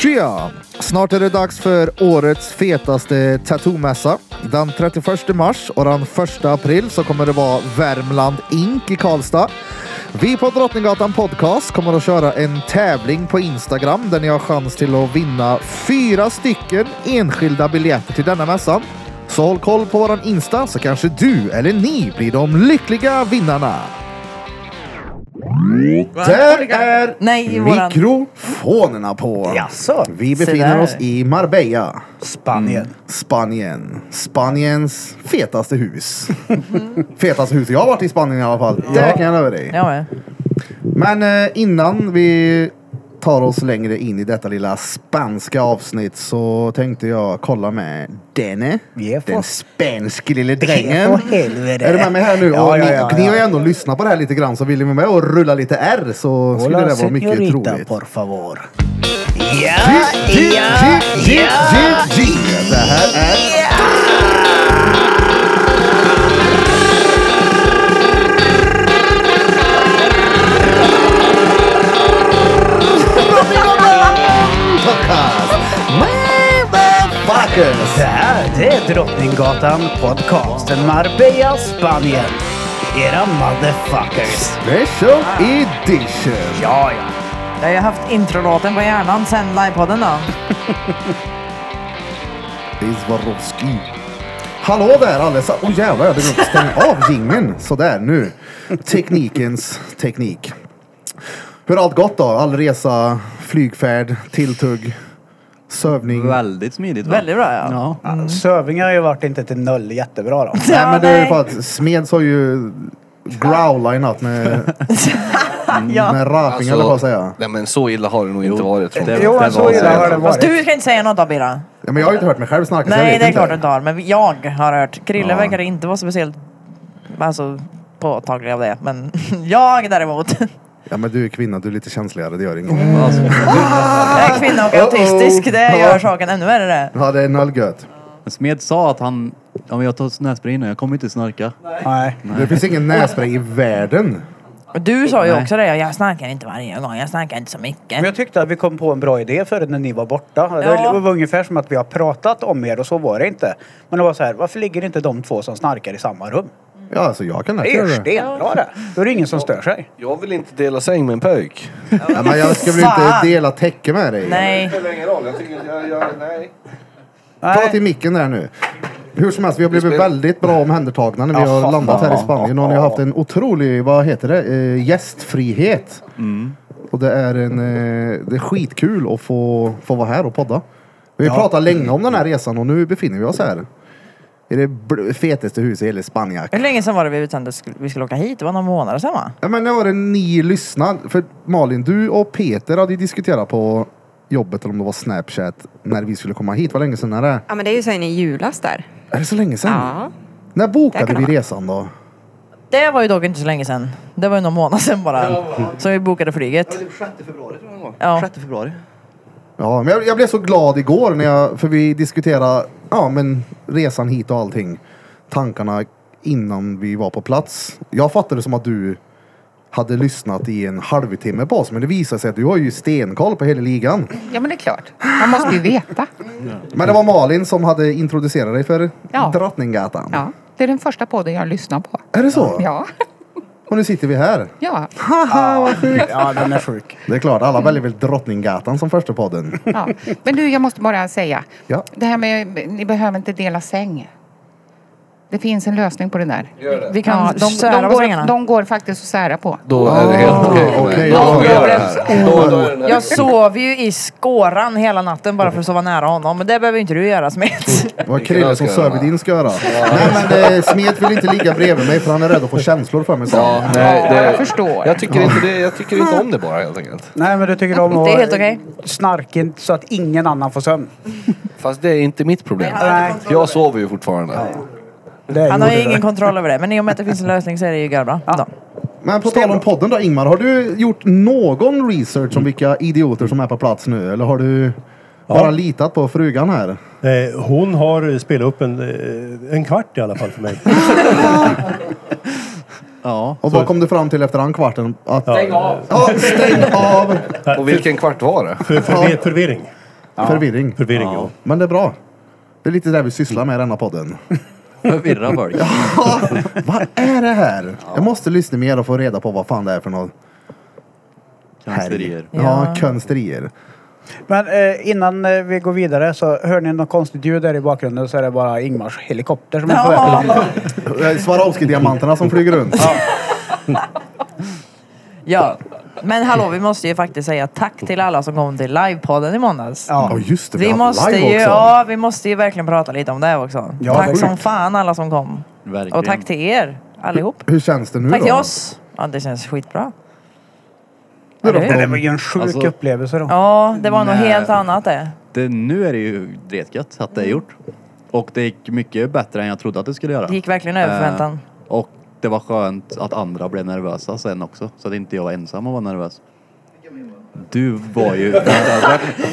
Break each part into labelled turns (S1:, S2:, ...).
S1: Tja! Snart är det dags för årets fetaste tattoo-mässa. Den 31 mars och den 1 april så kommer det vara Värmland Ink i Karlstad. Vi på Drottninggatan Podcast kommer att köra en tävling på Instagram där ni har chans till att vinna fyra stycken enskilda biljetter till denna mässan. Så håll koll på våran Insta så kanske du eller ni blir de lyckliga vinnarna. Där är
S2: Nej, i våran...
S1: mikrofonerna på.
S3: Jaså?
S1: Vi
S2: Se
S1: befinner
S2: där.
S1: oss i Marbella, Mm.
S3: Spanien.
S1: Spanien. Spaniens fetaste hus. fetaste hus jag har varit i Spanien i alla fall. Det kan jag lova dig.
S2: Jag med.
S1: Men eh, innan vi tar oss längre in i detta lilla spanska avsnitt så tänkte jag kolla med denne.
S3: Ja, för-
S1: Den spanske lille
S3: Ja,
S1: drängen.
S3: för helvete.
S1: Är du med mig här nu?
S3: Ja,
S1: och ni,
S3: ja, ja,
S1: och ni har ju
S3: ja.
S1: ändå lyssnat på det här lite grann så vill ni vara med och rulla lite R så skulle det vara mycket roligt.
S3: por favor.
S1: G, G, G, G, G, G. Det här är... Podcast.
S3: Det
S1: Motherfuckers.
S3: här det är Drottninggatan podcasten Marbella, Spanien. Era motherfuckers. Ah.
S1: Special edition.
S3: Ja, ja.
S2: Jag har ju haft introlåten på hjärnan sen livepodden då.
S1: Izvarovski. Hallå där allesammans! Åh oh, jävlar, jag hade glömt att stänga av jingeln. Sådär nu. Teknikens teknik. Hur har allt gått då? All resa, flygfärd, tilltugg, sövning. Mm.
S4: Väldigt smidigt va?
S2: Väldigt bra ja.
S3: ja. Sövingar har ju varit inte till noll jättebra då.
S1: Nej men det är ju
S2: nej.
S1: för att Smeds har ju growla i natt med,
S2: ja.
S1: med raping eller vad jag säga.
S5: Alltså, Nej men så illa har det nog inte varit. tror jag.
S4: det-
S3: Jo,
S4: det
S2: alltså,
S1: alltså,
S3: så
S4: var-
S3: illa har det
S2: Fast
S3: varit.
S2: du kan inte säga något Abira.
S1: Ja, men jag har ju inte hört mig själv snacka så jag
S2: Nej
S1: vet
S2: det är
S1: inte.
S2: klart du inte har. Men jag har hört. Krille
S1: Ja.
S2: verkar inte vara speciellt alltså, påtaglig av det. Men jag däremot.
S1: Ja men du är kvinna, du är lite känsligare, det gör inget.
S4: Alltså,
S2: Mm. Jag är kvinna och
S1: Uh-oh.
S2: autistisk. Det
S1: Ja.
S2: gör saken ännu värre.
S1: Ja det är noll gött.
S4: Smed sa att han, ja men jag tar nässpray nu, jag kommer inte snarka.
S3: Nej.
S1: Det finns ingen nässpray i världen.
S2: Och Du sa ju
S4: Nej.
S2: också det. Jag snackar inte varje gång. Jag snackar inte så mycket.
S3: Men jag tyckte att vi kom på en bra idé förut när ni var borta.
S2: Ja.
S3: Det var ungefär som att vi har pratat om er och så var det inte. Men det var så här, varför ligger inte de två som snarkar i samma rum?
S1: Ja alltså jag kan lätt
S3: Det är
S1: göra
S3: ju
S1: det.
S3: stenbra det. Då är det ingen som stör sig.
S5: Jag vill inte dela säng med en pöjk.
S1: Ja, men jag ska väl inte
S2: Fan.
S1: dela täcke med dig?
S2: Nej.
S5: spelar ingen roll. Jag tycker jag gör... Nej.
S1: Ta till micken där nu. Hur som helst, vi har blivit väldigt bra omhändertagna när vi har
S3: Jaha.
S1: landat här i Spanien och ni har haft en otrolig, vad heter det, eh, gästfrihet.
S4: Mm.
S1: Och det är, en, eh, det är skitkul att få, få vara här och podda. Vi har
S3: Ja.
S1: pratat länge om den här resan och nu befinner vi oss här. I det bl- fetaste huset i hela Spanien.
S2: Hur länge sedan var det vi bestämde att vi skulle åka hit? Det var några månader sedan va?
S1: Ja, men nu var det ni lyssnade. För Malin, du och Peter hade ju diskuterat på jobbet, eller om det var Snapchat, när vi skulle komma hit. Vad länge sedan är det?
S6: Ja men det är ju sen i julas där.
S1: Är det så länge sedan?
S6: Ja.
S1: När
S6: Där
S1: bokade
S6: kan
S1: vi
S6: det
S1: resan då?
S2: Det var ju dock inte så länge sedan. Det var ju någon månad sedan bara. Så vi bokade flyget.
S4: 6 februari tror jag det var.
S2: Ja.
S4: 6 februari.
S1: Ja, men jag, jag blev så glad igår när jag, för vi diskuterade ja, men resan hit och allting. Tankarna innan vi var på plats. Jag fattade som att du hade lyssnat i en halvtimme på oss, men det visade sig att du har ju stenkoll på hela ligan.
S6: Ja men det är klart. Man måste ju veta.
S1: Men det var Malin som hade introducerat dig för
S6: Ja.
S1: Drottninggatan.
S6: Ja. Det är den första podden jag lyssnar på.
S1: Är det så?
S6: Ja.
S1: Och nu sitter vi här.
S6: Ja.
S1: Haha, vad sjukt.
S3: Ja, den är sjuk.
S1: Det är klart, alla väljer väl Drottninggatan som första podden.
S7: Ja. Men du, jag måste bara säga.
S1: Ja.
S7: Det här med, ni behöver inte dela säng. Det finns en lösning på det där.
S2: Vi kan
S7: Ja, de,
S2: sära
S7: de,
S2: på sängarna.
S7: går, de går faktiskt att sära på.
S5: Då är det helt
S1: Ah,
S5: okej för mig.
S1: okej,
S5: Då
S1: ja.
S5: får vi göra det här. Då- då är den här-
S2: Jag sov ju i skåran hela natten bara för att sova nära honom. Men det behöver ju inte du göra Smet.
S1: Det var
S5: Vilken
S1: Krille
S5: jag
S1: som
S5: ska göra.
S1: söv i din ska göra. Nej men eh, Smet vill inte ligga bredvid mig för han är rädd att få känslor för mig sen.
S5: Ja, nej, det,
S7: jag förstår.
S5: Jag tycker, inte det, jag tycker inte om det bara helt enkelt.
S3: Nej, men du tycker om att
S2: Det är helt okej.
S3: snarka in så att ingen annan får sömn.
S5: Fast det är inte mitt problem.
S3: Nej.
S5: Jag sover ju fortfarande.
S3: Det är
S2: Han har ju
S3: gjorde det.
S2: ingen kontroll över det. Men i och med att det finns en lösning så är det ju bra. Ja.
S1: Men på tal om podden då Ingmar, har du gjort någon research om vilka idioter som är på plats nu? Eller har du bara litat på frugan här?
S8: Eh, hon har spelat upp en, eh, en kvart i alla fall för mig.
S4: Ja.
S1: Och vad kom du fram till efter den kvarten? Att,
S8: Ja,
S1: Ja, stäng av!
S5: Och vilken kvart var det?
S8: för, förve- förvirring.
S1: Förvirring.
S8: Förvirring, ja.
S1: Men det är bra. Det är lite det vi sysslar med i denna podden.
S4: Förvirra folk.
S1: vad är det här? Jag måste lyssna mer och få reda på vad fan det är för något.
S4: Kanserier.
S1: Ja, ja konsterier.
S3: Men eh, innan eh, vi går vidare så hör ni något konstigt ljud där i bakgrunden så är det bara Ingmars helikopter som är på väg.
S1: Eh, Swarovski-diamanterna som flyger runt.
S2: Ja. Men hallå, vi måste ju faktiskt säga tack till alla som kom till livepodden i måndags.
S1: Ja,
S3: Ja.
S1: just det.
S2: Vi
S1: har haft
S2: måste,
S1: live
S2: ju,
S1: också.
S2: ja, vi måste ju verkligen prata lite om det också.
S3: Ja, det är
S2: tack som
S3: sjukt.
S2: fan alla som kom.
S4: Verkligen.
S2: Och tack till er allihop.
S1: Hur känns det nu
S2: Tack
S1: då?
S2: till oss. Ja, det känns skitbra.
S1: Nu då?
S2: Eller
S3: Det
S2: hur?
S3: där var ju en sjuk
S4: Alltså-
S3: upplevelse då.
S2: Ja, det var något
S4: Nej.
S2: helt annat det.
S4: Det, nu är det ju dretgött att det
S2: Mm.
S4: är gjort. Och det gick mycket bättre än jag trodde att det skulle göra.
S2: Det gick verkligen över
S4: Eh,
S2: förväntan.
S4: och det var skönt att andra blev nervösa sen också. Så att inte jag var ensam och var nervös. Du var ju...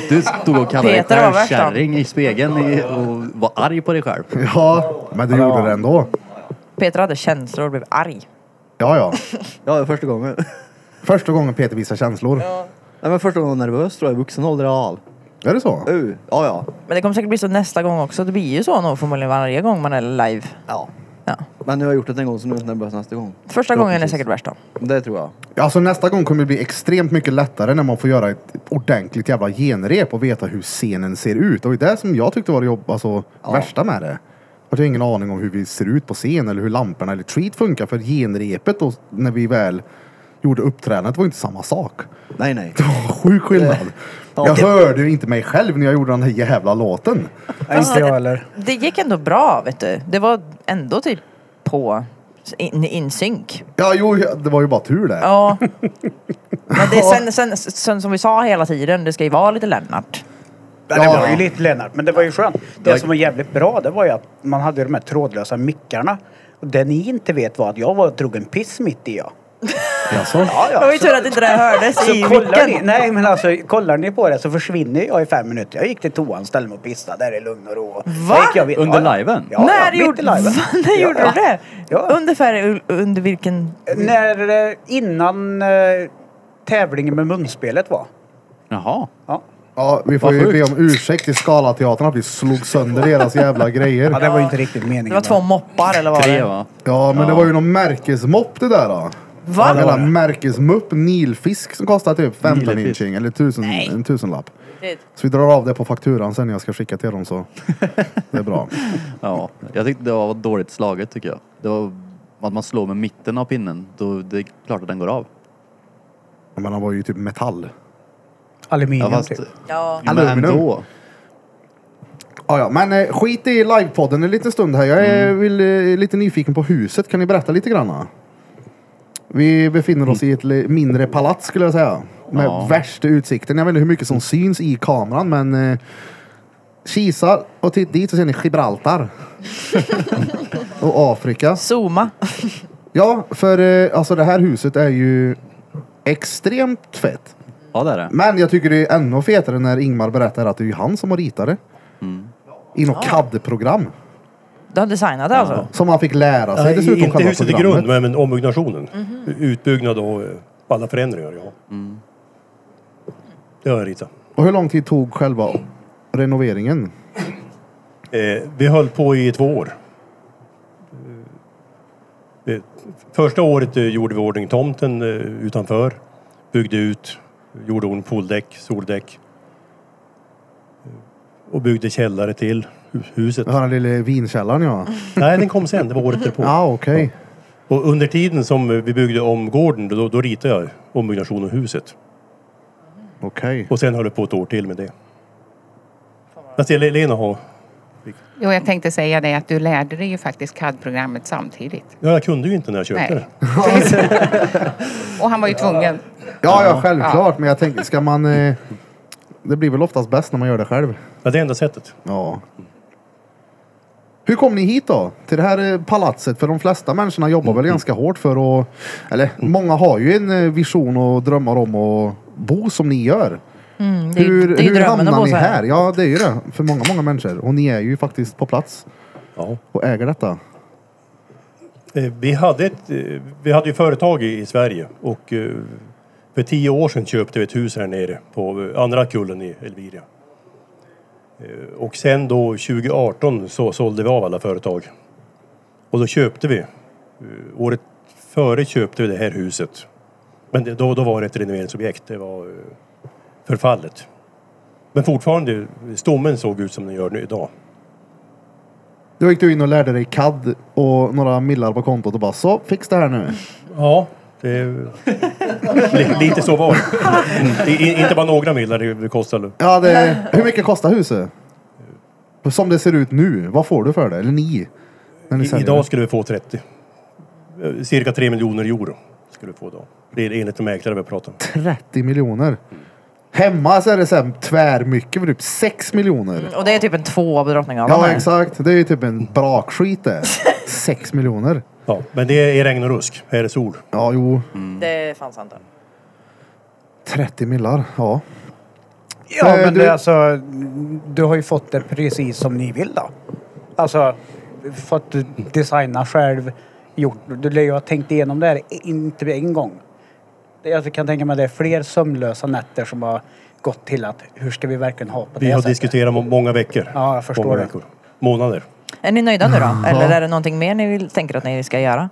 S4: Du stod och kallade dig
S2: Peter var
S4: själv
S2: värst, han.
S4: kärring i spegeln i, och var arg på dig själv.
S1: Ja, men du gjorde det ändå.
S2: Peter hade känslor och blev arg.
S1: Ja, ja.
S9: Ja, det är första gången.
S1: Första gången Peter visar känslor.
S9: Nej, men första gången jag var nervös tror jag i vuxen ålder i alla fall.
S1: Är det så?
S9: Uh, ja, ja.
S2: Men det kommer säkert bli så nästa gång också. Det blir ju så nog förmodligen varje gång man är live.
S9: ja.
S2: Ja.
S9: Men nu har jag gjort det en gång så nu är jag inte nervös nästa gång.
S2: Första gången är
S9: Förhoppningsvis.
S2: säkert värst då.
S9: Det tror jag.
S1: Alltså nästa gång kommer det bli extremt mycket lättare när man får göra ett ordentligt jävla genrep och veta hur scenen ser ut. Och det är det som jag tyckte var det jobb, alltså, värsta med det. Jag har ingen aning om hur vi ser ut på scen eller hur lamporna eller treat funkar för genrepet och när vi väl gjorde uppträdandet var ju inte samma sak.
S9: Nej, nej. Eh,
S1: Det var sjuk skillnad.
S9: Ja.
S1: Jag hörde ju inte mig själv när jag gjorde den här jävla låten.
S3: Nej, inte jag heller.
S2: Det gick ändå bra vet du. Det var ändå typ på in, in synk.
S1: Ja, jo, det var ju bara tur det.
S2: Ja. Men det är sen, sen, sen som vi sa hela tiden, det ska ju vara lite Lennart.
S3: Ja. Det var ju lite Lennart, men det var ju skönt. Det som var jävligt bra det var ju att man hade ju de här trådlösa mickarna. Och det ni inte vet var att jag var och drog en piss mitt i ja.
S1: Jaså?
S3: Ja,
S2: Det
S3: ja.
S2: var ju tur att inte det hördes i
S3: Så kollar ni,
S2: micken.
S3: nej men alltså kollar ni på det så försvinner jag i fem minuter. Jag gick till toan, ställde mig och pissade där i lugn och ro.
S2: Va?
S3: Sen gick jag vid-
S4: Under
S3: ja, ja.
S4: liven?
S3: Ja,
S2: när
S3: ja, mitt
S2: gjorde,
S3: i liven.
S2: Va, när
S3: Ja,
S2: gjorde
S3: ja.
S2: du det?
S3: Ja.
S2: Ungefär under vilken...
S3: När, eh, innan eh, tävlingen med munspelet var.
S4: Jaha.
S3: Ja.
S1: Ja, vi får
S4: Vad
S1: ju
S4: sjukt.
S1: be om ursäkt till Skalateatern att vi slog sönder deras jävla grejer.
S3: ja, det var ju inte riktigt meningen.
S2: Det var två moppar eller vad var
S4: Tre
S2: det?
S4: va?
S1: Ja, men det var ju någon märkesmopp det där då.
S2: Va?
S1: En jävla märkesmupp, nilfisk som kostar typ 15
S4: Nilfisk.
S1: inching eller tusen,
S2: Nej.
S1: en tusenlapp. Så vi drar av det på fakturan sen när jag ska skicka till dem så det är bra.
S4: Ja. Jag tyckte det var dåligt slaget tycker jag. Det var att man slår med mitten av pinnen. Då det är klart att den går av.
S1: Men han var ju typ metall.
S3: Aluminium
S4: Ja, fast,
S3: typ.
S2: Ja.
S4: men
S1: Aluminium.
S4: ändå.
S1: Ja, ja, men eh, skit i livepodden en liten stund här. Jag är vill, eh, lite nyfiken på huset. Kan ni berätta lite grann? Vi befinner oss i ett li- mindre palats skulle jag säga. Med
S4: Ja.
S1: värsta utsikten. Jag vet inte hur mycket som syns i kameran men eh, kisar och titta dit så ser ni Gibraltar. och Afrika.
S2: Zooma.
S1: Ja, för eh, alltså det här huset är ju extremt fett.
S4: Ja det är det.
S1: Men jag tycker det är ännu fetare när Ingmar berättar att det är ju han som har ritat det.
S8: Mm.
S1: I något CAD-program.
S2: Du har designat det alltså?
S1: Som han fick lära sig
S8: Nej,
S1: dessutom
S8: Eh, inte
S1: själva
S8: huset i grund,
S1: programmet.
S8: men, men ombyggnationen. Utbyggnad och eh, alla förändringar, ja.
S1: Mm.
S8: Det har jag ritat.
S1: Och hur lång tid tog själva renoveringen?
S8: Eh, vi höll på i två år. Eh, första året eh, gjorde vi i ordning tomten eh, utanför. Byggde ut, gjorde ordning pooldäck, soldäck. Eh, Och byggde källare till hu- huset.
S1: Den här lilla vinkällaren ja.
S8: Nej, den kom sen. Det var året därpå.
S1: Ja okej.
S8: Och under tiden som eh, vi byggde om gården, då, då ritade jag ombyggnationen av huset.
S1: Okej.
S8: Och sen höll jag på ett år till med det. Jag ser Le- Lena har...
S10: Jo, jag tänkte säga det att du lärde dig ju faktiskt CAD-programmet samtidigt.
S8: Ja, jag kunde ju inte när jag köpte
S10: Nej.
S8: det.
S10: Och han var ju tvungen.
S1: Ja ja självklart men jag tänker ska man... Eh, det blir väl oftast bäst när man gör det själv.
S8: Ja, det är enda sättet.
S1: Ja. Hur kom ni hit då? Till det här eh, palatset? För de flesta människorna jobbar
S8: Mm.
S1: väl ganska hårt för att... Eller många har ju en eh, vision och drömmar om att bo som ni gör.
S2: Mm, Det är ju-
S1: Hur,
S2: det är ju
S1: hur
S2: drömmen att
S1: hamnar
S2: bo
S1: ni
S2: så
S1: här? Ja, det är ju det. För många, många människor. Och ni är ju faktiskt på plats
S8: Ja.
S1: och äger detta.
S8: Eh, Vi hade, ett, eh, vi hade ju företag i i Sverige och eh, för tio år sedan köpte vi ett hus här nere på eh, andra kullen i Elvira. Eh, Och sen då 2018 så sålde vi av alla företag. Och då köpte vi. eh, Året före köpte vi det här huset. Men det, då, då var det ett renoveringsobjekt. Det var eh, förfallet. Men fortfarande, stommen såg ut som den gör nu idag.
S1: Då gick du in och lärde dig CAD och några millar på kontot och bara så, fix det här nu.
S8: Ja, det är... Li- Lite så var det. I- i- Inte bara några millar det det kostade.
S1: Ja, det, hur mycket kostar huset? Som det ser ut nu, vad får du för det? Eller ni? När ni
S8: I-
S1: säljer
S8: Idag
S1: det?
S8: skulle vi få 30. Eh, Cirka 3 miljoner euro skulle vi få då. Det är enligt de mäklare vi pratar om.
S1: 30 miljoner. Hemma så är det så här tvärmycket, för typ 6 miljoner.
S2: Och det är typ en tvåa på Drottninggatan.
S1: Ja,
S2: här.
S1: exakt. Det är ju typ en brakskit det. 6 miljoner.
S8: Ja, men det är regn och rusk. Här är sol.
S1: Ja, jo.
S2: Mm. Det fanns inte.
S1: 30 millar, ja.
S3: Ja,
S1: Eh,
S3: men
S1: du-
S3: det, är alltså, du har ju fått det precis som ni vill då. Alltså, fått designa själv, gjort. Du lär ju ha tänkt igenom det här, inte en gång. Det- Jag kan tänka mig att det är fler sömnlösa nätter som har gått till att hur ska vi verkligen ha på
S8: Vi
S3: det
S8: har
S3: sättet?
S8: diskuterat må- många veckor.
S3: Ja, jag förstår
S8: många
S3: det.
S8: veckor. Månader.
S2: Är ni nöjda nu då? Eller är det någonting mer ni vill, tänker att ni ska göra?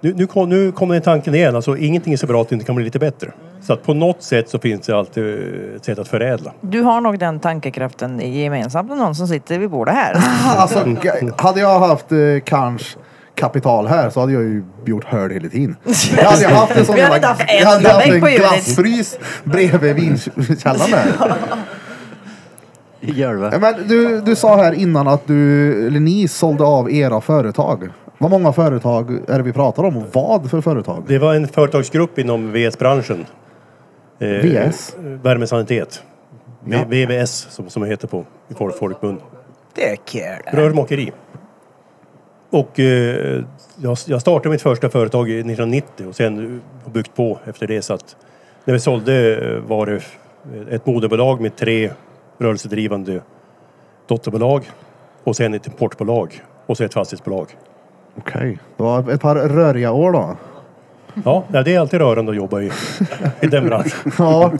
S8: Nu, nu, kom, nu kommer den tanken igen. Alltså, ingenting är så bra att det inte kan bli lite bättre. Så att på något sätt så finns det alltid eh, ett sätt att förädla.
S2: Du har nog den tankekraften gemensamt med någon som sitter vid bordet här.
S1: Alltså, g- hade jag haft eh, kanske kapital här så hade jag ju gjort hörd hela tiden. Jag hade ju haft en sån
S2: Vi hade
S1: jävla-
S2: inte haft en
S1: jag hade haft
S2: vägg
S1: en
S2: på hjulet.
S1: glassfrys bredvid vinkällaren där.
S4: I golvet.
S1: Ja, Men du, du sa här innan att du, eller ni sålde av era företag. Vad många företag är det vi pratar om och vad för företag?
S8: Det var en företagsgrupp inom VS-branschen. Eh,
S1: VS?
S8: Värmesanitet. V- VVS som, som det heter på i folk- folkmun.
S3: Det är kul.
S8: Rörmokeri. Och eh, jag, jag startade mitt första företag i 1990 och sen har byggt på efter det. Så att när vi sålde eh, var det eh, ett moderbolag med tre rörelsedrivande dotterbolag och sen ett importbolag och så ett fastighetsbolag.
S1: Okej. Det var ett par röriga år då.
S8: Ja, nej, det är alltid rörande att jobba i, i den branschen.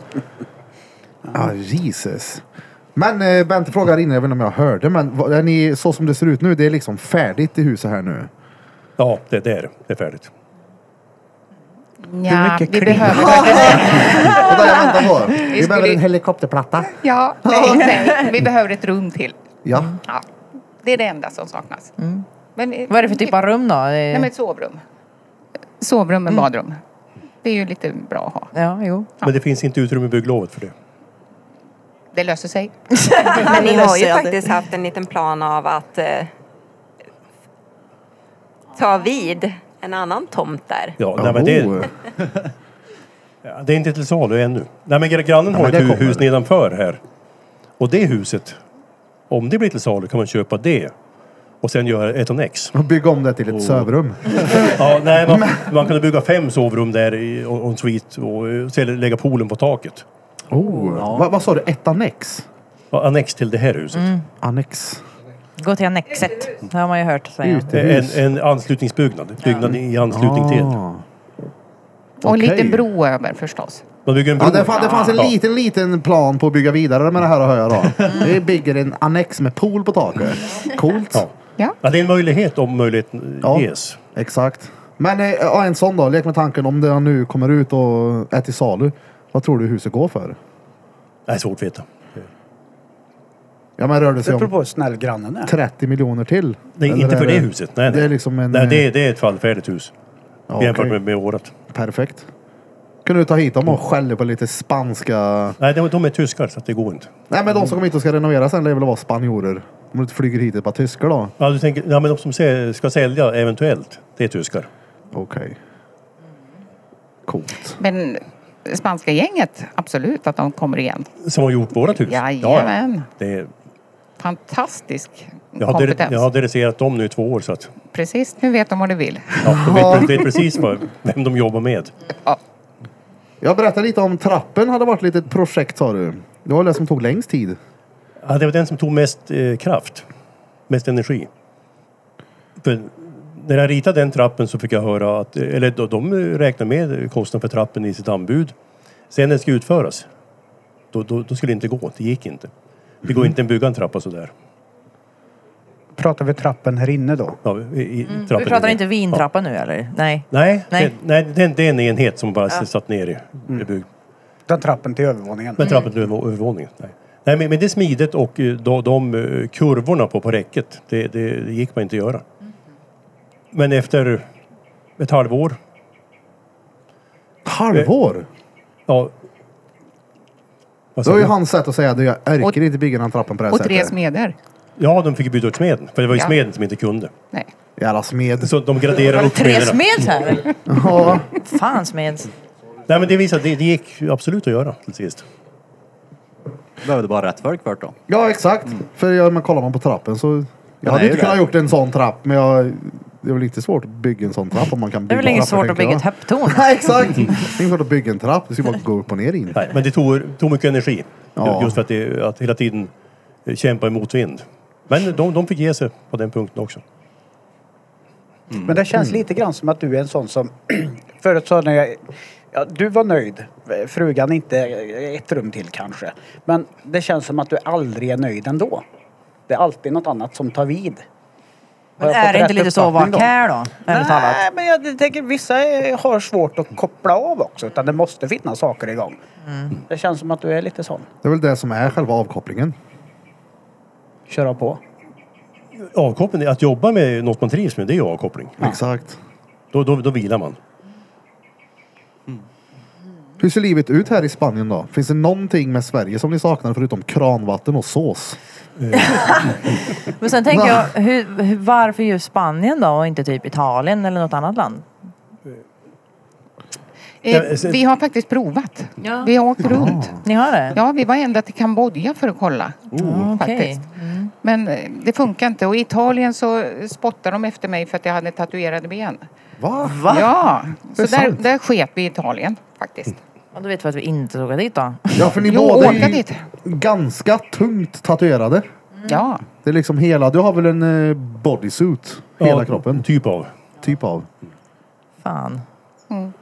S1: Ja. Ah, Jesus. Men eh, Bente frågar innan, jag vet inte om jag hörde, men vad- är ni, så som det ser ut nu, det är liksom färdigt i huset här nu?
S8: Ja, det, det är det. Det är färdigt.
S3: Hur
S10: Ja,
S3: mycket
S10: vi
S3: klipp?
S10: behöver faktiskt...
S1: Vänta, jag väntar på. Vi
S10: skulle-
S1: behöver en helikopterplatta.
S10: Ja, nej, nej. Vi behöver ett rum till.
S1: Ja.
S10: Ja, det är det enda som saknas. Men,
S2: Mm.
S10: eh,
S2: Vad är det för typ av rum då? mm.
S10: Nej, men ett sovrum. Sovrum
S1: Mm.
S10: med badrum. Det är ju lite bra att ha.
S2: Ja, jo.
S8: Men det finns inte utrymme i bygglovet för det.
S10: Det löser sig.
S2: Det
S6: Men ni har
S2: löser
S6: ju
S2: jag.
S6: faktiskt haft en liten plan av att eh, ta vid en annan tomt där.
S8: Ja, nej, men det,
S1: Oh.
S8: Ja, det är inte till salu ännu. Nej men gr- grannen har
S1: men
S8: ju
S1: det
S8: ett hu-
S1: kommer.
S8: hus nedanför här. Och det huset, om det blir till salu kan man köpa det. Och sen göra ett annex.
S1: Och bygga om det till ett sövrum.
S8: Ja, nej, man, man kunde bygga fem sovrum där i- och och en suite och eh, sen lägga poolen på taket.
S1: Oh. Va, vad sa du? Ett annex?
S8: Ja, Annex till det här huset.
S1: Mm. Annex.
S2: Gå till Annexet. Det har man ju hört säga.
S8: En,
S1: Utehus.
S8: en anslutningsbyggnad. Byggnad i anslutning till.
S1: Ah.
S10: Och en
S1: Okej.
S10: liten bro över förstås.
S8: Man bygger en bro.
S1: Ja, det, fanns, det fanns en
S8: Ja.
S1: liten, liten plan på att bygga vidare med det här, hör jag då. Vi bygger en annex med pool på taket. Coolt.
S8: Ja.
S10: Ja.
S8: Ja, det är en möjlighet om möjligheten
S1: Ja.
S8: ges.
S1: Exakt. Men eh, ja, en sån då, lek med tanken om det nu kommer ut och är till salu. Vad tror du huset går för?
S8: Nej, svårt att veta.
S1: Ja men rör det sig
S3: Det beror
S1: om
S3: på hur snäll grannen är.
S1: 30 miljoner till?
S8: Nej,
S1: Eller
S8: inte
S1: är
S8: för det huset. Nej, nej.
S1: Det är liksom en...
S8: nej, det,
S1: eh,
S8: är- det är ett fallfärdigt hus.
S1: ja,
S8: Jämfört
S1: okej.
S8: med, med vårat.
S1: Perfekt. Kunde du ta hit dem och skälla på lite spanska...
S8: Nej, de, de är tyskar så att det går inte.
S1: Nej men de som kommer hit och ska renovera sen lär väl vara spanjorer. Om du inte flyger hit ett par tyskar då.
S8: Ja, du tänker, ja, men de som sä- ska sälja eventuellt, det är tyskar.
S1: Okej. Coolt.
S10: Men spanska gänget, absolut att de kommer igen.
S8: Som har gjort vårat hus.
S10: Jajamän.
S8: Det är,
S10: Fantastisk
S8: jag, har
S10: kompetens.
S8: dere, jag har dresserat dem nu i två år så att
S10: Precis, nu vet de vad de vill.
S8: ja, de, vet, de vet precis vad, vem de jobbar med.
S1: Jag berättade lite om trappen hade varit ett litet projekt sa du. Det var det som tog längst tid.
S8: Ja, det var den som tog mest eh, kraft, mest energi. För när jag ritade den trappen så fick jag höra att, eh, eller de, de räknar med kostnaden för trappen i sitt anbud. Sen när det ska utföras, då, då, då skulle det inte gå, det gick inte. Det
S1: Mhm.
S8: går inte att bygga en trappa sådär.
S3: Pratar vi trappen här inne då?
S8: Ja, i, i
S2: Mm.
S8: trappen
S2: Vi pratar
S8: inne.
S2: inte vintrappa nu eller? Nej.
S8: Nej,
S2: Nej.
S8: nej. Det, nej det, är en- det är en enhet som bara
S2: Ja.
S8: satt ner i.
S1: Mm.
S8: i bygg.
S3: Den trappen till övervåningen.
S8: Men
S2: Mm.
S8: trappen till över- övervåningen. Nej. Nej, men, men det är smidigt och eh, de, de eh, kurvorna på, på räcket, det, det, det gick man inte att göra.
S2: Mm.
S8: Men efter ett halvår. Eh,
S1: Halvår?
S8: Ja. Vad
S1: Det
S8: sa
S1: var ju
S8: du?
S1: hans sätt att säga att jag
S8: Och-
S1: ärker inte bygga den här trappen på det här
S7: Och tre
S1: sättet.
S7: smeder.
S8: Ja, de fick byta ut smeden. För det var ju
S7: Ja.
S8: smeden som inte kunde.
S7: Nej.
S1: Jävla smed.
S8: Så de graderar upp
S2: Tre
S8: smederna.
S2: smeds här?
S1: Ja.
S2: Fan smeds.
S8: Nej, men det visar att det, det gick ju absolut att göra till sist.
S4: Behövde bara rätt folk för det då.
S1: Ja, exakt.
S8: Mm.
S1: För jag, man kollar man på trappen så... Jag
S4: Den
S1: hade
S4: är
S1: inte
S4: ju
S1: kunnat
S4: där.
S1: gjort en sån trapp, men jag... Det är väl inte svårt att bygga en sån trapp om man kan
S2: Det
S1: bygga
S2: är väl inget
S1: trappor,
S2: svårt att bygga
S1: tänker
S2: ett höptorn?
S1: jag. Nej, exakt. Det är inget svårt att bygga en trapp. Det ska bara gå upp och ner i den.
S8: Nej, men det tog, tog mycket energi.
S1: Ja.
S8: Just för att, det, att hela tiden eh, kämpa i motvind. Men de, de fick ge sig på den punkten också.
S3: Men det känns lite grann som att du är en sån som... Förut sa när jag... Ja, du var nöjd. Frugan inte ett rum till kanske. Men det känns som att du aldrig är nöjd ändå. Det är alltid något annat som tar vid.
S2: Men är det inte lite så att vara care då? Ärligt talat.
S3: Nej, men jag tänker vissa eh, har svårt att koppla av också. Utan det måste finnas saker igång.
S2: Mm.
S3: Det känns som att du är lite sån.
S1: Det är väl det som är själva avkopplingen.
S3: Köra på.
S8: Avkoppling, att jobba med något man trivs med, det är ju avkoppling.
S1: Exakt.
S8: Då, då, då vilar man.
S1: Hur ser livet ut här i Spanien då? Finns det någonting med Sverige som ni saknar förutom kranvatten och sås?
S2: Men sen tänker jag, hur, hur, varför just Spanien då och inte typ Italien eller något annat land?
S7: Eh,
S2: Ja, så-
S7: vi har faktiskt provat.
S2: Ja.
S7: Vi har åkt runt.
S2: Ni har det?
S7: Ja, vi var ända till Kambodja för att kolla.
S8: Oh.
S7: Faktiskt.
S1: Mm.
S7: Men eh, det funkar inte. Och i Italien så spottade de efter mig för att jag hade tatuerade ben.
S1: Va?
S7: Ja,
S1: Det
S7: så
S1: är
S7: där,
S1: sant.
S7: där sket vi i Italien faktiskt.
S2: Ja, då vet vi att vi inte ska åka dit då.
S1: Ja, för ni
S7: Jo,
S1: båda
S7: åka
S1: är ju
S7: dit. Mm.
S1: ganska tungt tatuerade.
S7: Ja.
S1: Det är liksom hela, du har väl en eh, bodysuit? Hela
S8: Ja,
S1: kroppen?
S8: Typ av.
S1: Typ av.
S2: Fan.
S7: Mm.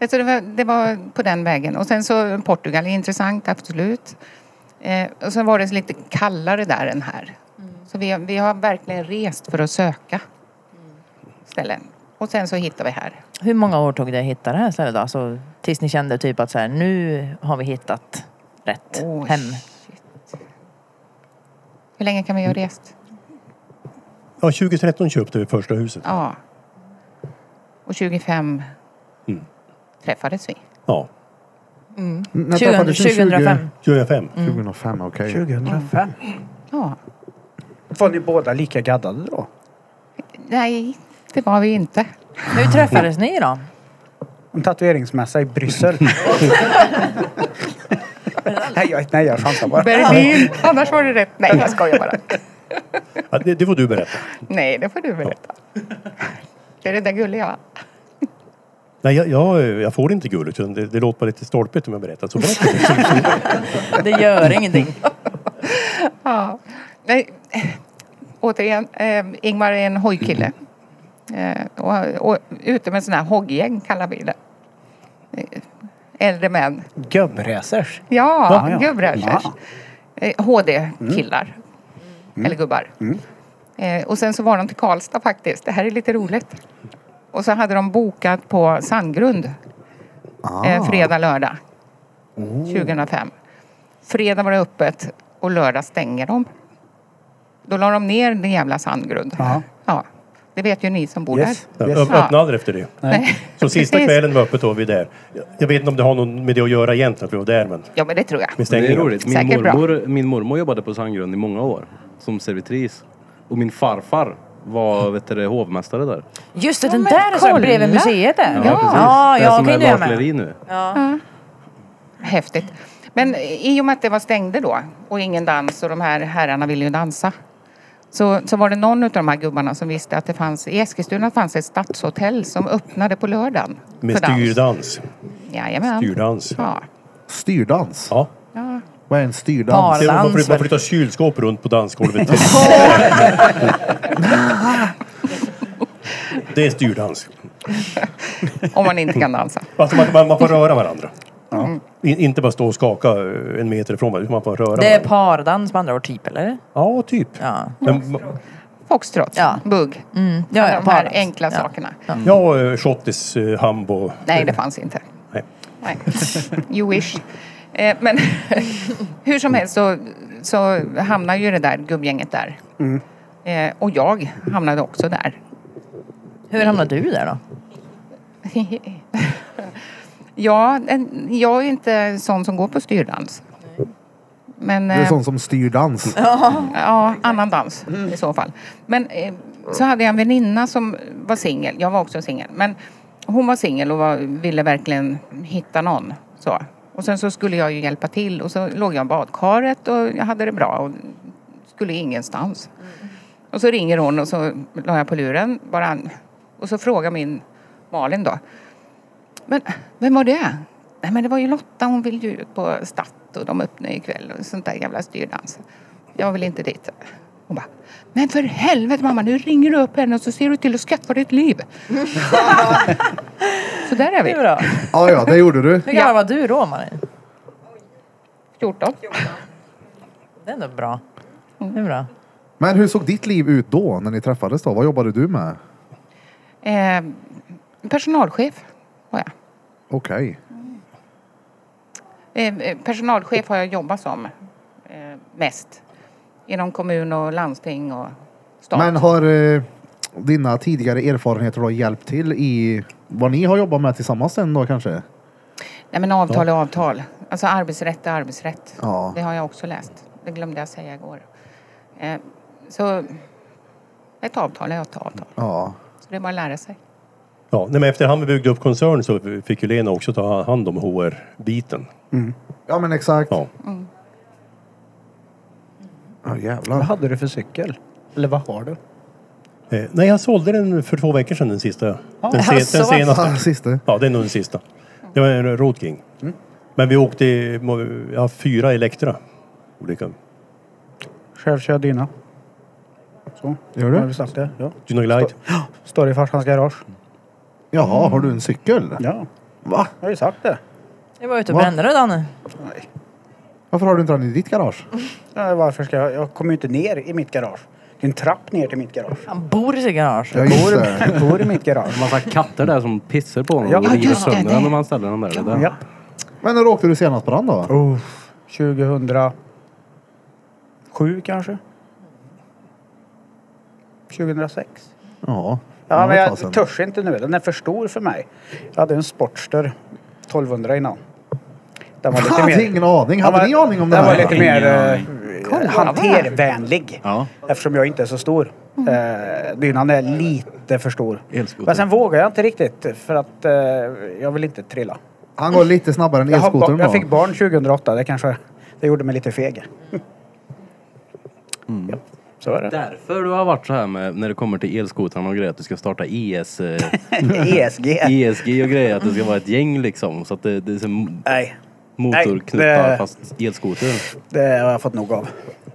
S7: Alltså det, var, det var på den vägen. Och sen så Portugal är intressant, absolut. Eh, och sen var det lite kallare där än här.
S1: Mm.
S7: Så vi, har- vi har verkligen rest för att söka ställen. Och sen så hittar vi här.
S2: Hur många år tog det att hitta det här stället då? Alltså, tills ni kände typ att så här, nu har vi hittat rätt
S7: Oj.
S2: hem.
S7: Hur länge kan vi
S1: Mm.
S7: ha rest?
S8: Ja, 2013 köpte vi första huset.
S7: Ja. Och 25
S8: Mm.
S7: träffades vi.
S8: Ja.
S2: Mm.
S1: När träffades ni?
S2: 2005.
S8: 2005.
S7: Mm.
S1: 2005, okej.
S3: 2005.
S7: Ja.
S3: Var ni båda lika gaddade då?
S7: Nej, det var vi inte.
S2: Hur träffades ni då?
S3: En tatueringsmässa i Bryssel. nej, jag, nej, jag chansar bara.
S7: Berlin. Annars var det rätt. Nej, jag skojar bara.
S8: Ja, det, det får du berätta.
S7: Nej, det får du berätta. Det är det där gulliga.
S8: Nej, jag, jag, jag får inte gulligt. utan Det, det låter bara lite stolpigt om jag berättar. Så berätta.
S2: Det gör ingenting.
S7: Ja. Nej. Återigen, eh, Ingmar är en hojkille. Eh, och, och ute med sådana här hoggäng kallar vi det. Eh, Äldre män.
S3: Gubbräsers.
S7: Ja,
S3: Ja, ja. Mm.
S7: gubbräsers.
S3: Ja.
S7: Eh, HD-killar.
S3: Mm.
S7: Eller gubbar. Eh, och sen så var de till Karlstad faktiskt. Det här är lite roligt. Och så hade de bokat på Sandgrund.
S3: Ah.
S7: Eh, fredag, lördag.
S3: Oh.
S7: 2005. Fredag var det öppet och lördag stänger de. Då la de ner den jävla Sandgrund.
S3: Ja.
S7: Ja, det vet ju ni som bor
S3: Yes.
S7: där.
S8: Ja,
S3: Yes.
S8: öpp- Öppna aldrig efter det.
S7: Nej.
S8: Så sista
S7: Precis.
S8: kvällen var öppet då vi där. Jag vet inte om det har något med det att göra egentligen, att vi var där men
S7: Ja, men det tror jag.
S8: med
S11: Det är
S8: stängningen.
S11: roligt. Min
S7: Säkert bra.
S11: mormor, min mormor jobbade på Sandgrund i många år som servitris. Och min farfar var vet du, det, hovmästare där.
S2: Just det, den
S7: men
S2: där är så
S7: kolla.
S2: bredvid museet där.
S11: det är
S2: Ah, ja,
S11: som
S2: okej
S11: är
S2: nu är jag med.
S11: bakleri nu.
S2: Ja.
S7: Häftigt. Men i och med att det var stängde då och ingen dans och de här herrarna ville ju dansa. Så, så var det någon av de här gubbarna som visste att det fanns, i Eskilstuna fanns ett stadshotell som öppnade på lördagen.
S8: Med
S7: för dans.
S8: styrdans.
S7: Jajamän.
S8: Styrdans.
S7: Ja.
S1: Styrdans?
S8: Ja.
S7: ja.
S1: Vad är en styrdans?
S8: Det var- Man,
S2: Dans,
S8: flytt, man
S2: men-
S8: flyttar kylskåp runt på dansgolvet. det är styrdans.
S7: Om man inte kan dansa. Mm,
S8: Alltså man, man, man får röra varandra. I- Inte bara stå och skaka eh, en meter ifrån varandra, utan man får röra
S2: Det är
S8: varandra.
S2: pardans med andra ord, typ, eller?
S8: Ja, typ.
S2: Ja.
S8: Men,
S7: Foxtrot, bugg.
S2: Mm. Ja, ja,
S7: de här
S2: pardans.
S7: enkla
S2: Ja.
S7: sakerna.
S8: ja, eh, shottis, eh, hambo.
S7: Nej, det fanns inte.
S8: Nej.
S7: Nej. You wish. Eh, Men hur som helst så, så hamnar ju det där gubbgänget där.
S3: Mm.
S7: Eh, Och jag hamnade också där.
S2: Hur hamnade du där då?
S7: ja, en- jag är inte sån som går på styrdans. Men,
S1: Det är
S7: eh,
S1: sånt som styr dans.
S7: Ja, ja annan dans i så fall. Men eh, så hade jag en väninna som var singel. Jag var också singel. Men hon var singel och var, ville verkligen hitta någon. Så. Och sen så skulle jag ju hjälpa till och så låg jag i badkaret och jag hade det bra och skulle ingenstans. Och så ringer hon och så la jag på luren bara. Och så frågar min Malin då. Men vem var det? Nej men det var ju Lotta, hon vill ju ut på Statt och de öppnar ju ikväll och sånt där jävla styrdans. Jag vill inte dit. Hon bara, men för helvete mamma, nu ringer du upp henne och så ser du till att skaffa ditt liv. så där är vi.
S1: Ja, ja, det gjorde du.
S2: Hur gammal var du då, Malin?
S7: 14.
S2: Det är ändå bra.
S7: Mm.
S2: Det är bra.
S1: Men hur såg ditt liv ut då, när ni träffades då? Vad jobbade du med?
S7: Eh, personalchef.
S1: Okej.
S7: Eh, eh, personalchef har jag jobbat som eh, mest. Inom kommun och landsting och stat.
S1: Men har eh, dina tidigare erfarenheter då hjälpt till i vad ni har jobbat med tillsammans sen då kanske?
S7: Nej men avtal
S1: Ja.
S7: är avtal. Alltså arbetsrätt är arbetsrätt.
S1: Ja.
S7: Det har jag också läst. Det glömde jag säga igår. Eh, så ett avtal är ett avtal.
S1: Ja.
S7: Så det är bara att lära sig.
S8: Ja, nej, men efterhand vi byggde upp koncern så fick ju Lena också ta hand om HR-biten.
S1: Mm. Ja men exakt.
S8: Ja.
S7: Mm.
S1: Ja jävlar.
S3: Vad hade du för cykel? Eller vad har du?
S8: Eh, nej, jag sålde den för två veckor sedan, den sista.
S3: Ja.
S8: Den,
S3: Ja, så.
S8: den senaste.
S3: Ja,
S1: sista. Mm.
S8: Ja, det är nog den sista. Det var en Road King. Men vi åkte i- må- ja, fyra Elektra. Olika.
S3: Själv kör jag dyna. Så.
S1: Gör du?
S3: Har vi sagt det? Ja.
S8: Dyna Glide.
S3: Står i farsans garage.
S1: Jaha, har du en cykel?
S3: Ja.
S1: Va?
S3: Jag har ju sagt det.
S2: Jag var ute och
S3: Va?
S2: brände det, Danne.
S1: Varför har du inte den i ditt garage?
S3: Ja, varför ska jag? Jag kommer ju inte ner i mitt garage. Det är en trapp ner till mitt garage.
S2: Han bor i sitt garage.
S11: Ja, just det.
S3: Jag bor i mitt garage.
S11: En massa katter där som pissar på honom
S3: Ja,
S11: och river
S3: just det, det.
S11: sönder honom när man ställer honom där. Det där.
S3: Ja.
S1: Men när åkte du senast på den då?
S3: 2007 kanske? 2006?
S1: Ja.
S3: Ja,
S1: det
S3: men
S1: var ett tag
S3: jag
S1: sedan.
S3: törs inte nu. Den är för stor för mig. Jag hade en Sportster 1200 innan. Den
S1: Jag hade ingen aning. Hade
S3: den
S1: ni
S3: var-
S1: aning om det
S3: Den var
S1: här?
S3: lite
S1: Ingen
S3: mer
S1: aning.
S3: eh, hantervänlig. Eftersom jag inte är så stor.
S1: Mm.
S3: Eh, Dynan är lite för stor. Men sen vågar jag inte riktigt för att eh, jag vill inte trilla.
S1: Han går lite snabbare än
S3: Jag, har ba-
S1: elskotern då?
S3: jag fick barn 2008. Det kanske det gjorde mig lite feg.
S8: Mm.
S3: Ja, så är det.
S11: Därför du har varit så här med när det kommer till elskotrarna och grejer att du ska starta ES... eh,
S3: ESG.
S11: ESG och grejer att det ska vara ett gäng liksom så att det, det är som
S3: Nej.
S11: motorknuttar
S3: Nej, det-
S11: fast elskoter.
S3: Det har jag fått nog av.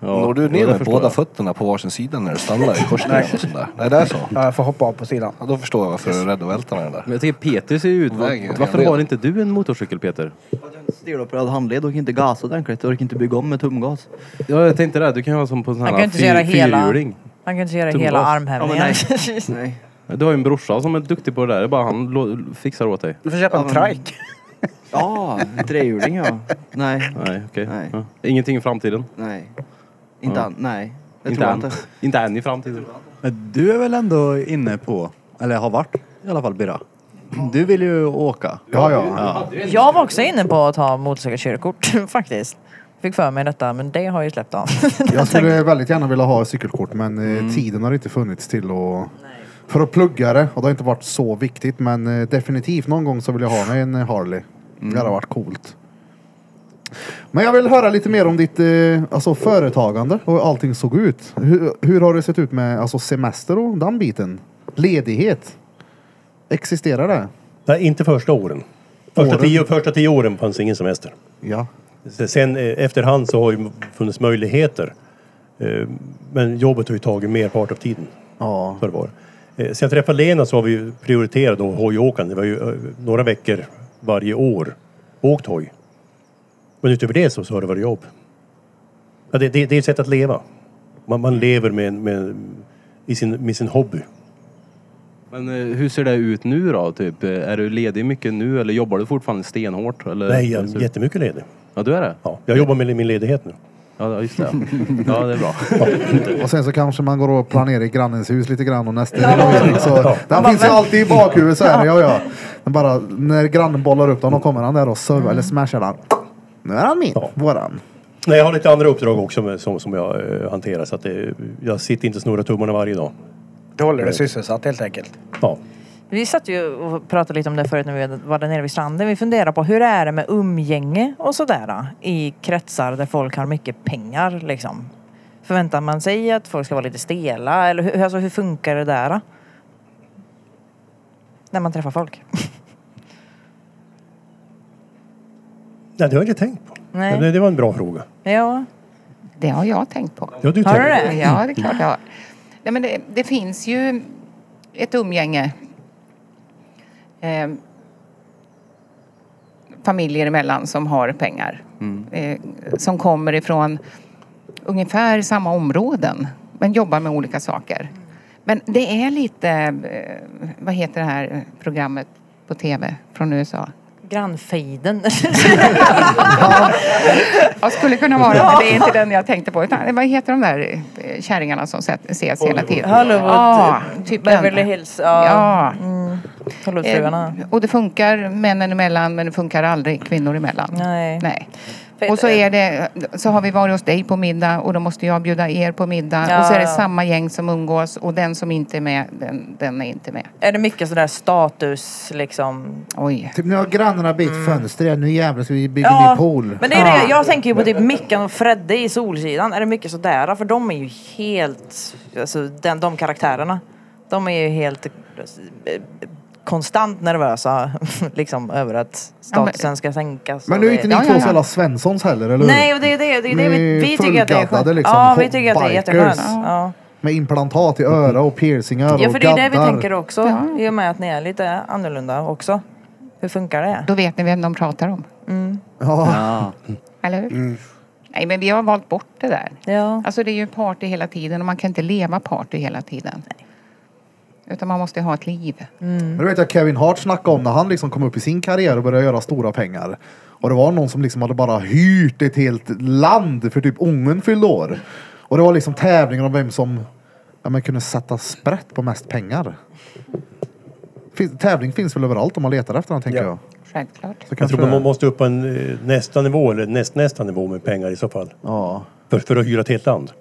S11: Ja,
S5: Når du
S11: jo,
S5: ner
S11: det
S5: med
S11: förstår
S5: båda
S11: jag.
S5: fötterna på varsin sida när du stannar i korsningen och sånt där? Nej, det är så.
S3: Ja, jag får hoppa av på sidan.
S5: Ja, då förstår jag varför du är rädd att välta med den där.
S11: Men jag tycker Peter ser ju ut...
S5: Vägen,
S11: Varför
S5: jag
S11: har
S5: vet.
S11: inte du en motorcykel Peter?
S9: Stelopperad handled, orkar inte gasa ordentligt, orkar inte bygga om med tumgas.
S11: Ja, jag tänkte det. Du kan ju vara som på en sån
S2: Han
S11: här
S2: kan inte
S11: fyr-
S2: göra hela,
S11: fyrhjuling.
S2: han kan inte göra
S11: Tumgas.
S2: hela armhävningen.
S11: Ja, Du har ju en brorsa som är duktig på det där. Det är bara han lo- fixar åt dig.
S3: Du får köpa en trike.
S9: Ja, en trehjuling ja. Nej.
S11: Nej, okej. Ja. Ingenting i framtiden?
S9: Nej. Inte än, nej. Det
S11: inte
S9: tror jag
S11: än.
S9: inte.
S11: Inte än i framtiden.
S4: Men du är väl ändå inne på, eller har varit i alla fall Birra. Du vill ju åka.
S1: Ja, ja.
S2: Jag var också inne på att ta motorcykelkörkort faktiskt. Fick för mig detta, men det har ju släppt av.
S1: Jag skulle väldigt gärna vilja ha cykelkort men eh,
S8: Mm.
S1: tiden har inte funnits till att... För att plugga det och det har inte varit så viktigt men eh, definitivt någon gång så vill jag ha mig en eh, Harley.
S8: Mm.
S1: Det hade varit coolt. Men jag vill höra lite mer om ditt eh, alltså företagande och hur allting såg ut. Hur, hur har det sett ut med alltså semester och den biten? Ledighet? Existerar det?
S8: Nej, inte första åren. Första,
S1: Åren?
S8: Tio, första tio åren fanns ingen semester.
S1: Ja.
S8: Så Sen eh, efterhand så har ju funnits möjligheter. Eh, Men jobbet har ju tagit merpart av tiden.
S1: Ja.
S8: För var. Eh, Sen jag träffade Lena så har vi ju prioriterat då hojåkande. Vi har ju eh, några veckor varje år åkt hoj. Men utöver det så, så har det varit jobb. Ja, det, det, det är ett sätt att leva. Man, man lever med, med, i sin, med sin hobby.
S11: Men eh, hur ser det ut nu då? Typ? Eh, Är du ledig mycket nu eller jobbar du fortfarande stenhårt? Eller?
S8: Nej, jag
S11: Hur ser
S8: är
S11: det-
S8: jättemycket ledig.
S11: Ja, du är det?
S8: Ja, jag jobbar med min ledighet nu.
S11: Ja, just det. Ja, det är bra.
S1: Och sen så kanske man går och planerar i grannens hus lite grann och nästa ja. så Den
S12: Man
S1: finns ju
S12: bara,
S1: alltid i bakhuvudet så här. Ja, ja. Den bara, när grannen bollar upp den, då kommer han där och servar
S2: Mm.
S1: eller smashar den. Nu är han min, våran.
S8: Nej, jag har lite andra uppdrag också med, som, som jag eh, hanterar så att det, jag sitter inte och snurrar tummarna varje dag. Eh.
S3: Du håller dig sysselsatt helt enkelt?
S8: Ja.
S2: Vi satt ju och pratade lite om det förut när vi var där nere vid stranden. Vi funderar på hur är det med umgänge och sådär i kretsar där folk har mycket pengar liksom. Förväntar man sig att folk ska vara lite stela eller hur, alltså, hur funkar det där? När man träffar folk.
S8: Nej, det har jag inte tänkt på.
S2: Nej.
S8: Men Det, det var en bra fråga.
S2: Ja.
S7: Det har jag tänkt på.
S8: Ja, du
S7: har du
S8: tänker.
S7: det? Ja, det är klart jag har. Nej, men det, det finns ju ett umgänge eh, familjer emellan som har pengar.
S8: Mm.
S7: Eh, som kommer ifrån ungefär samma områden men jobbar med olika saker. Men det är lite, eh, vad heter det här programmet på tv från USA?
S2: Grannfejden.
S7: Jag skulle kunna vara det, men det är inte den jag tänkte på. Utan, vad heter de där eh, kärringarna som set- ses hela tiden?
S2: Hollywood.
S7: Ja, typ den.
S2: Beverly Hills. Ja.
S7: Ja.
S2: Mm. Hollywoodfruarna.
S7: Eh, Och det funkar männen emellan men det funkar aldrig kvinnor emellan.
S2: Nej.
S7: Nej. Och så, är det, eh, så har vi varit hos dig på middag och då måste jag bjuda er på middag.
S2: Ja,
S7: och så är det
S2: ja.
S7: samma gäng som umgås och den som inte är med, den, den är inte med.
S2: Är det mycket sådär status liksom?
S7: Oj.
S1: Typ nu har grannarna bytt fönster igen. Nu jävlar ska vi bygga
S2: Mm. Ja,
S1: ny pool.
S2: Men det är det, jag tänker ju på typ Mickan och Fredde i Solsidan. Är det mycket sådär? För de är ju helt, alltså den, de karaktärerna. De är ju helt eh, konstant nervösa liksom över att statusen ska sänkas.
S1: Men
S2: och
S1: nu är
S2: det-
S1: inte ni två så jävla Svenssons heller, eller hur?
S2: Nej, och det är det. det, är det.
S1: Ni
S2: Vi,
S1: är
S2: vi tycker att det är skönt.
S1: fullgaddade liksom,
S2: ja, vi tycker att det är
S1: bikers.
S2: jätteskönt. Ja.
S1: Med implantat i öra och piercingar
S2: ja,
S1: och
S2: för det är det vi
S1: gaddar.
S2: tänker också. I och med att ni är lite annorlunda också. Hur funkar det?
S7: Då vet ni vem de pratar om.
S2: Mm.
S1: Ja.
S7: Eller hur?
S1: Mm.
S7: Nej men vi har valt bort det där.
S2: Ja.
S7: Alltså det är ju party hela tiden och man kan inte leva party hela tiden. Utan man måste ha ett liv.
S2: Mm.
S1: Men du vet jag Kevin Hart snackade om när han liksom kom upp i sin karriär och började göra stora pengar. Och det var någon som liksom hade bara hyrt ett helt land för typ ungen fyllde år. Och det var liksom tävlingar om vem som ja, men kunde sätta sprätt på mest pengar. Fin- tävling finns väl överallt om man letar efter den tänker jag.
S7: Självklart.
S8: Jag tror man måste upp på en, eh, nästa nivå eller näst, nästa nivå med pengar i så fall.
S1: Ja.
S8: För, för att hyra ett helt land.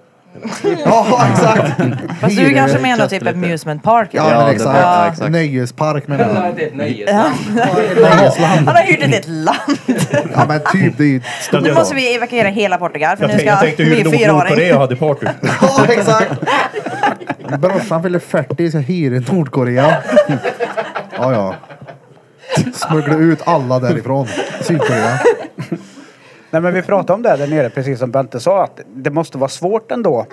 S1: ja, exakt.
S2: Fast du kanske menar typ amusement park?
S1: Ja, men exakt.
S2: Ja.
S1: Nöjespark menar jag.
S11: Det är ett
S2: Ja. Han har hyrt ett helt land.
S1: Ja men typ det är ju stort.
S2: Nu måste vi evakuera hela Portugal för
S8: Jag,
S2: nu
S8: tänkte,
S2: ska
S8: jag tänkte hur
S2: min fyraåring.
S8: Nordkorea hade party.
S1: Ja exakt. Brorsan fyller 40 så jag hyr i Nordkorea. Ja ja. Smuggla ut alla därifrån. Sydkorea.
S3: Nej, men vi pratade om det där nere, precis som Bente sa, att det måste vara svårt ändå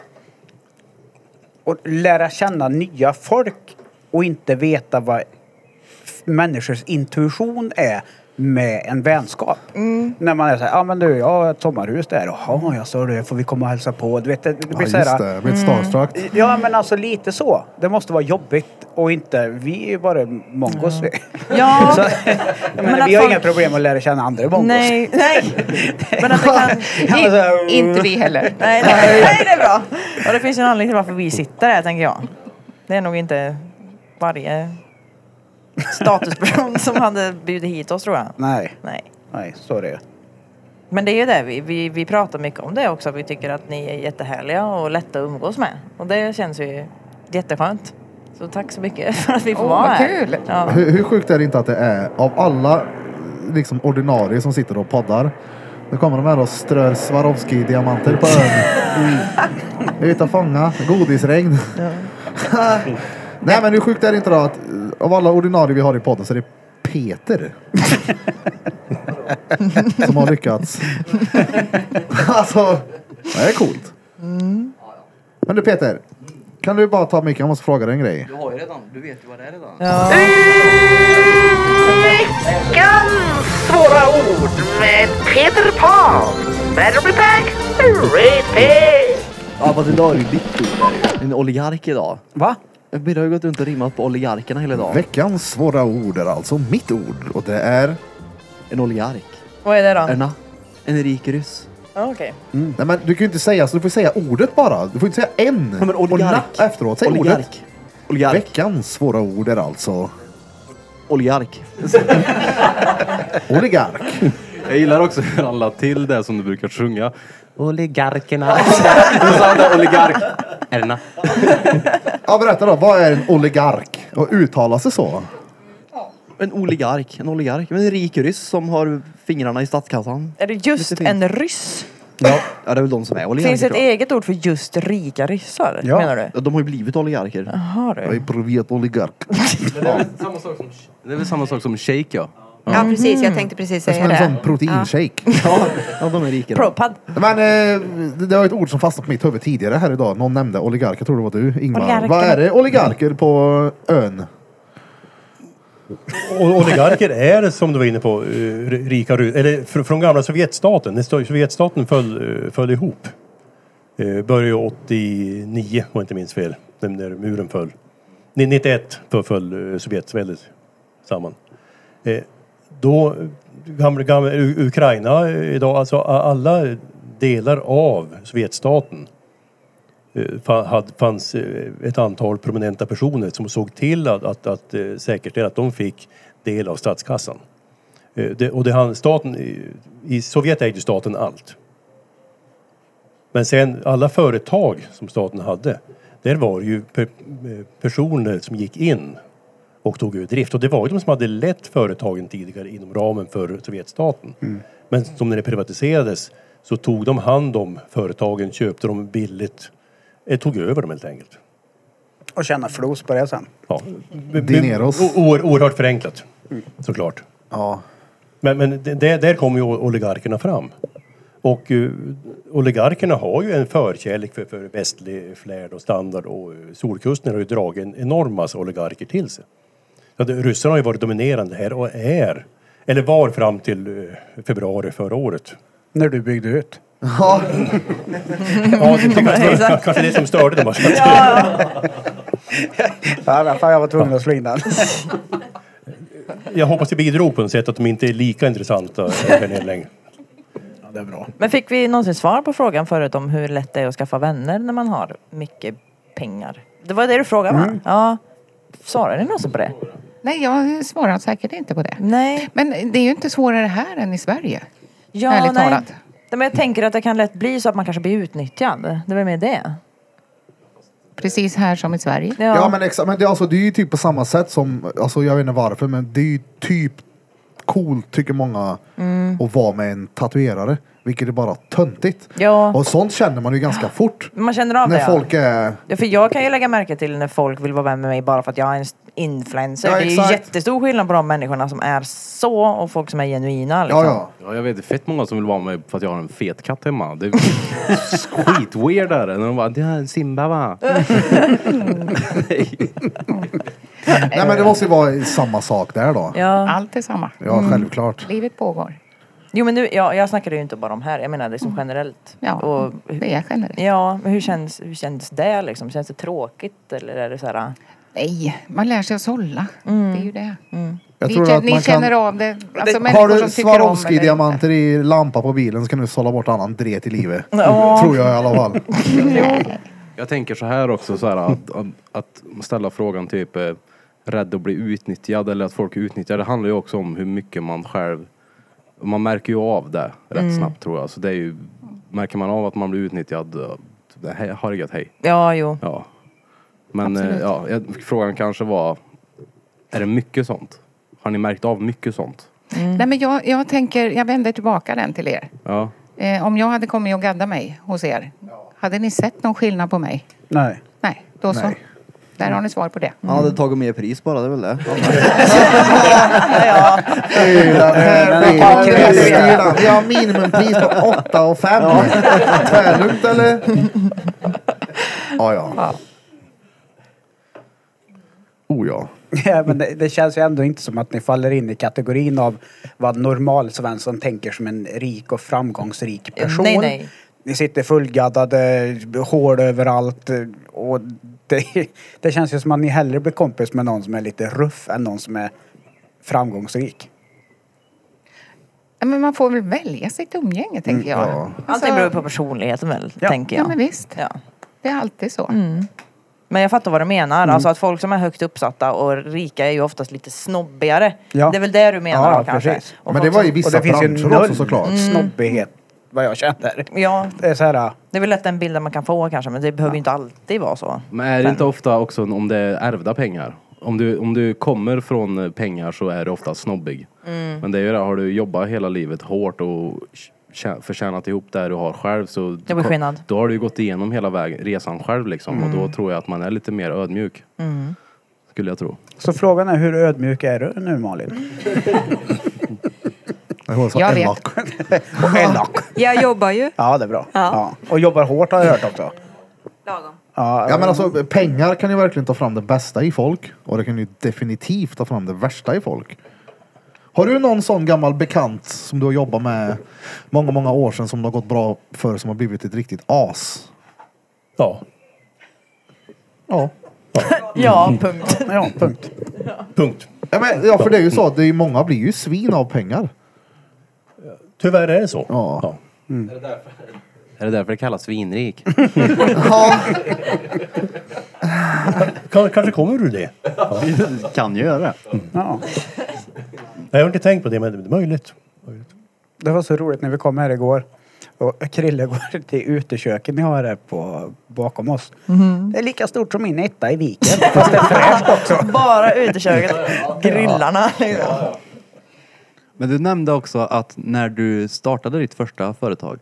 S3: att lära känna nya folk och inte veta vad f- människors intuition är med en vänskap.
S2: Mm.
S3: När man är så här, ja ah, men du, jag har ett sommarhus där. Jaha, jag sa det, får vi komma och hälsa på? Du vet, det, det
S1: Ja
S3: blir
S1: just
S3: så här,
S1: det, blir ett
S2: Mm.
S1: starstruck.
S3: Ja men alltså lite så. Det måste vara jobbigt och inte, vi är ju bara mongos vi.
S2: Ja.
S3: Så, jag menar,
S2: att
S3: vi har
S2: folk-
S3: inga problem att lära känna andra mongos.
S2: Nej, nej. Men att det kan...
S3: Alltså,
S7: Inte vi heller.
S2: Nej, nej, nej, det är bra. Och det finns ju en anledning till varför vi sitter här tänker jag. Det är nog inte varje statusperson som hade bjudit hit oss tror jag.
S3: Nej.
S2: Nej.
S3: Nej, så är det ju.
S2: Men det är ju det, vi, vi, vi pratar mycket om det också. Vi tycker att ni är jättehärliga och lätta att umgås med. Och det känns ju jätteskönt. Så tack så mycket för att vi får
S7: Åh,
S2: vara
S7: vad
S2: här.
S7: kul.
S2: Ja.
S1: Hur, hur sjukt är det inte att det är av alla liksom ordinarie som sitter och poddar. Då kommer de här och strör Swarovski-diamanter på ön. Mm. Ut och fånga. Godisregn. Nej men hur sjukt är det inte då att eh, av alla ordinarie vi har i podden så är det Peter. som har lyckats.
S13: Mm.
S1: alltså, det är coolt. Men du Peter, Kan du bara ta micken? Jag måste fråga dig en grej.
S9: Du har ju redan, du vet ju vad det är redan.
S2: Ja.
S13: Veckans svåra ord med Peter Pan. Better be back, repeat.
S9: Ja fast idag är det ju ditt ord. där. En oligark idag.
S3: Va?
S9: Birre har ju gått runt och rimmat på oligarkerna hela dagen.
S1: Veckans svåra ord är alltså mitt ord och det är...
S9: En oligark.
S2: Vad är det då?
S9: Erna. En rik ryss.
S2: Ja, Okej.
S1: Mm. Nej men du kan ju inte säga så, du får säga ordet bara. Du får inte säga en.
S9: men
S1: och
S9: oligark.
S1: na- efteråt, säg
S9: Oligark.
S1: ordet. Veckans svåra ord är alltså...
S9: Oligark.
S1: Oligark.
S11: Jag gillar också hur han la till det som du brukar sjunga. Oligarkerna. oligark. Erna.
S1: Ja berätta då, vad är en oligark? Och uttala sig så?
S9: En oligark. En oligark. Men en rik ryss som har fingrarna i statskassan.
S2: Är det just en ryss?
S9: Ja. ja det är väl de som är oligarker.
S2: Finns det ett
S9: tror jag.
S2: eget ord för just rika ryssar? Menar du?
S9: Ja, de har ju blivit oligarker.
S2: Jaha du.
S1: är privat oligark.
S11: Det är väl samma sak som, det är väl samma sak som shake ja.
S6: Ja,
S7: Mm.
S6: precis. Jag tänkte precis
S1: Det är
S6: säga
S1: som
S6: det.
S1: en sån proteinshake.
S9: Ja. ja, de är rika.
S2: Propad.
S1: Men eh, det- det var ett ord som fastnade på mitt huvud tidigare här idag. Någon nämnde oligark. Jag tror det var du Ingmar.
S2: Oligarker.
S1: Vad är det oligarker på ön?
S8: Och oligarker är, som du var inne på, eh, r- rika ru- eller fr- från gamla Sovjetstaten. När Sto- Sovjetstaten föll, eh, föll ihop. Eh, Började 89 om jag inte minns fel, den där muren föll. Ni- 91 föll, föll eh, Sovjetväldet samman. Eh, Då, gamla, gamla, U- Ukraina eh, idag, alltså a- alla delar av Sovjetstaten eh, fa- hade- fanns eh, ett antal prominenta personer som såg till att, att, att eh, säkerställa att de fick del av statskassan. Eh, Det, och det, han- staten, i- I Sovjet ägde staten allt. Men sen alla företag som staten hade, där var det ju pe- eh, personer som gick in och tog ur drift. Och det var ju de som hade lett företagen tidigare inom ramen för Sovjetstaten. Men som när det privatiserades så tog de hand om företagen, köpte dem billigt, eh, tog över dem helt enkelt.
S3: Och tjäna flos på det sen.
S8: Ja.
S1: Dineros.
S8: O- oer- Oerhört förenklat, såklart.
S1: Ja.
S8: Men, men det- det, där kommer ju oligarkerna fram. Och eh, oligarkerna har ju en förkärlek för, för västlig flärd och standard och eh, Solkusten har ju dragit en enorm massa oligarker till sig. Så att ryssarna har ju varit dominerande här och är, eller var fram till eh, februari förra året.
S3: När du byggde ut.
S1: Ja.
S8: Ja, det tycker jag kanske det som störde dem. alltså.
S3: Ja, fan, jag var tvungen att slå in den.
S8: Jag hoppas det bidrog på något sätt att de inte är lika intressanta här nere längre.
S3: det är bra.
S2: Men fick vi någonsin svar på frågan förut om hur lätt det är att skaffa vänner när man har mycket pengar? Det var det du frågade
S1: Mm.
S2: va? Ja. Svarade ni någonsin på det?
S7: Nej, jag svarar säkert inte på det.
S2: Nej.
S7: Men det är ju inte svårare här än i Sverige.
S2: Ja,
S7: Ärligt
S2: nej.
S7: talat.
S2: Nej, Men jag tänker att det kan lätt bli så att man kanske blir utnyttjad. Det var med det.
S7: Precis här som i Sverige.
S1: Ja, men exakt. Men det, är alltså, det är ju typ på samma sätt som, alltså jag vet inte varför, men det är ju typ coolt tycker många
S2: Mm.
S1: att vara med en tatuerare. Vilket är bara töntigt.
S2: Ja.
S1: Och sånt känner man ju ganska fort.
S2: Man känner av
S1: När
S2: det.
S1: folk är...
S2: Ja, för jag kan ju lägga märke till när folk vill vara vän med mig bara för att jag är en s- influencer.
S1: Ja,
S2: det är ju
S1: exakt.
S2: jättestor skillnad på de människorna som är så och folk som är genuina. Liksom.
S11: Ja, jag vet fett många som vill vara med för att jag har en fet katt hemma. Det är skitweird är det. När de bara, det här är en Simba va?
S1: Nej men det måste ju vara samma sak där då.
S2: Ja. Mm.
S7: Allt är samma.
S1: Ja, självklart.
S7: Livet pågår.
S2: Jo men nu, ja, jag snackade ju inte bara om här, jag menar liksom generellt.
S7: Mm. Ja,
S2: och,
S7: det är generellt.
S2: Ja, men hur känns, hur känns det liksom? Känns det tråkigt eller är det så här? ah?
S7: Nej, man lär sig att sålla.
S2: Mm.
S7: Det är ju det.
S1: Jag
S7: Ni,
S1: tror
S7: känner,
S1: att man
S7: ni
S1: kan-
S7: känner av det. Alltså
S1: har
S7: människor
S1: du
S7: som tycker om det.
S1: Swarovski-diamanter i lampa på bilen så kan du sålla bort annan dret i livet.
S2: Ja.
S1: Tror jag i alla fall.
S11: Jag tänker så här också, så här, att, att, att ställa frågan typ eh, rädd att bli utnyttjad eller att folk är utnyttjade. Det handlar ju också om hur mycket man själv, man märker ju av det rätt
S2: Mm.
S11: snabbt tror jag. Så det är ju, märker man av att man blir utnyttjad, eh, det här har det gött, hej.
S2: Ja, jo.
S11: Ja. Men eh,
S2: Absolut.
S11: ja, jag- frågan kanske var, är det mycket sånt? Har ni märkt av mycket sånt?
S2: Mm.
S7: Nej, men jag, jag tänker, jag vänder tillbaka den till er.
S11: Ja.
S7: Eh, om jag hade kommit och gaddat mig hos er, hade ni sett någon skillnad på mig?
S3: Nej.
S7: Nej, då så.
S9: Nej.
S7: Där har ni svar på det.
S9: Han hade tagit mer pris bara, det är väl det.
S1: eh, Vi har minimumpris på 8 och 5. Tvärlugnt eller? Ja, ja. Oh ja.
S3: Ja, men det, det känns ju ändå inte som att ni faller in i kategorin av vad normal-Svensson tänker som en rik och framgångsrik person.
S2: Nej, nej.
S3: Ni sitter fullgaddade, hård överallt och det, det känns ju som att ni hellre blir kompis med någon som är lite ruff än någon som är framgångsrik.
S7: Ja, Men man får väl välja sitt umgänge, tänker
S1: Mm,
S7: jag. Alltså-
S2: Allting beror på personligheten väl, tänker jag.
S7: Ja, men visst. Det är alltid så.
S2: Mm. Men jag fattar vad du menar.
S1: Mm.
S2: Alltså att folk som är högt uppsatta och rika är ju oftast lite snobbigare.
S3: Ja.
S2: Det är väl det du menar
S3: Ja,
S2: då kanske?
S3: precis.
S2: Och
S1: Men
S2: folk
S1: det var i
S2: som-
S1: vissa
S3: och det finns ju
S1: branscher
S3: noll
S1: också såklart.
S2: Mm.
S3: snobbighet, vad jag känner.
S2: Ja,
S3: Det är så här, ah.
S2: det är väl lätt den bilden man kan få kanske men det behöver ju inte alltid vara så.
S11: Men är det inte ofta också om det är ärvda pengar? Om du, om du kommer från eh, pengar så är du ofta snobbig.
S2: Mm.
S11: Men det är ju det, har du jobbat hela livet hårt och tjä- förtjänat ihop det du har själv så
S2: Det blir skillnad.
S11: då har du ju gått igenom hela vägen, resan själv liksom och då
S2: Mm.
S11: tror jag att man är lite mer ödmjuk skulle jag tro.
S3: Så frågan är hur ödmjuk är du nu Malin?
S6: Jag vet. elak.
S3: och elak.
S6: Jag jobbar ju.
S3: Ja, det är bra.
S6: Ja.
S3: Ja. Och jobbar hårt har jag hört också.
S6: Lagom.
S3: Ja, eh,
S1: Ja men alltså pengar kan ju verkligen ta fram det bästa i folk och det kan ju definitivt ta fram det värsta i folk. Har du någon sån gammal bekant som du har jobbat med många, många år sedan som det har gått bra för som har blivit ett riktigt as?
S8: Ja.
S1: Ja.
S2: Ja, punkt.
S3: Ja, punkt.
S8: Punkt.
S1: Ja, men, ja för det är ju så att det är, ju- många blir ju svin av pengar.
S8: Tyvärr är det så.
S1: Ja.
S5: Mm.
S11: Är det därför det kallas svinrik?
S8: Kan, kanske kommer du det. Ja.
S4: Kan ju göra det.
S3: Ja.
S8: Jag har inte tänkt på det men det är möjligt.
S3: Det var så roligt när vi kom här igår. Och Krille går till uteköket ni har här på, bakom oss. Det är lika stort som min etta i viken. Fast det är fräscht också.
S2: Bara uteköket, grillarna liksom.
S4: Men du nämnde också att när du startade ditt första företag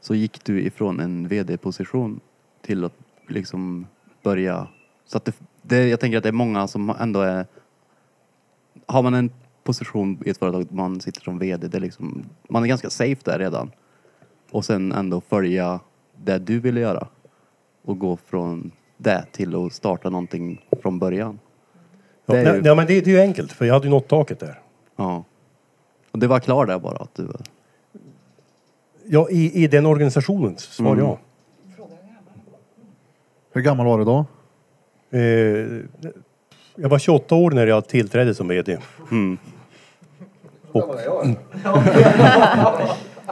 S4: så gick du ifrån en VD-position till att liksom börja... Så att det, det, jag tänker att det är många som ändå är... Har man en position i ett företag, man sitter som VD, det är liksom, man är ganska safe där redan. Och sen ändå följa det du ville göra och gå från det till att starta någonting från början.
S8: Ja,
S4: Det är
S8: nej,
S4: ju-
S8: nej, men det, det är ju enkelt för jag hade ju nått taket där.
S4: Ja. Och det var klar där bara att du...
S8: Ja, i, i den organisationen, svar
S4: Mm.
S8: ja.
S1: Hur gammal var du då?
S8: Eh, jag var 28 år när jag tillträdde som VD.
S4: Mm.
S8: Och,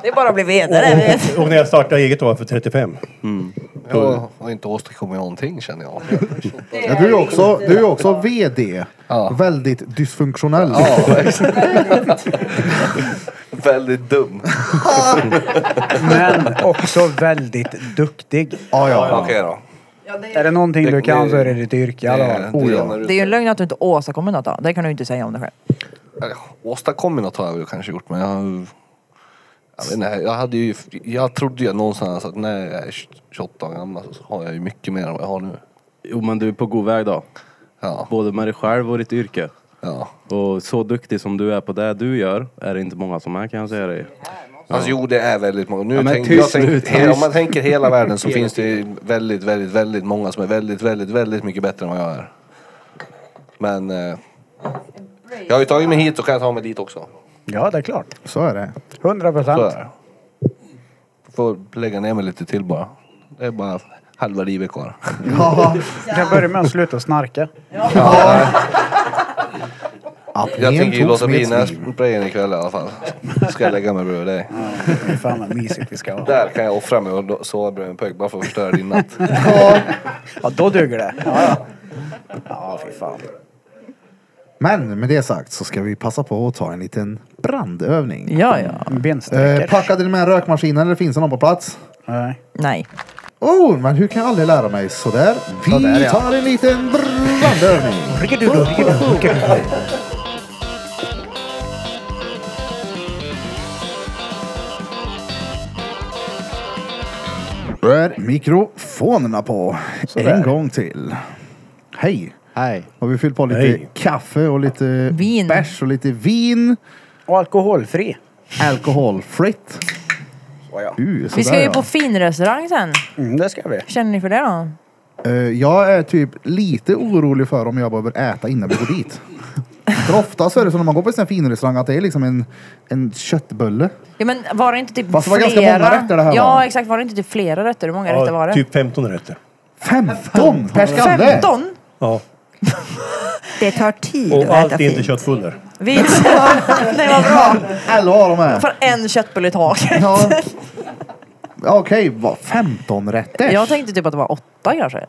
S2: Det är bara att bli
S8: och,
S2: vedare.
S8: och, och när jag startade eget var jag för 35.
S4: Mm.
S5: Jag har inte åstadkommit någonting känner jag.
S1: Ja, du är ju också, du är också VD. Väldigt dysfunktionell.
S5: Väldigt dum.
S3: Men också väldigt duktig.
S1: Ja,
S5: Okej då.
S3: Är det någonting du kan så är det ditt yrke. i alla
S5: Det-
S3: fall.
S5: det
S3: Oh, ja.
S5: ena
S2: Det är ju en lögn att du inte åstadkommer något då. Det kan du ju inte säga om dig själv.
S5: Eller, Åstadkommit något har jag väl kanske gjort men jag... Jag vet inte, jag hade ju... Jag trodde ju någonstans att när jag är 28 år gammal så har jag ju mycket mer än vad jag har nu.
S11: Jo men du är på god väg då.
S5: Ja.
S11: Både med dig själv och ditt yrke.
S5: Ja.
S11: Och så duktig som du är på det du gör är det inte många som är kan jag säga dig.
S5: Alltså jo det är väldigt många. Nu
S11: Ja, men
S5: tänk,
S11: tyst
S5: jag tänk,
S11: nu,
S5: he-
S11: tyst.
S5: om man tänker hela världen så
S11: Hela
S5: finns det ju väldigt, väldigt, väldigt många som är väldigt, väldigt, väldigt mycket bättre än vad jag är. Men eh, jag har ju tagit mig hit och kan jag ta mig dit också.
S3: ja, det är klart.
S1: Så är det.
S3: 100
S5: Så
S3: procent.
S5: är det. Får lägga ner mig lite till bara. Det är bara halva livet kvar.
S3: Du kan börja med att sluta snarka.
S5: Jag tänker ju
S1: togs
S5: låta
S1: med
S5: bli
S1: ett svin.
S5: nässprayen ikväll i alla fall. Ska jag lägga mig bredvid dig.
S3: Fy Fan vad mysigt vi ska ha.
S5: Där kan jag offra mig och då- sova bredvid en pöjk bara för att förstöra din natt.
S3: Ja, då duger det. Ja, ja. ja fy fan.
S1: Men med det sagt så ska vi passa på att ta en liten brandövning.
S2: Ja, ja.
S1: Eh,
S3: Bensträckare.
S1: packade ni med rökmaskinen eller finns det någon på plats?
S3: Nej.
S2: Nej.
S1: Oh, men hur kan jag aldrig lära mig? Sådär. Vi
S3: Sådär, ja.
S1: tar en liten brandövning. Då är mikrofonerna på
S3: Sådär.
S1: en gång till. Hej!
S4: Hej.
S1: Har vi fyllt på lite
S8: Hej.
S1: kaffe och lite
S2: Vin.
S1: bärs och lite vin.
S3: Och alkoholfri.
S1: Alkoholfritt.
S3: Ja, ja.
S1: Uh,
S2: Vi
S1: sådär,
S2: ska ju
S1: ja.
S2: på finrestaurang sen.
S3: Mm, det ska vi.
S2: Hur känner ni för det då?
S1: Eh, jag är typ lite orolig för om jag behöver äta innan vi går dit. För ofta så är det så när man går på en sån här finrestaurang att det är liksom en, en köttbulle.
S2: Ja, men var det inte typ
S1: Fast det var
S2: flera?
S1: ganska många rätter det här,
S2: Ja,
S1: va?
S2: exakt. Var det inte typ flera rätter? Hur många rätter var det?
S8: typ 15 rätter.
S1: 15
S8: per skalle?
S2: 15?
S8: Ja.
S6: Det tar tid
S8: Och
S6: att
S8: allt
S6: äta
S8: är inte
S6: fint.
S8: köttbullar.
S2: Vi... det var bra.
S1: Elva av dem är.
S2: För en köttbulle i taget.
S1: Ja. Ja, Okej, vad 15 rätter?
S2: Jag tänkte typ att det var åtta kanske.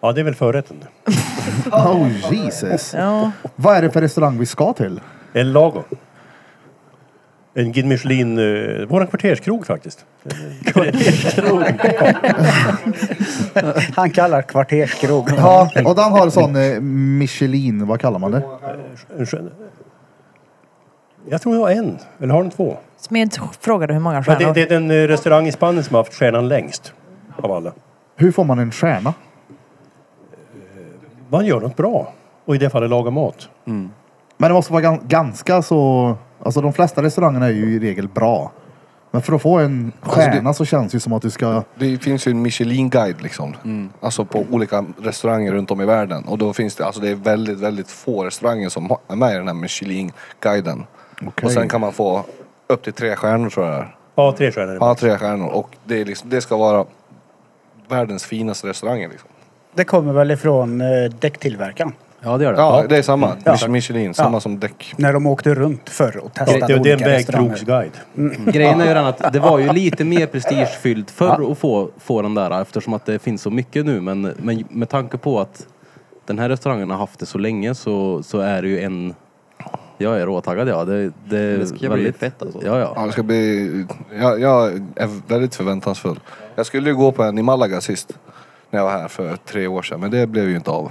S8: Ja, det är väl förrätten.
S1: Oh Jesus.
S2: Ja.
S1: Vad är det för restaurang vi ska till?
S8: En lago. En Guide Michelin, eh, våran kvarterskrog faktiskt.
S3: Han kallar kvarterskrog.
S1: Ja, och den har sån eh, Michelin, vad kallar man det?
S8: Jag tror jag har en, eller har de två?
S2: Smed frågade hur många
S8: Men det,
S2: stjärnor.
S8: det är den eh, restaurang i Spanien som har haft stjärnan längst av alla.
S1: Hur får man en stjärna?
S8: Man gör något bra. Och i det fallet lagar mat.
S11: Mm.
S1: Men det måste vara gan- ganska så... Alltså de flesta restaurangerna är ju i regel bra. Men för att få en stjärna så känns det ju som att du ska...
S5: Alltså, Det finns ju en Michelin-guide liksom. Alltså på olika restauranger runt om i världen. Och då finns det, alltså det är väldigt, väldigt få restauranger som har- är med i den här Michelin-guiden. Och sen kan man få upp till tre stjärnor tror jag det är.
S8: Ja, tre stjärnor.
S5: Ja, tre stjärnor. Och det, är liksom, det ska vara världens finaste restauranger liksom.
S3: Det kommer väl ifrån eh, däcktillverkaren?
S11: Ja, det gör
S5: Ja, det är samma.
S3: Ja.
S5: Mich- Michelin, samma
S3: Ja.
S5: som däck.
S3: När de åkte runt förr och testade
S5: Det- det- det är en
S3: olika restauranger.
S8: vägkrogsguide.
S3: Mm.
S11: Grejen är ju den att det var ju lite mer prestigefyllt förr att få, få den där eftersom att det finns så mycket nu. Men, men med tanke på att den här restaurangen har haft det så länge så, så är det ju en... Jag är råtaggad ja. Det, det,
S5: Det ska bli
S11: fett alltså. Ja, ja.
S5: Ja, det ska bli, jag, jag är väldigt förväntansfull. Jag skulle ju gå på en i Malaga sist. När jag var här för tre år sedan. Men det blev ju inte av.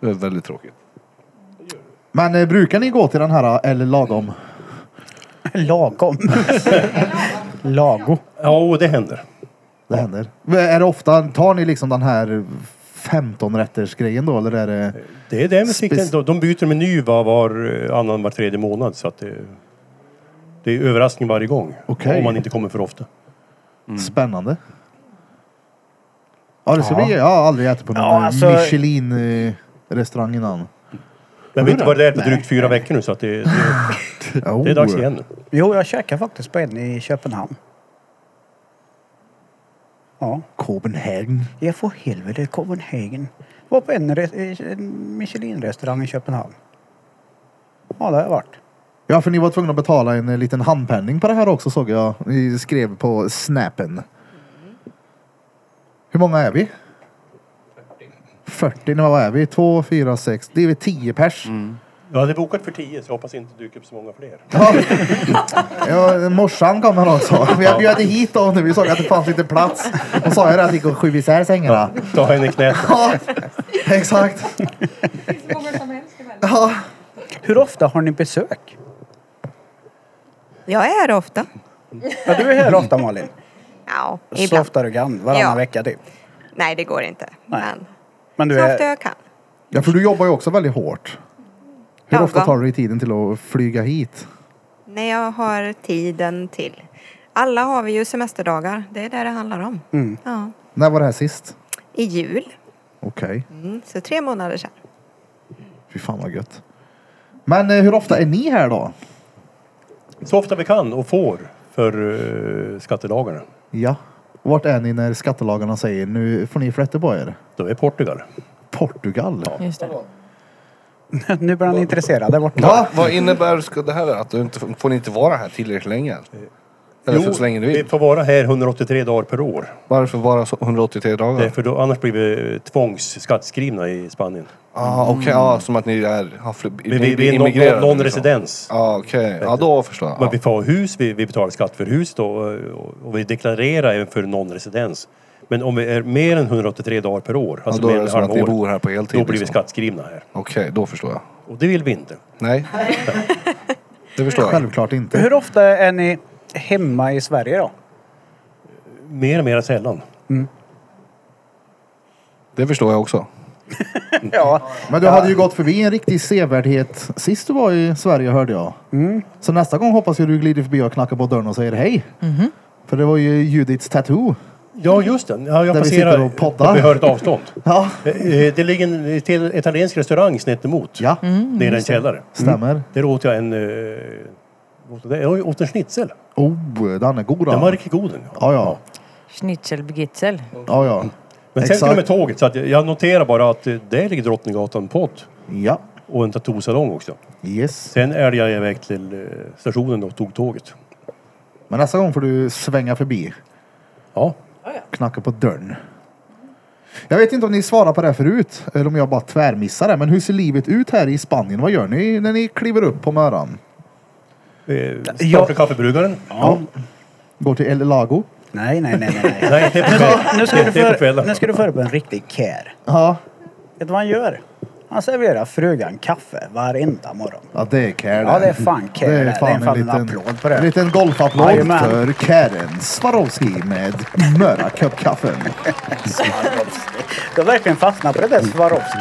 S5: Så det är väldigt tråkigt.
S1: Men eh, brukar ni gå till den här eller lagom?
S3: Lagom? Lago.
S8: Ja, och det händer.
S1: Det händer. Men Är det ofta, tar ni liksom den här 15-rätters grejen då eller är det...
S8: Det är det med sikten.
S1: Spec-
S8: De- De byter meny var, var eh, annan, var tredje månad. Så att det, det är överraskning varje gång.
S1: Okej.
S8: Om man inte kommer för ofta. Mm.
S1: Spännande. Ja, det ska
S8: Ja.
S1: bli... Jag har aldrig ätit på någon
S8: Ja,
S1: eh,
S8: alltså-
S1: Michelin-restaurang innan.
S8: Jag har inte varit där på
S3: Nej.
S8: drygt fyra veckor nu så att det, det,
S1: Jo.
S8: det
S1: Oh.
S8: är dags igen.
S3: Jo, jag käkade faktiskt på en i Köpenhamn. Ja.
S1: Copenhagen.
S3: Ja, för helvete. Copenhagen. Jag var på en, re- en Michelin-restaurang i Köpenhamn. Ja, det har jag varit.
S1: Ja, för ni var tvungna att betala en eh, liten handpenning på det här också såg jag. Ni skrev på snappen. Hur många är vi? 40. 40, men vad är vi? 2, 4, 6. Det är vi 10 pers.
S8: Jag hade bokat för tio så jag hoppas inte dyker upp så många fler.
S1: Ja, morsan kom här också. Vi har bjudit hit dem nu. Vi såg att det fanns lite plats. Och sa jag det att det gick att skjuta isär sängarna.
S8: Ta henne i knät.
S1: Ja, exakt. Ja.
S3: Hur ofta har ni besök?
S6: Jag är här ofta.
S3: Ja, du är här ofta Malin.
S6: Ja,
S3: Så
S6: ibland.
S3: ofta du kan. Varannan
S6: Ja.
S3: vecka typ.
S6: Nej, det går inte. Men
S3: Men du
S6: så ofta
S3: är...
S6: jag kan.
S1: Ja, för du jobbar ju också väldigt hårt. Hur
S6: Ja,
S1: ofta
S6: va?
S1: tar du dig tiden till att flyga hit?
S6: När jag har tiden till. Alla har vi ju semesterdagar. Det är det det handlar om.
S1: Mm.
S6: Ja.
S1: När var det här sist?
S6: I jul.
S1: Okej.
S6: Mm, så tre månader sedan.
S1: Fy fan vad gött. Men eh, hur ofta är ni här då?
S8: Så ofta vi kan och får för uh, skattelagarna.
S1: Ja. Vart är ni när skattelagarna säger nu får ni flytta på er?
S8: Då är Portugal.
S1: Portugal?
S2: Just det.
S3: nu blir han intresserad där borta.
S5: Va? Vad innebär ska det här? Att du inte, får ni inte vara här tillräckligt länge? Eller för så länge du
S8: vi
S5: vill?
S8: får vara här 183 dagar per år.
S5: Varför bara så 183 dagar?
S8: Det är för då, annars blir vi tvångsskattskrivna i Spanien.
S5: Ah, Okej, ja, som att ni är, har fl-
S8: Mm. Vi, vi,
S5: ni
S8: vi är
S5: immigrerat,
S8: non, non
S5: liksom.
S8: residens.
S5: Ja, okej. Ja, då förstår jag.
S8: Men vi får hus, vi, vi betalar skatt för hus då, och, och vi deklarerar även för non-residens. Men om vi är mer än 183 dagar per år, alltså
S5: då är
S8: mer än
S5: det som att ni
S8: halvåret,
S5: bor här på heltid,
S8: Då blir vi
S5: liksom.
S8: skattskrivna här.
S5: Okej, då förstår jag.
S8: Och det vill vi inte.
S5: Nej. det förstår jag.
S1: Självklart inte.
S3: Hur ofta är ni hemma i Sverige då?
S8: Mer och mer sällan.
S5: Det förstår jag också.
S3: Ja.
S1: Men du hade ju gått förbi en riktig sevärdhet sist du var i Sverige hörde jag.
S8: Mm.
S1: Så nästa gång hoppas jag du glider förbi och knackar på dörren och säger hej. För det var ju Judiths tattoo.
S8: Ja, just det. Ja, jag
S1: Där vi
S8: passerar
S1: sitter och poddar.
S8: på behörigt avstånd. Eh,
S1: ja.
S8: Det ligger en till italiensk restaurang snett emot.
S1: Ja.
S8: Nere i en
S1: Mm, just det.
S8: källare. Mm.
S1: Stämmer.
S8: Där åt jag en... eh, åt- Jag åt en schnitzel.
S1: Oh, den är god.
S8: Den var riktigt god. den. Mm.
S1: Ja, ja.
S2: Schnitzel begitzel.
S1: ja, ja.
S8: Men sen till med tåget. Så att jag noterar bara att eh, där ligger Drottninggatan podd.
S1: Ja.
S8: Och en tattoosalong också.
S1: Yes.
S8: Sen älgade jag iväg till eh, stationen och tog tåget.
S1: Men nästa gång får du svänga förbi.
S8: Ja.
S1: Knacka på dörren. Jag vet inte om ni svarar på det här förut, eller om jag bara tvärmissar det. Men hur ser livet ut här i Spanien? Vad gör ni när ni kliver upp på morgonen?
S8: Eh, Startade kaffebryggaren.
S1: Ja. Går till El Lago?
S3: Nej, nej, nej. nej.
S8: Nej, det är på
S3: Nu ska- nu,
S8: kväll.
S3: ska du
S8: Det är på
S3: för,
S8: kvällen.
S3: nu ska du föra på en riktig care.
S1: Ja.
S3: Vet du vad han gör? Han serverar frugan kaffe varenda morgon.
S1: Ja, det är care
S3: Ja, det är fan care.
S1: Det är
S3: Det
S1: fan,
S3: är fan en
S1: en, liten,
S3: applåd på det.
S1: En liten golfapplåd
S3: Jajamän.
S1: för Karen Swarovski med Möra Cup-kaffen.
S3: Swarovski. Du har verkligen fastnat på det där Swarovski.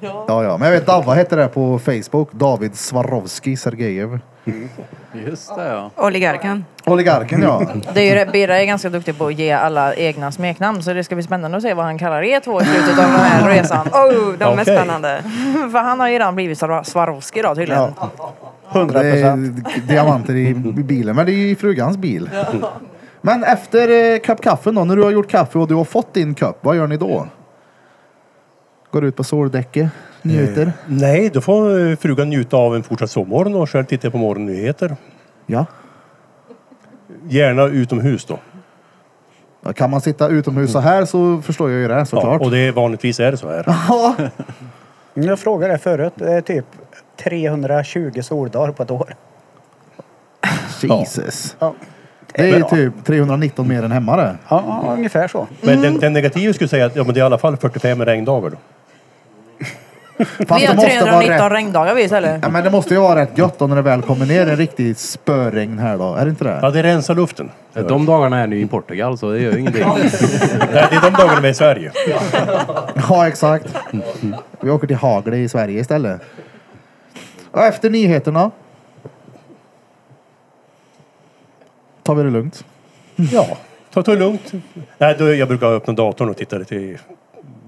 S1: Ja, ja. Men jag vet Davva heter det på Facebook. David Swarovski Sergejev.
S4: Just det ja.
S2: Oligarken.
S1: Oligarken ja.
S3: Mm.
S2: Det är ju det, Birra är ganska duktig på att ge alla egna smeknamn så det ska bli spännande att se vad han kallar er två i slutet av den här resan.
S6: Oh, de är Okej. spännande.
S2: För han har ju redan blivit Swar- Swarovski idag tydligen.
S1: Ja. Det är diamanter i i bilen, men det är ju i frugans bil. Men efter eh, kopp kaffen då, när du har gjort kaffe och du har fått din kopp, vad gör ni då? Går ut på soldäcket, njuter?
S8: Eh, nej, då får eh, frugan njuta av en fortsatt sovmorgon och själv tittar jag på morgonnyheter.
S1: Ja.
S8: Gärna utomhus då.
S1: Ja, Kan man sitta utomhus så här så förstår jag ju det såklart. Ah,
S8: Ja, och det är, vanligtvis är det så här.
S1: Ja.
S3: Jag frågade det förut. Det är typ 320 soldagar på ett år.
S1: Jesus.
S3: Ja.
S1: Det är ju
S8: Bra.
S1: typ 319 mer än hemma det.
S3: Ja, ja, ungefär så.
S8: Men
S1: Mm.
S8: den, den negativa skulle säga att ja, men det är i alla fall 45 regndagar då.
S2: Vi
S1: det
S2: har
S1: måste vara
S2: 319
S1: rätt.
S2: regndagar vi istället.
S1: Ja, men det måste ju vara rätt gött då när det väl kommer ner en riktig spöregn här då. Är det inte det?
S8: Ja, det rensar luften.
S11: De dagarna är ni i Portugal så alltså, det gör ju ingenting.
S8: Nej, det är de dagarna vi är i Sverige.
S1: Ja, exakt. Vi åker till Hagle i Sverige istället. Och efter nyheterna tar vi det lugnt.
S8: Ja, ta det lugnt. Nej, då, jag brukar öppna datorn och titta lite i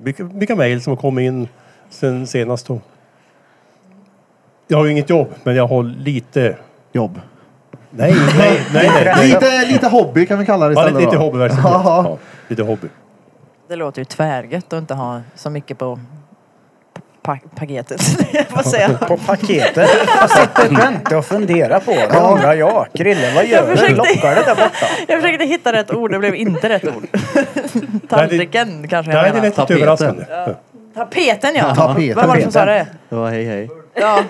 S8: vilka, vilka mejl som har kommit in sen senast. Då. Jag har ju inget jobb, men jag har lite...
S1: Jobb?
S8: Nej, nej, nej. nej, nej.
S1: Lite, Eh, lite hobby kan vi kalla det
S8: Ja,
S1: istället
S8: lite, lite
S1: då.
S8: hobbyverksamhet.
S1: Ja.
S8: Ja, lite hobby.
S2: Det låter ju tvärgött att inte ha så mycket på pa- paketet. Vad säger jag?
S3: På paketet. Jag sitter och väntar och funderar på det. Undrar jag. Krille, vad gör
S2: Jag
S3: du?
S2: försökte-
S3: Lockar det där borta?
S2: Jag försökte hitta rätt ord, det blev inte rätt ord. Tallriken kanske jag
S8: Nej, det är
S2: menar.
S8: lite överraskande.
S2: Tapeten ja!
S1: Tapeten.
S2: Vem var det som sa det?
S1: Det var hej hej.
S2: Ja.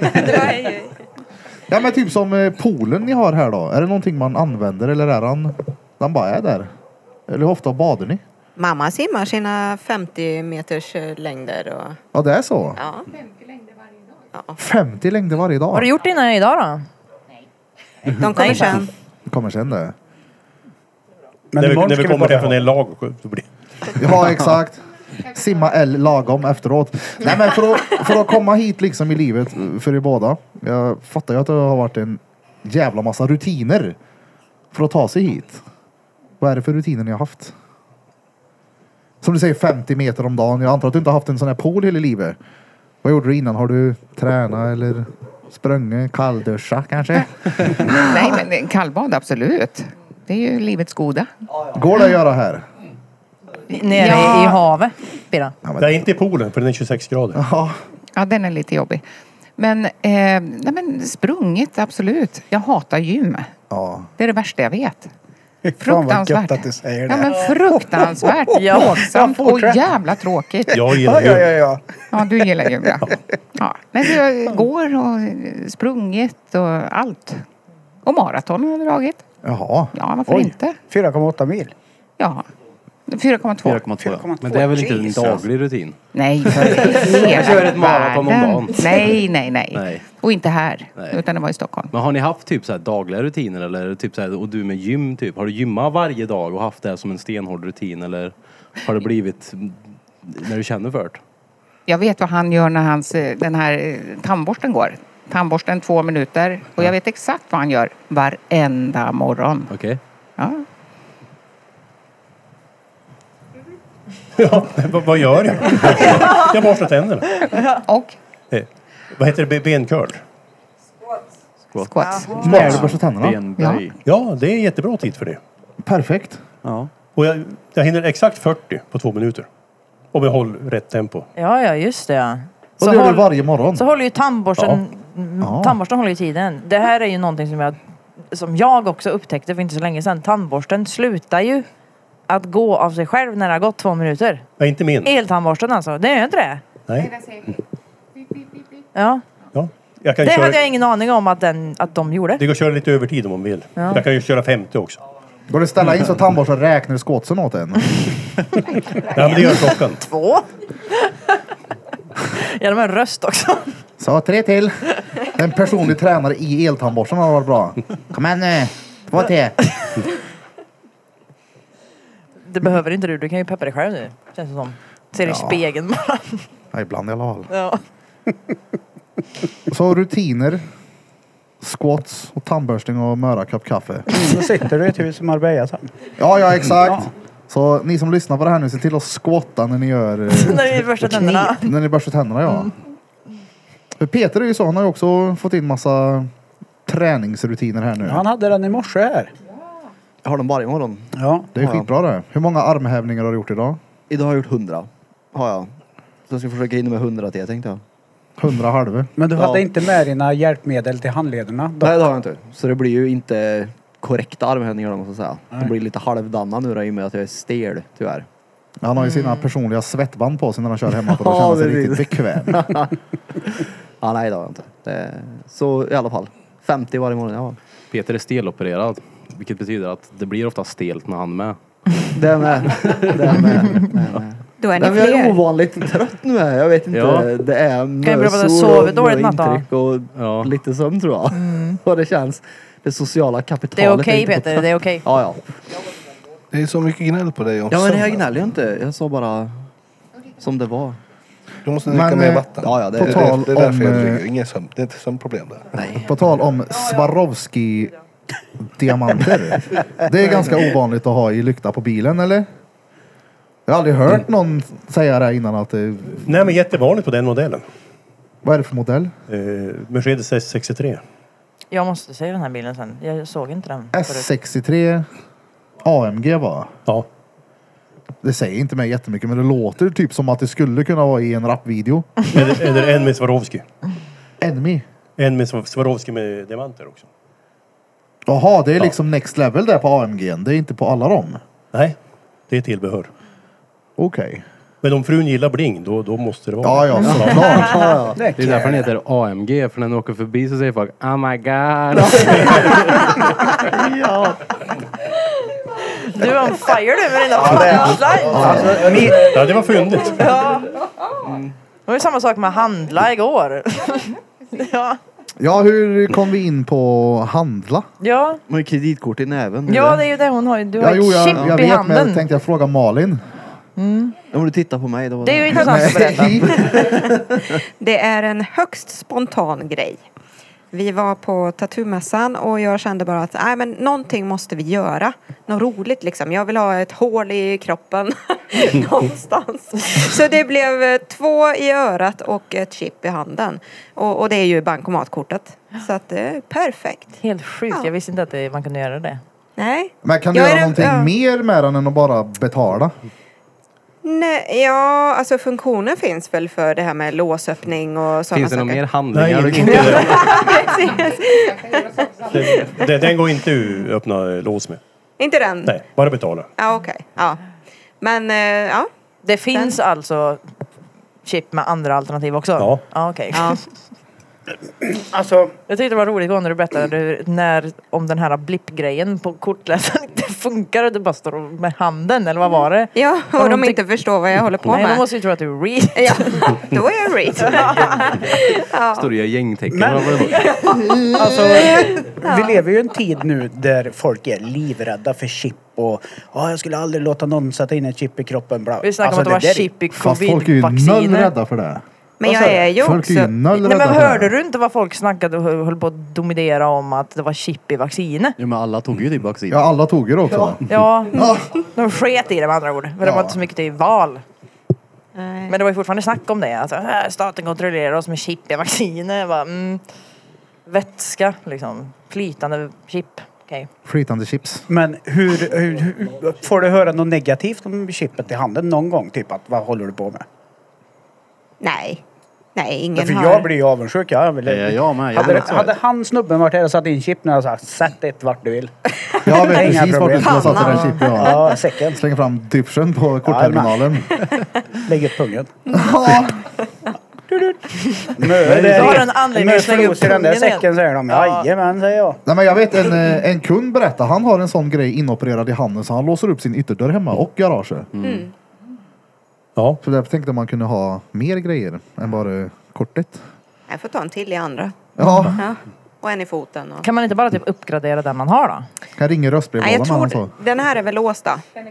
S1: Ja men typ som eh, poolen ni har här då. Är det någonting man använder eller är han, den bara är där? Eller hur ofta badar ni?
S6: Mamma simmar sina 50 meters eh, längder och...
S1: Ja det är så.
S6: Ja.
S1: 50 längder varje dag.
S2: Har du gjort dina idag då?
S6: De kommer
S2: Nej.
S6: sen.
S1: Kommer sen det.
S8: när vi,
S1: imorgon
S8: när
S1: ska
S8: vi
S1: vi
S8: kommer
S1: bara-
S8: hem från en lag och så blir
S1: Ja, exakt. Simma L lagom efteråt. Nej, men för att, för att komma hit liksom i livet för er båda. Jag fattar ju att det har varit en jävla massa rutiner för att ta sig hit. Vad är det för rutiner ni har haft? Som du säger, 50 meter om dagen. Jag antar att du inte har haft en sån här pool hela livet. Vad gjorde du innan? Har du tränat eller sprungit? Kallduschat kanske?
S7: Nej, men en kallbad absolut. Det är ju livets goda.
S1: Går det att göra här?
S2: Nere
S7: Ja.
S2: i havet, Birra.
S8: Nej, inte i poolen för den är 26 grader.
S7: Ja, den är lite jobbig. Men, eh, nej, men sprungit, absolut. Jag hatar gym. Det är det värsta jag vet.
S3: Fan vad
S7: Fruktansvärt.
S3: gött att du säger det.
S7: Ja, men fruktansvärt
S3: Ja.
S7: plågsamt och
S3: Fortsätt.
S7: jävla tråkigt.
S3: Jag gillar Ja, ja, gym. ja,
S7: Ja, du gillar gym, ja. ja. Men jag går och sprungit och allt. Och maraton har jag dragit.
S1: Jaha.
S7: Ja, varför inte?
S3: 4,8 mil.
S7: Ja. 4,2.
S11: 4,2. Men det är väl inte en
S7: Jesus.
S11: daglig rutin?
S7: Nej, för hela
S11: Man kör ett maraton om
S7: världen.
S11: dagen.
S7: Nej, nej, nej,
S11: Nej.
S7: Och inte här,
S11: Nej.
S7: utan det var i Stockholm.
S11: Men har ni haft typ så här dagliga rutiner eller är det typ så här, och du med gym typ? Har du gymmat varje dag och haft det som en stenhård rutin eller har det blivit mm, när du känner för det?
S7: Jag vet vad han gör när hans, eh, den här eh, tandborsten går. Tandborsten två minuter. Och jag vet exakt vad han gör varenda morgon.
S11: Okej?
S7: Ja.
S8: Ja, vad, vad gör jag? Jag borstar tänderna.
S7: Och?
S8: Eh, Vad heter det? Be- Bencurl? Squats.
S7: Squats.
S8: Måste du borsta tänderna?
S7: Benböj.
S8: Ja, det är jättebra tid för det.
S1: Perfekt.
S8: Ja. Och jag, jag hinner exakt 40 på två minuter. Om jag håller rätt tempo.
S2: Ja, ja, just det. ja.
S8: Och det gör du
S2: håll-
S8: varje morgon?
S2: Så håller ju tandborsten... Mm,
S8: Ja.
S2: Tandborsten håller ju tiden. Det här är ju någonting som jag, som jag också upptäckte för inte så länge sedan. Tandborsten slutar ju att gå av sig själv när det har gått två minuter.
S8: Nej, inte min.
S2: Eltandborsten alltså. Det gör inte det.
S8: Nej.
S2: Ja.
S8: Jag kan
S2: Det
S8: ju köra,
S2: hade jag ingen aning om att, den, att de gjorde.
S8: det går att köra lite övertid om man vill.
S2: Ja.
S8: Jag kan ju köra 50 också.
S1: Går det att ställa in så tandborsten räknar skåtsen åt en?
S8: Nej, men det gör klockan.
S2: Två. ja, de har en röst också.
S1: Så tre till. En personlig tränare i eltandborsten hade varit bra. Kom igen nu. Två till.
S2: Det behöver inte du. Du kan ju peppa dig själv nu. Känns det som. Ser i
S1: Ja.
S2: spegeln bara.
S1: Ja, ibland i alla fall.
S2: Ja.
S1: Så rutiner. Squats och tandbörstning och mörakapp kaffe.
S3: Då sitter du i ett hus som Marbella sen. Mm.
S1: Ja, ja exakt. Så ni som lyssnar på det här nu, se till att squatta när ni gör... eh,
S2: När vi borstar tänderna.
S1: När ni borstar tänderna, ja. För Peter är ju så, han har ju också fått in massa träningsrutiner här nu.
S3: Han hade den i morse här.
S9: Jag har dem varje morgon.
S3: Ja.
S1: Det är
S9: Ja.
S1: skitbra det. Hur många armhävningar har du gjort idag?
S9: Idag har jag gjort 100. Har jag. Så jag ska försöka hinna med 100 till tänkte jag.
S1: Hundra halvor.
S3: Men du hade
S9: Ja.
S3: inte med dina hjälpmedel till handlederna? då?
S9: Nej det har jag inte. Så det blir ju inte korrekta armhävningar om man ska säga. De blir lite halvdana nu då, i och med att jag är stel tyvärr.
S1: Han har ju
S8: Mm.
S1: sina personliga svettband på sig när han kör hemma för att
S9: Ja,
S1: känna sig
S9: precis.
S1: riktigt bekväm.
S9: Ja, nej det har jag inte. Det... Så i alla fall. 50 varje morgon. Ja.
S11: Peter är stelopererad, vilket betyder att det blir ofta stelt när han är med.
S9: Det är med. Det är med. Det är med.
S6: Då är ni
S9: Nej, men jag är
S6: fler.
S9: ovanligt trött nu. Här. Jag vet inte.
S11: Ja.
S9: Det är
S2: bero på att jag
S9: mösor
S2: sovit
S9: och
S2: dåligt natt, va?
S9: intryck och lite sömn tror jag. Och det känns. Det sociala kapitalet.
S2: Det är okej
S9: inte på
S2: Peter,
S9: plats.
S2: det är okej.
S9: Ja, ja.
S5: Det är så mycket gnäll på dig om
S9: Ja men jag
S5: sömnen.
S9: gnäller ju inte. Jag sa bara som det var.
S5: Du måste dricka
S1: Men,
S5: mer
S1: eh,
S5: vatten.
S9: Ja, ja, det-
S5: det,
S1: på
S5: är-
S1: tal
S5: det är därför
S1: om,
S5: jag
S1: eh,
S5: dricker. Ingen sömn. Det är inte sömnproblem där.
S1: På tal om Swarovski diamanter. Det är ganska ovanligt att ha i lykta på bilen eller? Jag har aldrig hört någon säga det här innan att eh, det,
S8: Nej, men jättevanligt på den modellen.
S1: vad är det för modell?
S8: Eh, Mercedes S63.
S2: Jag måste se den här bilen sen. Jag såg inte den.
S1: Äh, S63 AMG va?
S8: Ja.
S1: Det säger inte mig jättemycket men det låter typ som att det skulle kunna vara i en rapvideo.
S8: Eller, eller en med Swarovski.
S1: Enemy.
S8: En med Swarovski med diamanter också.
S1: Jaha, det är liksom next level där på AMG. n. Det är inte på alla dem.
S8: Nej, det är tillbehör.
S1: Okej.
S8: Men om frun gillar bling, då, då måste det
S1: Ja,
S8: vara
S1: ja, såklart.
S11: Det är därför den heter AMG, för när den åker förbi så säger folk Oh my god!
S2: Du är on fire du med dina punchlines.
S1: alltså,
S8: Ja, det var fyndigt.
S2: Ja. Det var ju samma sak med handla igår. Ja,
S1: Ja, hur kom vi in på handla?
S2: ja.
S9: Man har ju kreditkort i näven.
S2: ja det är ju det hon har. ju- Du har
S1: Ja,
S2: ett
S1: jo, jag,
S2: chip
S1: jag
S2: i
S1: vet, men
S2: handen.
S1: jag tänkte jag fråga Malin.
S2: Mm.
S9: Om du tittar på mig. Då var
S2: Det är ju intressant att berätta.
S6: Det är en högst spontan grej. Vi var på tattoomässan och jag kände bara att nej, men någonting måste vi göra. Något roligt liksom. Jag vill ha ett hål i kroppen någonstans. Så det blev eh, två i örat och ett chip i handen. Och, och det är ju bankomatkortet. Så att det är perfekt.
S2: Helt sjukt. Jag visste inte att det, man kunde göra det.
S6: Nej.
S1: Men kan du
S6: Jag är
S1: göra
S6: den-
S1: någonting
S6: ja.
S1: mer med den än att bara betala?
S6: Nej, ja, alltså funktionen finns väl för det här med låsöppning och sådana
S11: Finns det
S6: saker.
S11: någon mer handlingar?
S8: Nej,
S11: du
S8: inte
S11: kan-
S8: Den, den, den går inte att öppna eh, lås med.
S6: Inte den?
S1: Mm.
S8: Nej, bara betala.
S6: Ja, okej. Ja. Men, eh, ja.
S2: Det finns alltså chip med andra alternativ också?
S8: Ja.
S2: ja okej.
S6: Ja.
S3: Alltså,
S2: Jag tyckte det var roligt igår när du berättade hur- när, om den här blippgrejen på kortläsaren inte funkar och du bara står och- med handen eller vad var det?
S6: Ja,
S2: Men
S6: och
S2: hon
S6: de
S2: tyck-
S6: inte förstår vad jag håller på
S2: Nej,
S6: med.
S2: de måste ju tro att du är read.
S6: Ja, då är jag read. ja.
S11: Står det gängtecken? Men...
S3: Alltså, vi lever ju i en tid nu där folk är livrädda för chip och "Ja, jag skulle aldrig låta någon sätta in ett chip i kroppen. Bla. Alltså,
S2: Vi snackar om att det
S3: där
S2: var
S3: är-
S2: chip i
S1: Fast folk är ju noll
S2: covid-vacciner.
S1: rädda för det.
S6: Men
S2: Vad
S6: jag
S2: sa du?
S6: är ju
S1: Folk är ju
S6: också...
S1: noll
S2: Nej,
S1: rädda
S2: men
S1: för det.
S2: hörde du inte vad folk snackade och höll på att dominera om att det var chip i vaccinet?
S4: Jo, men alla tog ju det vaccin.
S1: Ja, alla tog ju det också. Mm.
S2: Ja, de sket i det med andra ord. För det var inte så mycket till val. Men det var ju fortfarande snack om det. Alltså, "Äh, staten kontrollerar oss med chip i vacciner. Jag Bara, mm, vätska, liksom. Flytande chip. Okej.
S14: Flytande chips.
S3: Men hur, hur, hur... Får du höra något negativt om chippet i handen någon gång? Typ att vad håller du på med?
S6: Nej. Nej,
S3: För
S6: ingen
S3: jag
S6: har...
S3: blir ju avundsjuk. Jag vill...
S4: Ja, jag med. Jag
S3: hade,
S4: vet så.
S3: hade han snubben varit här och satt in chip nu hade jag sagt sätt ett vart du vill.
S1: Jag vet
S3: Inga
S1: precis vart du
S3: problem.
S1: skulle ha satt i den
S3: Pannan.
S1: chippen.
S3: Ja, säcken.
S1: Slänga fram dypschen på kortterminalen.
S3: Lägg upp pungen.
S1: Nej,
S3: det är-
S1: så har du
S2: en anledning
S3: Mö
S2: att slänga upp
S3: fros i den där
S2: pungen igen.
S3: säcken säger de.
S2: Ja.
S3: Jajamän säger jag.
S1: Nej, men jag vet en, eh, en kund berättade, han har en sån grej inopererad i handen så han låser upp sin ytterdörr hemma och garaget.
S6: Mm.
S8: Ja.
S1: Så därför tänkte man kunde ha mer grejer än bara kortet.
S6: Jag får ta en till i andra.
S1: Ja.
S6: Och en i foten. Och...
S2: Kan man inte bara typ uppgradera den man har då?
S1: Kan ringa
S6: Nej,
S1: röstbrevlådan
S6: jag tror
S1: eller så.
S6: den här är väl låst då?
S8: Den är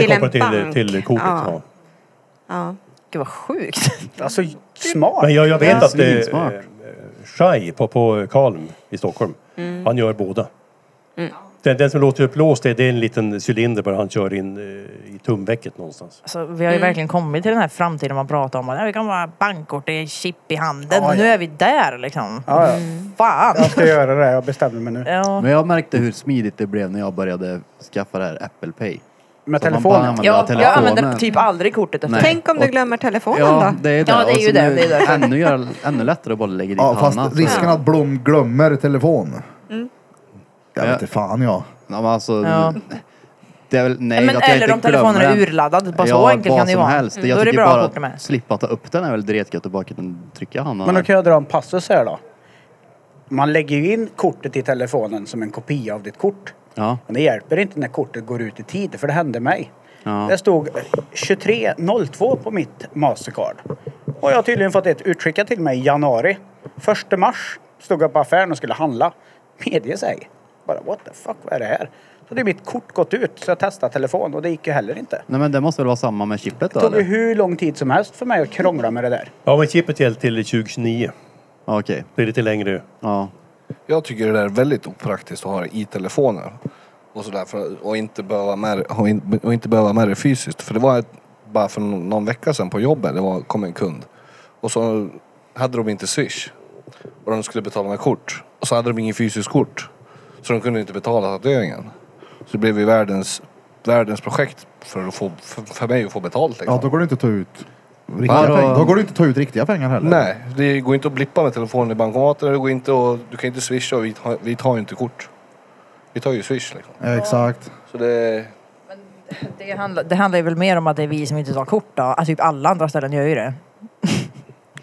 S6: Till en
S8: kopplad till,
S6: bank.
S8: till kortet.
S6: Ja.
S8: Ja.
S6: Ja.
S2: Gud vad sjukt.
S3: Alltså smart.
S8: Men jag, jag vet
S3: Ja.
S8: att eh, eh, Shai på, på Kalm i Stockholm,
S6: Mm.
S8: han gör båda.
S6: Mm.
S8: Den, den som låter upplåst är, det är en liten cylinder bara han kör in eh, i tumvecket någonstans.
S2: Alltså, vi har ju
S6: Mm.
S2: verkligen kommit till den här framtiden man pratar om. att, "Ja, Vi kan bara bankkort, det är chip i handen.
S3: Ja, ja.
S2: Nu är vi där liksom.
S3: Ja, ja.
S6: Mm.
S2: Fan.
S3: Jag ska göra det. Jag bestämde mig nu.
S2: Ja.
S4: Men jag märkte hur smidigt det blev när jag började skaffa det här Apple Pay.
S3: Med
S4: Så man
S3: telefonen?
S4: bara använder
S2: Jag, jag
S4: telefonen.
S2: använder typ aldrig kortet efter
S4: Nej.
S6: Tänk om du
S4: Och-
S6: glömmer telefonen
S4: Ja,
S6: då?
S4: det är det.
S2: Ja, det är
S4: Och
S2: ju
S4: så
S2: det,
S4: nu
S2: det är därför.
S4: ännu, gör- ännu lättare att bara lägga dit
S1: Ja,
S4: pannan,
S1: fast
S4: så.
S1: risken att Blom glömmer telefon.
S6: Mm.
S1: Jag vet inte fan jag.
S4: Ja, men alltså,
S2: Ja.
S4: det är väl, nej,
S2: men
S4: att jag
S2: eller
S4: inte
S2: om telefonen
S4: glömmer
S2: är
S4: den.
S2: urladdad. Bara så
S4: ja,
S2: enkelt
S4: vad
S2: kan det ju
S4: som
S2: vara.
S4: helst.
S2: Mm,
S4: Jag
S2: då är det
S4: tycker
S2: bra
S4: bara
S2: att åka med.
S4: att slippa ta upp den är väl dretgött och bara kunna trycka i handen.
S3: Men då kan jag dra en passus här då. Man lägger ju in kortet i telefonen som en kopia av ditt kort.
S4: Ja.
S3: Men det hjälper inte när kortet går ut i tid, för det hände mig.
S4: Ja.
S3: Det stod 2302 på mitt Mastercard. Och jag har tydligen fått ett utskickat till mig i januari. Första mars stod jag på affären och skulle handla. Medge sig. Bara what the fuck, vad är det här? Så hade mitt kort gått ut, så jag testade telefon och det gick ju heller inte.
S4: Nej, men det måste väl vara samma med chippet
S3: Det
S4: då?
S3: tog ju
S4: Eller?
S3: hur lång tid som helst för mig att krångla med det där.
S8: Ja, men chippet gäller till 2029.
S4: Ja, Okej.
S8: Det är lite längre.
S4: Ja.
S5: Jag tycker det där är väldigt opraktiskt att ha det i telefonen. Och, sådär för, och, inte behöva med, det- och, in, och inte behöva med det fysiskt. För det var ett, bara för någon någon vecka sedan på jobbet, det var, kom en kund. Och så hade de inte swish. Och de skulle betala med kort. Och så hade de ingen fysiskt kort. Så de kunde inte betala tatueringen. Så det blev ju världens, världens projekt för, att få, för, för mig att få betalt. Liksom.
S1: Ja, då går det inte att ta ut
S4: Ja,
S1: riktiga
S4: då-
S1: pengar. Då går det inte att ta ut riktiga pengar heller.
S5: Nej, det går inte att blippa med telefonen i bankomaten. Det går inte att, du kan inte swisha och vi tar, vi tar ju inte kort. Vi tar ju swish liksom.
S1: Ja, exakt.
S5: Så det...
S2: Det handlar, det handlar ju väl mer om att det är vi som inte tar kort då. Alltså typ alla andra ställen gör ju det.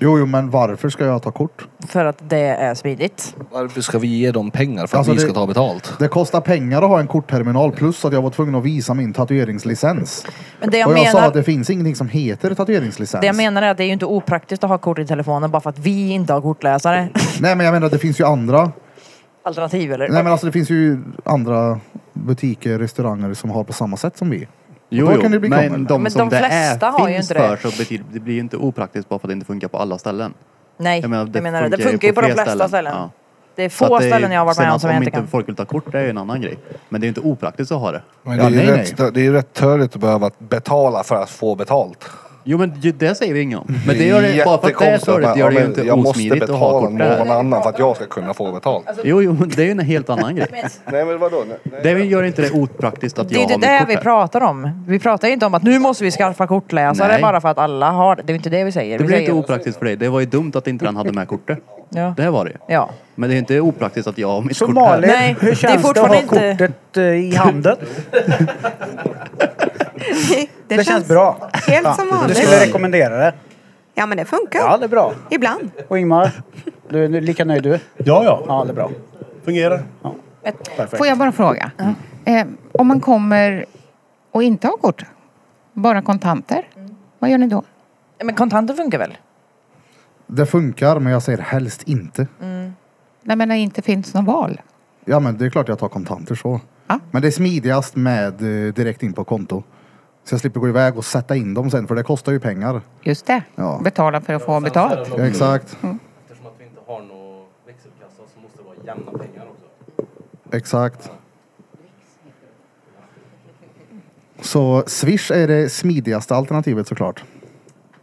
S1: Jo, jo, men varför ska jag ta kort?
S2: För att det är smidigt.
S5: Varför ska vi ge dem pengar för att
S1: Alltså,
S5: vi
S1: det-
S5: ska ta betalt?
S1: Det kostar pengar att ha en kortterminal plus att jag var tvungen att visa min tatueringslicens.
S2: Men det jag,
S1: och jag sa
S2: menar,
S1: att det finns ingenting som heter tatueringslicens.
S2: det jag menar är att det är ju inte opraktiskt att ha kort i telefonen bara för att vi inte har kortläsare.
S1: Nej men jag menar att det finns ju andra.
S2: Alternativ eller?
S1: Nej men alltså det finns ju andra butiker, restauranger som har på samma sätt som vi.
S4: Jo,
S1: då
S4: jo.
S1: kan det bli
S4: men
S1: krångel.
S4: de
S2: Men
S4: som
S2: de
S4: det
S2: flesta
S4: är,
S2: har ju
S4: finns
S2: inte det.
S4: för så betyder, det blir ju inte opraktiskt bara för att det inte funkar på alla ställen.
S2: Nej,
S4: Jag menar, det
S2: jag menar det. Det
S4: funkar ju
S2: funkar ju på,
S4: på
S2: de
S4: fler
S2: flesta
S4: ställen.
S2: ställen.
S4: Ja.
S2: Det är
S4: Så att
S2: få
S4: det är-
S2: ställen jag har varit
S4: sen
S2: med om
S4: att
S2: som jag inte
S4: Om
S2: kan.
S4: inte folk vill ta kort det är ju en annan grej. Men det är ju inte opraktiskt att ha det.
S5: Men
S1: Ja,
S5: det, är ju
S1: nej,
S5: rätt, det är ju rätt törligt att behöva betala för att få betalt.
S4: Jo men ju- det säger vi inget om. Men det gör det, bara för att det är
S5: Jättekonstigt
S4: törligt
S5: bara,
S4: gör det
S5: ja,
S4: ju
S5: men
S4: inte
S5: Jag måste
S4: osmidigt att ha
S5: betala
S4: kort där.
S5: någon annan för att jag ska kunna få betalt.
S2: Alltså-
S4: Jo, jo, men det är ju en helt annan grej.
S5: Nej men vadå?
S4: Det gör inte det opraktiskt att
S2: Det är
S4: jag
S2: ju
S4: har
S2: inte
S4: mitt
S2: det
S4: kort
S2: vi
S4: här.
S2: pratar om. Vi pratar ju inte om att nu måste vi skaffa kortläsare
S4: Nej.
S2: bara för att alla har det. Det är ju inte det vi säger.
S4: Det
S2: vi
S4: blir
S2: säger,
S4: inte opraktiskt för dig. Det var ju dumt att inte den hade med kortet.
S2: Ja.
S4: Det var det ju.
S2: ja.
S4: Men det är inte opraktiskt att jag har mitt
S3: Så
S4: kort
S3: Malin,
S4: här.
S2: Nej, det är
S3: hur känns det, att
S2: fortfarande
S3: ha
S2: inte-
S3: kortet eh, i handen?
S6: Det,
S3: Det, känns bra.
S6: Helt som
S3: Du
S6: vanligt.
S3: skulle rekommendera det?
S6: Ja, men det funkar.
S3: Ja, det är bra.
S6: Ibland.
S3: Och Ingmar, du är lika nöjd du?
S8: Ja, ja.
S3: Ja, det är bra.
S8: Fungerar.
S3: Perfekt.
S10: Får jag bara fråga? Eh, om man kommer och inte har kort, bara kontanter, vad gör ni då?
S2: Mm. Men kontanter funkar väl?
S1: Det funkar men jag säger helst inte.
S2: Mm.
S10: Nej men när det inte finns något val.
S1: Ja men det är klart jag tar kontanter så.
S10: Ja.
S1: Men det är smidigast med eh, direkt in på konto. Så jag slipper gå iväg och sätta in dem sen för det kostar ju pengar.
S10: Just det.
S1: Ja.
S10: Betala för att få betalt.
S1: Ja, exakt.
S4: Mm.
S11: Eftersom att vi inte har någon växelkassa så måste det vara jämna pengar också.
S1: Exakt. Så Swish är det smidigaste alternativet såklart.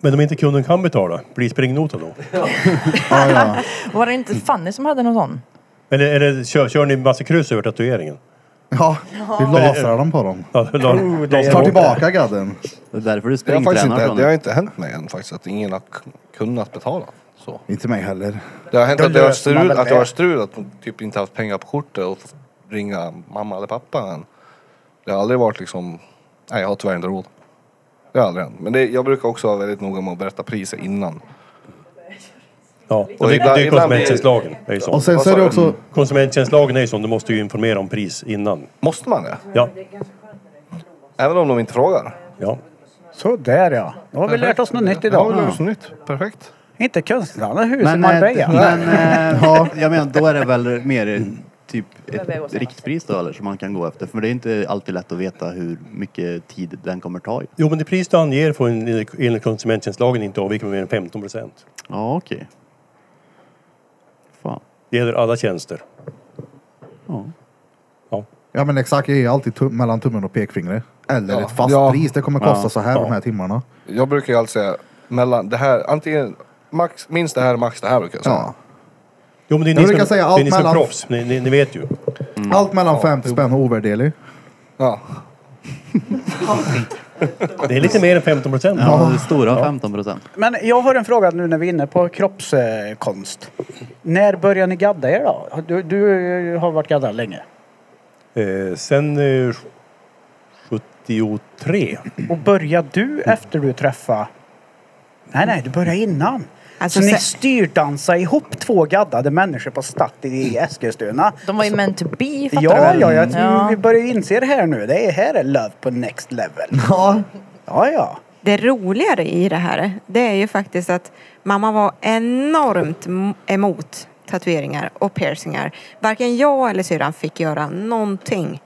S8: Men om inte kunden kan betala, blir springnota då?
S1: ja, ja.
S2: Var det inte Fanny som hade någon sån?
S8: Eller, eller kör, kör ni massa kryss över tatueringen?
S1: Ja, vi lasrar dem på dem.
S8: Ja, la,
S1: Oh, det är- Ta tillbaka gadden.
S4: Det är därför du
S5: Det har, faktiskt
S4: springtränar
S5: inte,
S4: från
S5: det har
S4: det.
S5: inte hänt mig än faktiskt att ingen har k- kunnat betala. Så.
S1: Inte mig heller.
S5: Det har hänt
S1: Då
S5: att det har
S1: löser man
S5: strul,
S1: väl
S5: att det har
S1: det.
S5: strul att man typ inte haft pengar på kortet och f- ringa mamma eller pappa än. Det har aldrig varit liksom, nej jag har tyvärr inte råd. Det har aldrig hänt. Men det, jag brukar också vara väldigt noga med att berätta priset innan.
S8: Ja,
S5: Och
S8: och det, det
S5: ibland-
S8: är
S5: ibland
S8: konsumenttjänstlagen.
S5: blir-
S8: Det är ju så.
S5: Och sen så är det också-
S8: Konsumenttjänstlagen är ju sån, du måste ju informera om pris innan.
S5: Måste man det?
S8: Ja.
S5: Även om de inte frågar?
S8: Ja.
S3: Så där ja. Då har vi lärt oss något nytt
S5: Ja,
S3: idag.
S5: vi lärt oss nytt. Perfekt.
S3: Inte konstnärerna hus i
S4: Men,
S3: Marbella.
S4: eh, men eh, ja, jag menar, då är det väl mer eh, typ ett riktpris då eller som man kan gå efter. För det är inte alltid lätt att veta hur mycket tid den kommer ta. ju.
S8: Jo, men det pris du anger får en- enligt konsumenttjänstlagen inte avvika med mer än 15 procent.
S4: Ja, okej. Fan.
S8: Det gäller alla tjänster.
S1: Ja men exakt, jag är alltid tum- mellan tummen och pekfingret. Eller
S5: Ja.
S1: ett fast
S5: Ja.
S1: pris, det kommer kosta
S5: Ja.
S1: så här
S5: Ja.
S1: de här timmarna.
S5: Jag brukar ju alltid säga mellan det här, antingen max, minst det här, max det här brukar jag säga.
S8: Jo, men det är
S1: Jag brukar säga allt
S8: det är ni som är
S1: mellan- Mm.
S8: proffs, ni, ni, ni vet ju.
S1: Allt mellan 50 spänn och ovärderlig.
S5: Ja.
S8: Det är lite mer än 15 procent.
S4: Ja, det stora 15 procent.
S3: Men jag har en fråga nu när vi är inne på kroppskonst. När börjar ni gadda er då? Du, du har varit gaddad länge.
S8: Eh, sen eh, 73.
S3: Och började du efter du träffade... Nej, nej, du började innan.
S2: Alltså,
S3: så ni
S2: se-
S3: styrdansade ihop två gaddade människor på Statt i Eskilstuna.
S2: De var ju meant to be, fattar du
S3: Ja,
S2: väl?
S3: ja, jag, vi börjar ju inse det här nu. Det är, här är love på next level. Ja. Ja, ja.
S6: Det roligare i det här, det är ju faktiskt att mamma var enormt m- emot tatueringar och piercingar. Varken jag eller syrran fick göra någonting.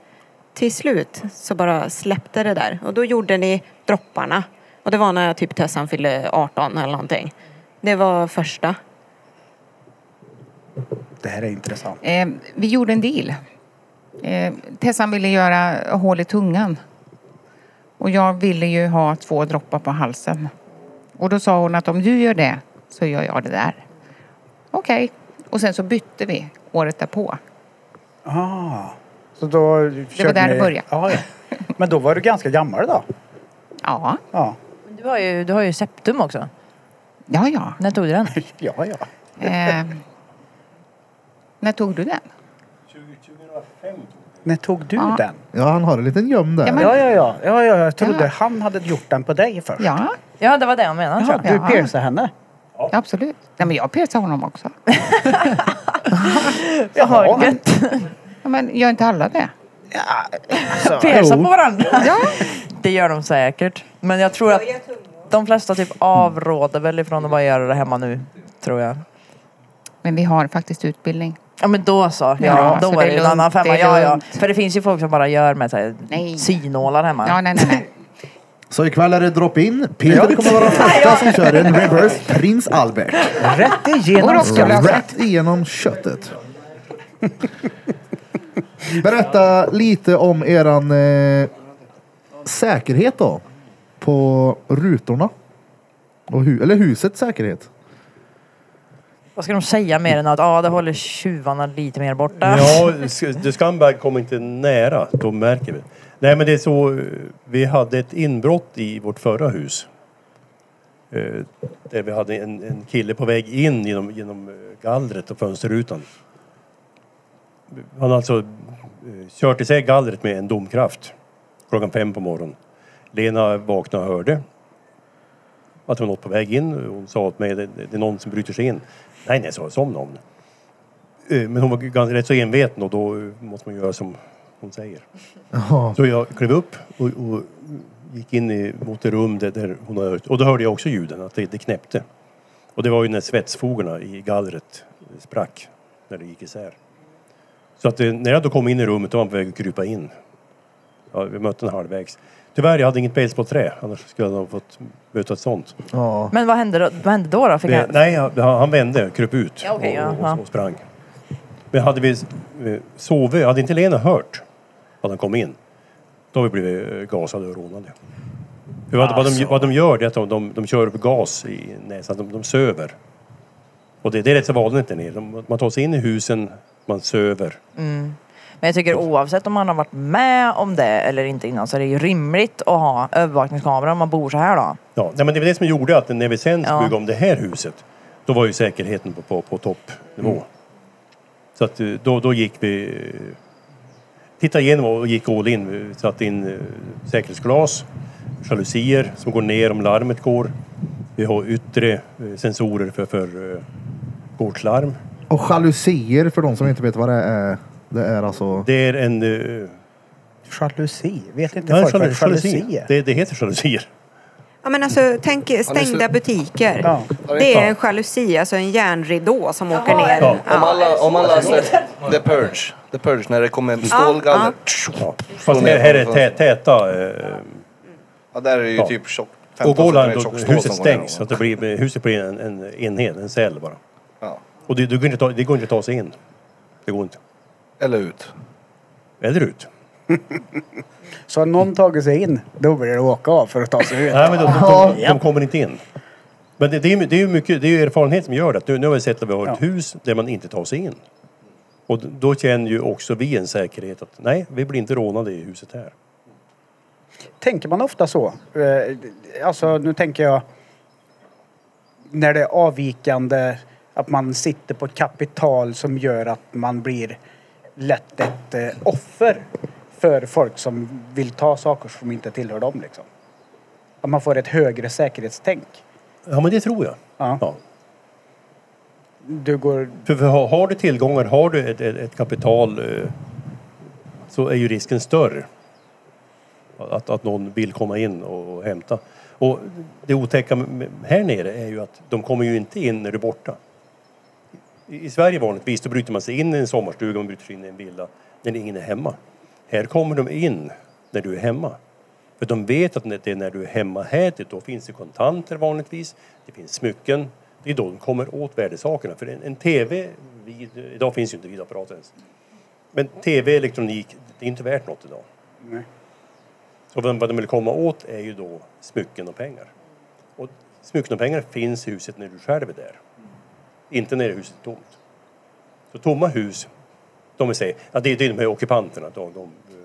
S6: Till slut så bara släppte det där och då gjorde ni dropparna. Och det var när typ Tessan fyllde 18 eller någonting. Det var första.
S3: Det här är intressant.
S10: Eh, vi gjorde en deal. Eh, Tessan ville göra hål i tungan. Och jag ville ju ha två droppar på halsen. Och då sa hon att om du gör det så gör jag det där. Okej. Och sen så bytte vi året därpå.
S3: Ah. Så då det
S10: där det började.
S3: Ja, ja. Men då var du ganska gammal då?
S10: Ja.
S3: Ja,
S2: Men Du har, ju, du har ju septum också.
S10: Ja, ja.
S2: När tog du den?
S3: ja. ja.
S10: Eh, när tog du den?
S3: När tog du
S10: Ja.
S3: den?
S1: Ja han har en liten göm där.
S3: Ja, ja, ja, ja, ja. Jag trodde han hade gjort den på dig först.
S10: Ja.
S2: Ja, det var det jag menade.
S3: Ja,
S2: tror
S3: du
S2: jag.
S3: piercade henne?
S10: Ja, absolut. Nej, men jag piercar honom också.
S3: Jaha.
S10: Ja, men gör inte alla det?
S3: Alltså,
S2: Piercar
S10: Jo.
S2: på varandra.
S10: Ja.
S2: Det gör de säkert. Men jag tror att de flesta typ avråder väl ifrån att bara göra det hemma nu. Tror jag.
S10: Men vi har faktiskt utbildning.
S2: Ja men då så. Ja,
S10: Ja,
S2: då
S10: så
S2: var
S10: det är
S2: det en
S10: lugnt,
S2: annan femma.
S10: det är
S2: Ja, ja.
S10: lugnt.
S2: För det finns ju folk som bara gör med så här,
S10: Nej.
S2: synålar hemma.
S10: Ja, nej, nej, nej.
S1: Så ikväll är det drop-in. Peter kommer vara den första som kör en reverse prins Albert.
S3: Rätt igenom skallen.
S1: Rätt igenom köttet. Berätta lite om eran eh, säkerhet då. På rutorna. Och hu- eller husets säkerhet.
S2: Vad ska de säga mer än att ah, det håller tjuvarna lite mer borta?
S8: Ja, sk- the scumbag kom inte nära, då märker vi. Nej men det är så, eh, vi hade ett inbrott i vårt förra hus. Eh, Där vi hade en, en kille på väg in genom, genom eh, gallret och fönsterrutan. Han hade alltså eh, kört isär gallret med en domkraft klockan fem på morgonen. Lena vaknade och hörde att det var något på väg in. Hon sa åt mig, det, det är någon som bryter sig in. Nej, nej, sa jag, som någon. Eh, Men hon var ganska rätt så enveten och då eh, måste man göra som hon säger. Så jag klev upp och, och gick in i, mot det rum där, där hon hade hört. Och då hörde jag också ljuden, att det, det knäppte. Och det var ju när svetsfogarna i gallret sprack, när det gick isär. Så att eh, när jag då kom in i rummet, då var han på väg att krypa in. Ja, vi mötte honom halvvägs. Tyvärr, jag hade inget baseballträ. Annars skulle jag ha fått möta ett sånt.
S14: Ja.
S2: Men vad hände då? Vad hände då? då? Fick
S8: Det,
S2: han-
S8: nej, han, han vände, kröp ut
S2: Ja, okej, ja,
S8: och, och,
S2: ja.
S8: och sprang. Men hade vi eh, sovit, hade inte Lena hört att han kom in, då hade vi blivit eh, gasade och rånade. För Vad, vad, de,
S11: Alltså.
S8: vad de gör det är att de, de, de kör upp gas i näsan, de, de söver. Och det, det är rätt så vanligt där nere. De, man tar sig in i husen, man söver.
S2: Mm. Men jag tycker oavsett om man har varit med om det eller inte innan så är det ju rimligt att ha övervakningskamera om man bor så här då.
S8: Ja, nej, men det var det som gjorde att när vi sen
S2: Ja.
S8: byggde om det här huset, då var ju säkerheten på, på, på toppnivå.
S2: Mm.
S8: Så att eh, då, då gick vi... eh, Tittade igenom och gick all in. Vi satte in eh, säkerhetsglas, jalusier som går ner om larmet går. Vi har yttre eh, sensorer för, för eh, gårdslarm.
S1: Och jalusier för de som inte vet vad det är. Det är alltså...
S8: Det är en... eh,
S3: Jalusi? Vet inte
S8: ja,
S3: folk vad
S8: jalu- jalusi.
S3: jalusi är?
S8: Det, det heter jalusier.
S6: Ja, men alltså, tänk stängda butiker.
S8: Ja.
S6: Det är en jalusi, alltså en järnridå som åker ner.
S5: Ja. Om alla, om alla ser The Purge, The Purge när det kommer stålgaller. Ja.
S8: Fast här, här är tä, täta... eh,
S5: Ja, där är ju
S8: Ja.
S5: typ tjock,
S8: Och
S5: 15
S8: går larm
S5: centimeter tjock
S8: då
S5: stål
S8: huset
S5: som går ner.
S8: stängs. Så att det blir, huset blir en, en enhet, en cell bara. Och det, det, går inte att ta, det går inte att ta sig in. Det går inte.
S5: Eller ut.
S8: Eller ut.
S3: Så har någon tagit sig in, då blir det åka av för att ta sig ut.
S8: Nej, men de, de, de, de kommer inte in. Men det, det, är, ju- det, är ju mycket, det är ju erfarenhet som gör det. Nu, nu har vi sett att vi har ett hus där man inte tar sig in. Och d- då känner ju också vi en säkerhet att nej, vi blir inte rånade i huset här.
S3: Tänker man ofta så? Eh, Alltså, nu tänker jag... När det är avvikande, att man sitter på ett kapital som gör att man blir lätt ett eh, offer för folk som vill ta saker som inte tillhör dem. Liksom. Att man får ett högre säkerhetstänk.
S8: Ja, men det tror jag.
S3: Ja. Du går...
S8: För, för har, har du tillgångar, har du ett, ett, ett kapital eh, så är ju risken större att, att någon vill komma in och, och hämta. Och det otäcka med- med- här nere är ju att de kommer ju inte in när du är borta. I, i Sverige vanligtvis då bryter man sig in i en sommarstuga, man bryter sig in i en villa när ingen är hemma. Här kommer de in när du är hemma. För de vet att när- det är när du är hemma här, det- då finns det kontanter vanligtvis, det finns smycken. Det är då de kommer åt värdesakerna. För en, en TV, vid, idag finns ju inte videoapparater ens. Men TV, elektronik, det är inte värt något idag.
S3: Nej.
S8: Så vad vad de vill komma åt är ju då smycken och pengar. Och smycken och pengar finns i huset när du själv är där. Inte när huset är tomt. Så tomma hus, de vill säga, ja, det är det är de här ockupanterna, de, de eh,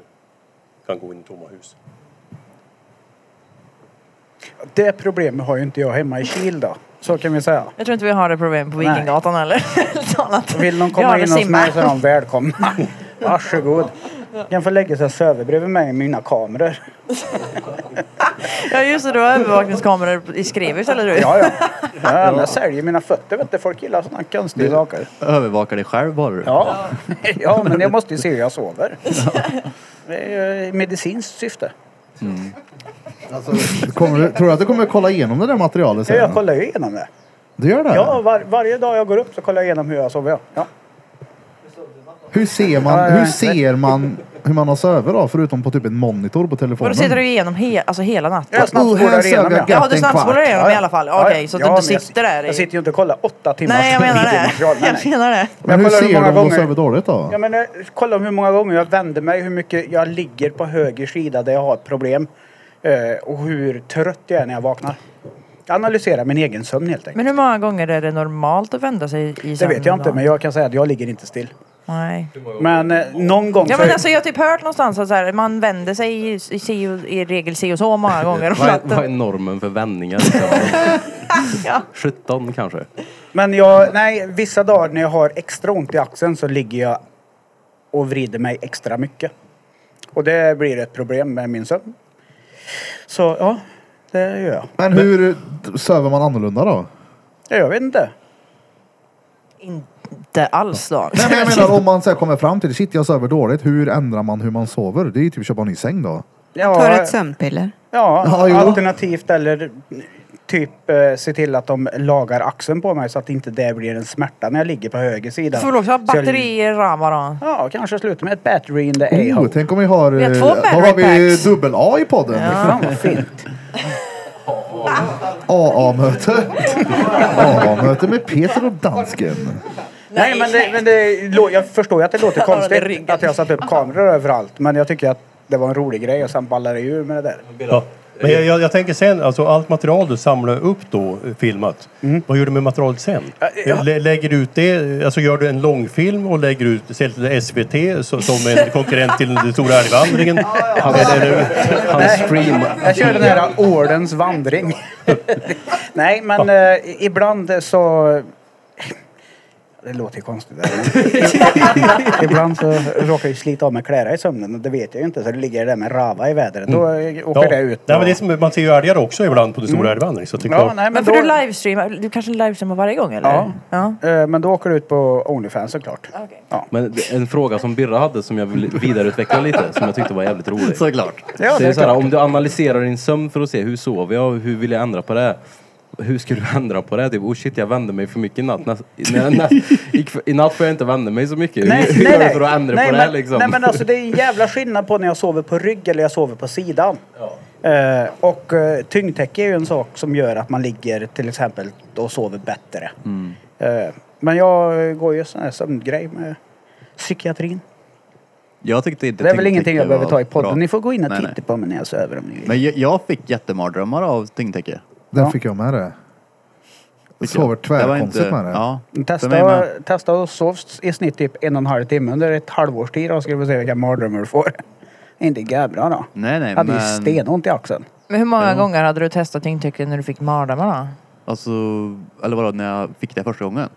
S8: kan gå in i tomma hus.
S3: Det problemet har ju inte jag hemma i Kil då. Så kan vi säga.
S2: Jag tror inte vi har det problemet på Vikinggatan eller något annat.
S3: Vill någon
S2: Vi har
S3: komma
S2: det
S3: in hos
S2: Simba.
S3: mig så är de välkomna. Varsågod. Kan få lägga sig och sova bredvid mig med mina kameror.
S2: Ja just det, du har övervakningskameror i skrivet istället du.
S3: Ja, ja. Ja, jag säljer mina fötter vet du. Folk gillar sådana konstiga saker.
S4: Övervakar dig själv bara du.
S3: Ja. ja, men jag måste ju se hur jag sover. Det är ju i medicinskt syfte.
S1: Kommer du, tror du att du kommer kolla igenom det där materialet sen?
S3: Ja, jag kollar ju igenom det.
S1: Du gör det?
S3: Ja, var, varje dag jag går upp så kollar jag igenom hur jag sover. Ja.
S1: Hur ser man,
S3: Ja, ja,
S1: hur
S3: ja.
S1: ser man hur man har sovit då? Förutom på typ en monitor på telefonen.
S2: Och då sitter du igenom he alltså hela natten?
S1: Jag snabbspolar Oh, här igenom, sög jag ja.
S2: Jaha, du snabbspolar
S1: gatten
S2: igenom
S1: kvart.
S2: i alla fall?
S1: Ja, ja.
S2: Okej, så att
S1: Ja,
S2: du
S1: men jag-
S2: sitter där i...
S3: Jag sitter ju inte och kollar åtta timmar
S2: Nej, jag menar det.
S3: videomaterial. Nej, nej.
S2: Jag menar det.
S1: Men hur
S3: Jag kollar
S1: ser
S3: hur
S1: du
S3: många
S1: om du
S3: gånger-
S1: sover dåligt då?
S3: Ja, men, eh, kolla hur många gånger jag vänder mig, hur mycket jag ligger på höger sida där jag har ett problem. eh, Och hur trött jag är när jag vaknar. Jag analyserar min egen sömn helt enkelt.
S2: Men hur många gånger är det normalt att vända sig i
S3: Det
S2: sömnen?
S3: vet jag inte,
S2: då?
S3: men jag kan säga att jag ligger inte still.
S2: Nej.
S3: Men eh, någon gång...
S2: Ja
S3: så-
S2: men alltså jag har typ hört någonstans att så här, man vänder sig i, i, si och- i regel si och så många gånger om
S11: Vad är, vad är
S2: natten.
S11: normen för vändningar? Liksom?
S2: Ja.
S11: 17 kanske?
S3: Men jag, nej, vissa dagar när jag har extra ont i axeln så ligger jag och vrider mig extra mycket. Och det blir ett problem med min sömn. Så ja, det gör jag.
S1: Men hur sover man annorlunda då?
S3: Ja, Jag vet inte.
S2: Inte alls då.
S1: Nej, men jag menar om man så här kommer fram till det, shit jag sover dåligt, hur ändrar man hur man sover? Det är ju typ att köpa en ny säng då.
S3: Ja,
S6: Tar ett sömnpiller.
S3: Ja,
S1: Ja, jo.
S3: alternativt eller typ eh, se till att de lagar axeln på mig så att inte det blir en smärta när jag ligger på höger sida.
S2: Du får väl också ha
S3: Så jag-
S2: batteri i ramar då?
S3: Ja, kanske sluta med ett battery in the
S1: Oh,
S3: a-hole.
S1: tänk om vi har...
S2: Vi har
S1: eh,
S2: två
S1: Vad har vi?
S2: battery-packs.
S1: Dubbel-A i podden?
S2: Ja. Fan, vad
S3: fint.
S1: AA-möte. AA-möte med Peter och dansken.
S3: Nej, men, det, men det, lå- jag förstår ju att det låter konstigt att jag satt upp kameror överallt. Men jag tycker att det var en rolig grej och sen ballade det ur med det där.
S8: Ja. Men jag, jag, jag tänker sen, alltså allt material du samlar upp då, eh, filmat,
S3: Mm.
S8: vad gör du med materialet sen? Lä- Lägger du ut det, alltså gör du en långfilm och lägger ut det till SVT så, som en konkurrent till den stora älgvandringen? Eller- eller-
S3: Jag kör den här ordens vandring. Nej, men eh, ibland så... Det låter ju konstigt. Där, men ibland så råkar jag slita av mig kläderna i sömnen och det vet jag ju inte. Så det ligger det där med rava i vädret. Då eh, åker det ut.
S8: Mm.
S3: Mm.
S8: Nej, men det är som, man ser ju älgar också ibland på den stora älgvandringen. Så det är
S3: Ja,
S8: klart.
S3: nej, men
S2: Men för
S3: då-
S2: du livestreamar, du kanske livestreamar varje gång eller?
S11: Ja.
S3: Eh, Men då åker du ut på Onlyfans såklart.
S11: Men det- en fråga som Birra hade som jag vill vidareutveckla lite, som jag tyckte var jävligt rolig.
S9: Såklart.
S11: det är
S3: det är
S11: så här,
S3: klart.
S11: om du analyserar din sömn för att se hur sov jag och hur vill jag ändra på det? Hur ska du ändra på det? Typ, oh shit, jag vände mig för mycket i natt. Nä, nä, nä, i, kv- I natt får jag inte vända mig så mycket. hur hur gör du för att ändra
S3: nej,
S11: på
S3: men,
S11: det liksom?
S3: Nej men alltså det är en jävla skillnad på när jag sover på rygg eller jag sover på sidan. Eh, och eh, tyngdtäcke är ju en sak som gör att man ligger till exempel och sover bättre.
S9: Mm.
S3: Eh, men jag går ju sån här sömngrej med psykiatrin.
S9: Jag tyckte inte
S3: Det, är väl
S9: tyckte
S3: ingenting
S9: det
S3: jag behöver
S9: var
S3: ta i podden.
S9: bra.
S3: Ni får gå in och
S9: Nej,
S3: titta
S9: nej.
S3: på mig när jag sover om ni vill.
S9: Men jag, jag fick jättemardrömmar av tyngdtäcke.
S1: Den
S3: Ja.
S1: fick jag med det. Jag
S9: jag.
S1: sover
S9: Det var
S1: tvärkonstigt
S9: inte-
S1: med det.
S9: ja.
S3: Testa,
S9: För mig med.
S3: testa och sov i snitt typ en och en halv timme under ett halvårs tid och ska vi se vilka mardrömmar du får. Inte jävla då.
S9: Nej, nej,
S3: Jag hade ju
S9: men-
S3: stenont i axeln.
S2: Men hur många gånger hade du testat tyngdtäcke när du fick mardrömmar då?
S9: Alltså, eller vadå, när jag fick det första gången?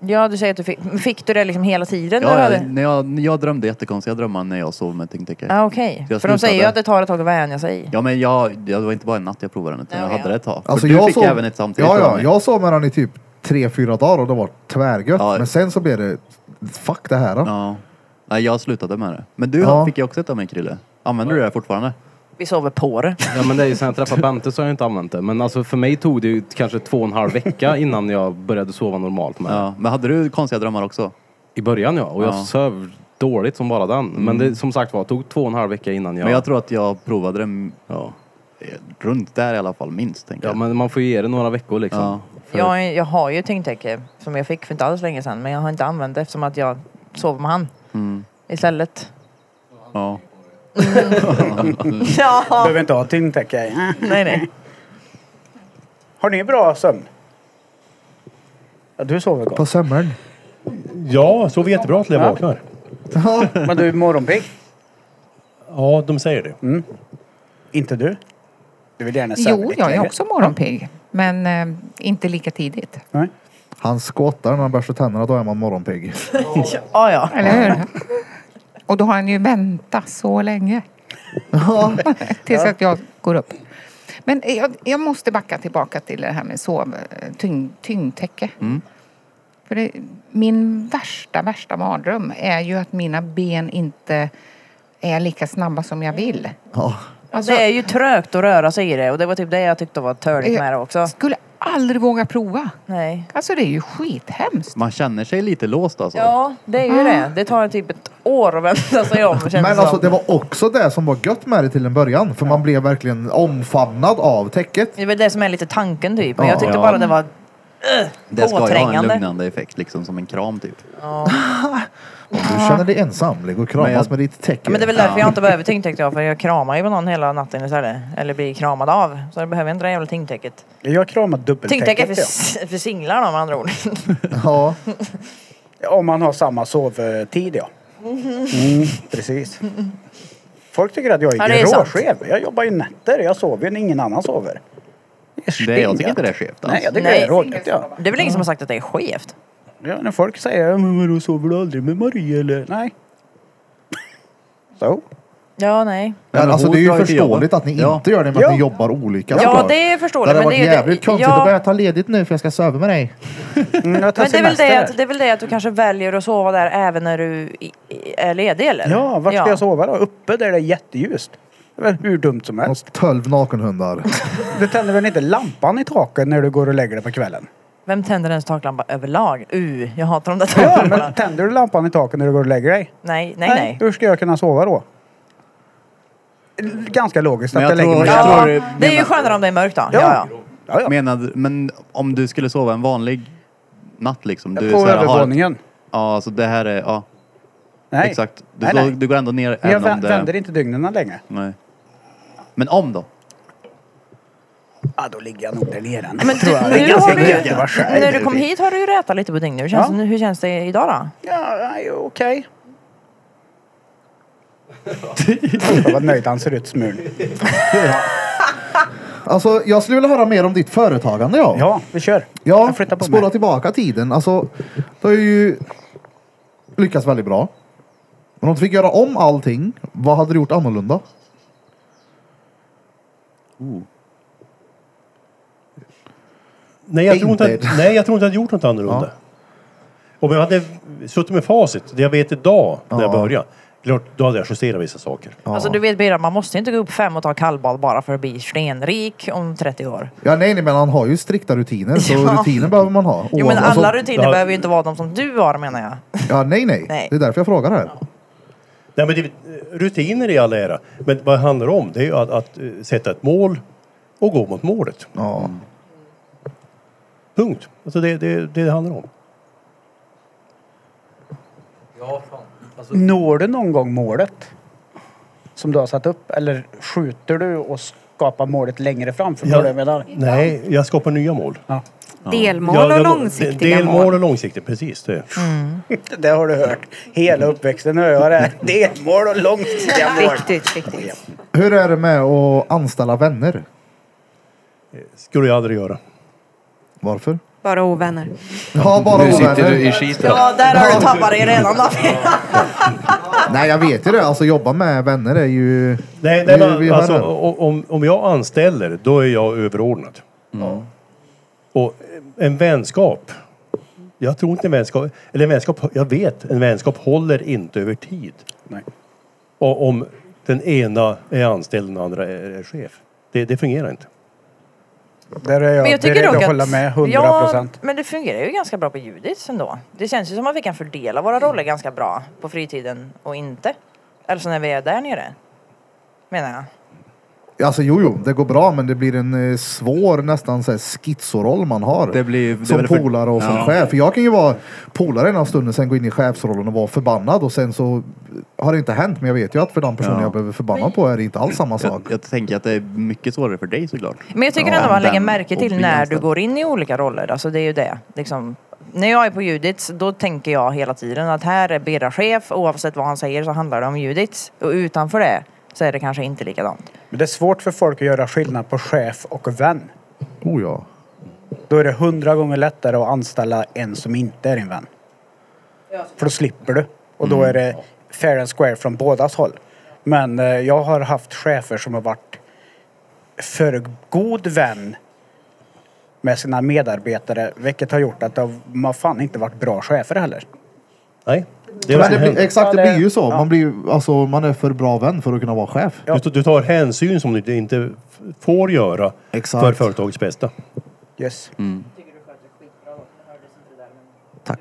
S2: Ja, du säger att du fick, fick du det liksom hela tiden? när du
S9: Ja,
S2: hade-
S9: jag, när jag, jag drömde jättekonstiga drömmar när jag sov med tyngdtäcke.
S2: Ja, okej.
S9: Så jag
S2: För de säger ju
S9: slutade.
S2: att det tar ett tag att vänja sig.
S9: Ja men jag, jag, det var inte bara en natt jag provade den utan jag hade det ett tag. För
S1: Alltså,
S9: du
S1: jag
S9: fick
S1: sov,
S9: även ett samtidigt
S1: Ja,
S9: av
S1: ja.
S9: mig.
S1: Jag sov med den i typ tre, fyra dagar och det var tvärgött. Men sen så blev det, fuck det här då.
S9: Ja. Nej jag slutade med det. Men du
S1: Ja.
S9: fick ju också ett av mig Krille. Använder du det fortfarande?
S2: Vi sover på det.
S11: Ja men det är ju sen jag träffade Bente så har jag inte använt det. Men alltså för mig tog det ju kanske två och en halv vecka innan jag började sova normalt med
S9: Ja. Men hade du konstiga drömmar också?
S11: I början ja, och jag
S9: Ja.
S11: söv dåligt som bara den. Men
S9: Mm.
S11: det, som sagt var, tog två och en halv vecka innan jag...
S9: Men jag tror att jag provade det ja. runt där i alla fall minst. Tänker
S11: Ja
S9: jag.
S11: men man får ju ge det några veckor liksom.
S9: Ja.
S11: För-
S2: Jag, har ju- jag har ju tyngdtäcke som jag fick för inte alls länge sedan men jag har inte använt det eftersom att jag sover med han
S9: Mm.
S2: istället.
S9: Ja.
S2: Ja.
S3: Behöver inte ha tyngdtäcke.
S2: Nej, nej.
S3: Har ni bra sömn? Ja, du sover gott.
S1: På sömmern.
S8: Ja, så jättebra till jag
S3: Ja.
S8: vaknar.
S3: Men du är morgonpigg.
S8: Ja, de säger det.
S3: Mm. Inte du? Du vill gärna söva
S7: Jo,
S3: lite
S7: jag är
S3: längre.
S7: också morgonpigg. Men eh, inte lika tidigt.
S1: Han skottar när han borstar tänderna, då är man morgonpigg.
S2: Ja, ja.
S7: Eller hur? Och då har han ju väntat så länge. Tills att jag går upp. Men jag, jag måste backa tillbaka till det här med sov, tyng, tyngdtäcke.
S2: Mm.
S7: För det, min värsta, värsta mardröm är ju att mina ben inte är lika snabba som jag vill. Alltså-
S2: det är ju trögt att röra sig i det och det var typ det jag tyckte var törligt med det också.
S7: Skulle aldrig våga prova.
S2: Nej.
S7: Alltså det är ju skithemskt.
S9: Man känner sig lite låst alltså.
S2: Ja, det är ju det. Det tar typ ett år att vända sig om känns
S1: Men
S2: som.
S1: alltså det var också det som var gött med det till en början. För man blev verkligen omfamnad av täcket.
S2: Det är väl det som är lite tanken typ. Men
S1: Ja.
S2: jag tyckte
S1: Ja.
S2: bara det var uh,
S9: Det ska ju ha en
S2: påträngande.
S9: lugnande effekt liksom som en kram typ.
S2: Ja.
S1: Om du känner dig ensam, ligg och kramas
S9: Men jag-
S1: med ditt täcke.
S2: Ja, men det är väl därför jag inte behöver tyngdtäcket jag, för jag kramar ju på någon hela natten istället. Eller blir kramad av. Så jag behöver inte det jävla tyngdtäcket.
S3: Jag kramar dubbeltäcket.
S2: Tyngdtäcke är för, för singlar då med andra ord.
S1: Ja.
S3: ja. Om man har samma sovtid ja. Mm, precis. Folk tycker att jag
S2: Ja, det
S3: är
S2: är sant.
S3: råskev. Jag jobbar ju nätter. Jag sover ju när ingen annan sover.
S9: Det, jag tycker inte det är skevt
S3: Nej, jag
S9: alls.
S3: tycker
S2: Nej.
S3: det är rådigt ja. Mm.
S2: Det är väl ingen som har sagt att det är skevt?
S3: ja. När folk säger "Ja, men vadå sover du aldrig med Marie eller? Nej. Så.
S2: Ja, nej.
S1: Ja,
S9: men
S1: alltså,
S9: hon
S1: det är ju
S9: drar inte
S1: förståeligt
S9: jobba.
S1: att ni
S9: Ja.
S1: inte gör det med att
S3: Ja.
S1: ni jobbar olika.
S2: Ja,
S1: såklart.
S2: det är förståeligt,
S1: Det hade
S2: men
S1: varit
S2: det är ju det-
S1: jävligt konstigt
S2: ja.
S1: att börja ta ledigt nu för jag ska söva med dig.
S3: Mm, jag tar
S2: Men det är, väl det,
S3: semester.
S2: att, det är väl det att du kanske väljer att sova där även när du i- i- är ledig eller?
S3: Ja, vart ska jag sova då? Uppe där det är jätteljust. Det är väl hur dumt som helst.
S1: Och tolv nakenhundar.
S3: Du tänder väl inte lampan i taket när du går och lägger dig på kvällen?
S2: Vem tänder ens taklampa överlag? Uh, jag hatar de där
S3: Ja,
S2: taklamporna.
S3: men tänder du lampan i taket när du går och lägger dig?
S2: Nej, nej, nej.
S3: Hur ska jag kunna sova då? Ganska logiskt att
S4: Men
S3: jag,
S4: jag
S3: lägger
S4: tror-
S3: mig.
S4: jag
S3: Ja.
S4: tror-
S2: Det är ju skönare om det är mörkt då. Ja, ja.
S4: Menad, men om du skulle sova en vanlig natt liksom. Du
S3: På
S4: så här har-
S3: övervåningen.
S4: Ja, alltså det här är, ja.
S3: Nej.
S4: Exakt. Du,
S3: Nej,
S4: slår-
S3: nej.
S4: du går ändå ner
S3: Men jag
S4: även
S3: vä-
S4: om det...
S3: vänder inte dygnen längre.
S4: Nej. Men om då?
S3: Ja, då ligger jag nog där nere. ändå,
S2: Men du,
S3: tror jag. Det är
S2: nu
S3: ganska
S2: har du
S3: gött att vara
S2: ju,
S3: själv.
S2: när du kom hit har du ju rätat lite på dygnet. Hur känns,
S3: Ja.
S2: det- hur känns det idag då?
S3: Ja, nej, okej. Fan, Vad nöjd han ser ut Smul.
S1: Alltså, jag skulle vilja höra mer om ditt företagande. Ja,
S3: ja vi kör.
S1: Ja, spola tillbaka tiden. Alltså, du har ju lyckats väldigt bra. Men om du fick göra om allting, vad hade du gjort annorlunda?
S8: Nej jag, tror inte
S1: Inte.
S8: att, nej, jag tror inte jag hade gjort något annorlunda. Om jag hade suttit med facit, det jag vet idag när jag började, klart, då hade jag justerat vissa saker.
S2: Alltså du vet Birra, man måste inte gå upp fem och ta kallbad bara för att bli stenrik om 30 år.
S1: Ja, nej, nej, men han har ju strikta rutiner, så
S2: Ja.
S1: rutiner behöver man ha.
S2: Jo men
S1: Oavsett- alltså-
S2: alla rutiner behöver ju inte vara de som du har menar jag.
S1: Ja, nej, nej,
S2: Nej.
S1: Det är därför jag frågar här.
S8: Nej, men det, rutiner i all ära, men vad det handlar om det är ju att, att eh, sätta ett mål och gå mot målet. Punkt. Alltså det är det, det det handlar om.
S11: Alltså-
S3: Når du någon gång målet som du har satt upp eller skjuter du och skapar målet längre framför?
S8: Ja.
S3: Ja. Jag menar?
S8: Nej, jag skapar nya mål.
S6: Delmål
S8: Ja,
S6: och
S8: jag-
S6: långsiktiga
S8: delmål
S6: mål.
S8: och långsiktiga, precis det.
S3: Mm. Det där har du hört. Hela uppväxten har jag hört det här. Delmål och långsiktiga mål.
S6: Viktigt, viktigt.
S1: Hur är det med att anställa vänner?
S3: Eh,
S8: Skulle jag aldrig göra.
S1: Varför?
S6: Bara ovänner.
S1: Ja, bara
S5: Nu sitter
S1: ovänner.
S5: du i skiten.
S2: Ja, där har du tappat dig redan då.
S1: Nej, jag vet ju det. Alltså, jobba med vänner är ju...
S8: Nej,
S1: det är
S8: nej
S1: ju-
S8: men,
S1: vi har
S8: alltså,
S1: det.
S8: o- om, om jag anställer, då är jag överordnad. Och en vänskap. Jag tror inte en vänskap, eller en vänskap, jag vet, en vänskap håller inte över tid.
S3: Nej.
S8: Och om den ena är anställd och den andra är, är chef. Det, det fungerar inte.
S3: Där är jag,
S2: Men jag tycker
S3: beredd
S2: dock
S3: att
S2: att...
S3: hålla med 100
S2: Ja,
S3: procent.
S2: men det fungerar ju ganska bra på Judits ändå. Det känns ju som att vi kan fördela våra roller ganska bra på fritiden och inte. Eller så när vi är där nere. Menar jag.
S1: Alltså jo, jo, det går bra men det blir en eh, svår nästan så här, schizoroll man har.
S4: Det blir- det
S1: som
S4: blir för-
S1: polare och som
S4: Ja.
S1: chef. För jag kan ju vara polare ena stunden, sen gå in i chefsrollen och vara förbannad och sen så har det inte hänt. Men jag vet ju att för den personen
S4: Ja.
S1: jag behöver förbanna på är det inte alls samma sak.
S4: Jag, jag tänker att det är mycket svårare för dig såklart.
S2: Men jag tycker
S4: Ja,
S2: ändå man lägger
S4: den
S2: märke
S4: och
S2: till
S4: bli
S2: när du
S4: anställd.
S2: går in i olika roller. Alltså det är ju det. Liksom, när jag är på Judits, då tänker jag hela tiden att här är Birra chef. Oavsett vad han säger så handlar det om Judits. Och utanför det så är det kanske inte likadant.
S3: Men det är svårt för folk att göra skillnad på chef och vän.
S1: Oh ja.
S3: Då är det hundra gånger lättare att anställa en som inte är din vän. För då slipper du. Och
S1: Mm.
S3: då är det fair and square från bådas håll. Men eh, jag har haft chefer som har varit för god vän med sina medarbetare, vilket har gjort att de har fan inte varit bra chefer heller.
S8: Nej. Det är
S1: Men
S8: vad som
S1: det blir,
S8: händer.
S1: exakt, det
S3: Ja, det-
S1: blir ju så.
S3: ja.
S1: Man, blir, ju- alltså, man är för bra vän för att kunna vara chef.
S3: Ja.
S8: Du, du tar hänsyn som du inte f- får göra
S1: Exakt.
S8: för företagets bästa.
S3: Yes.
S9: Tack.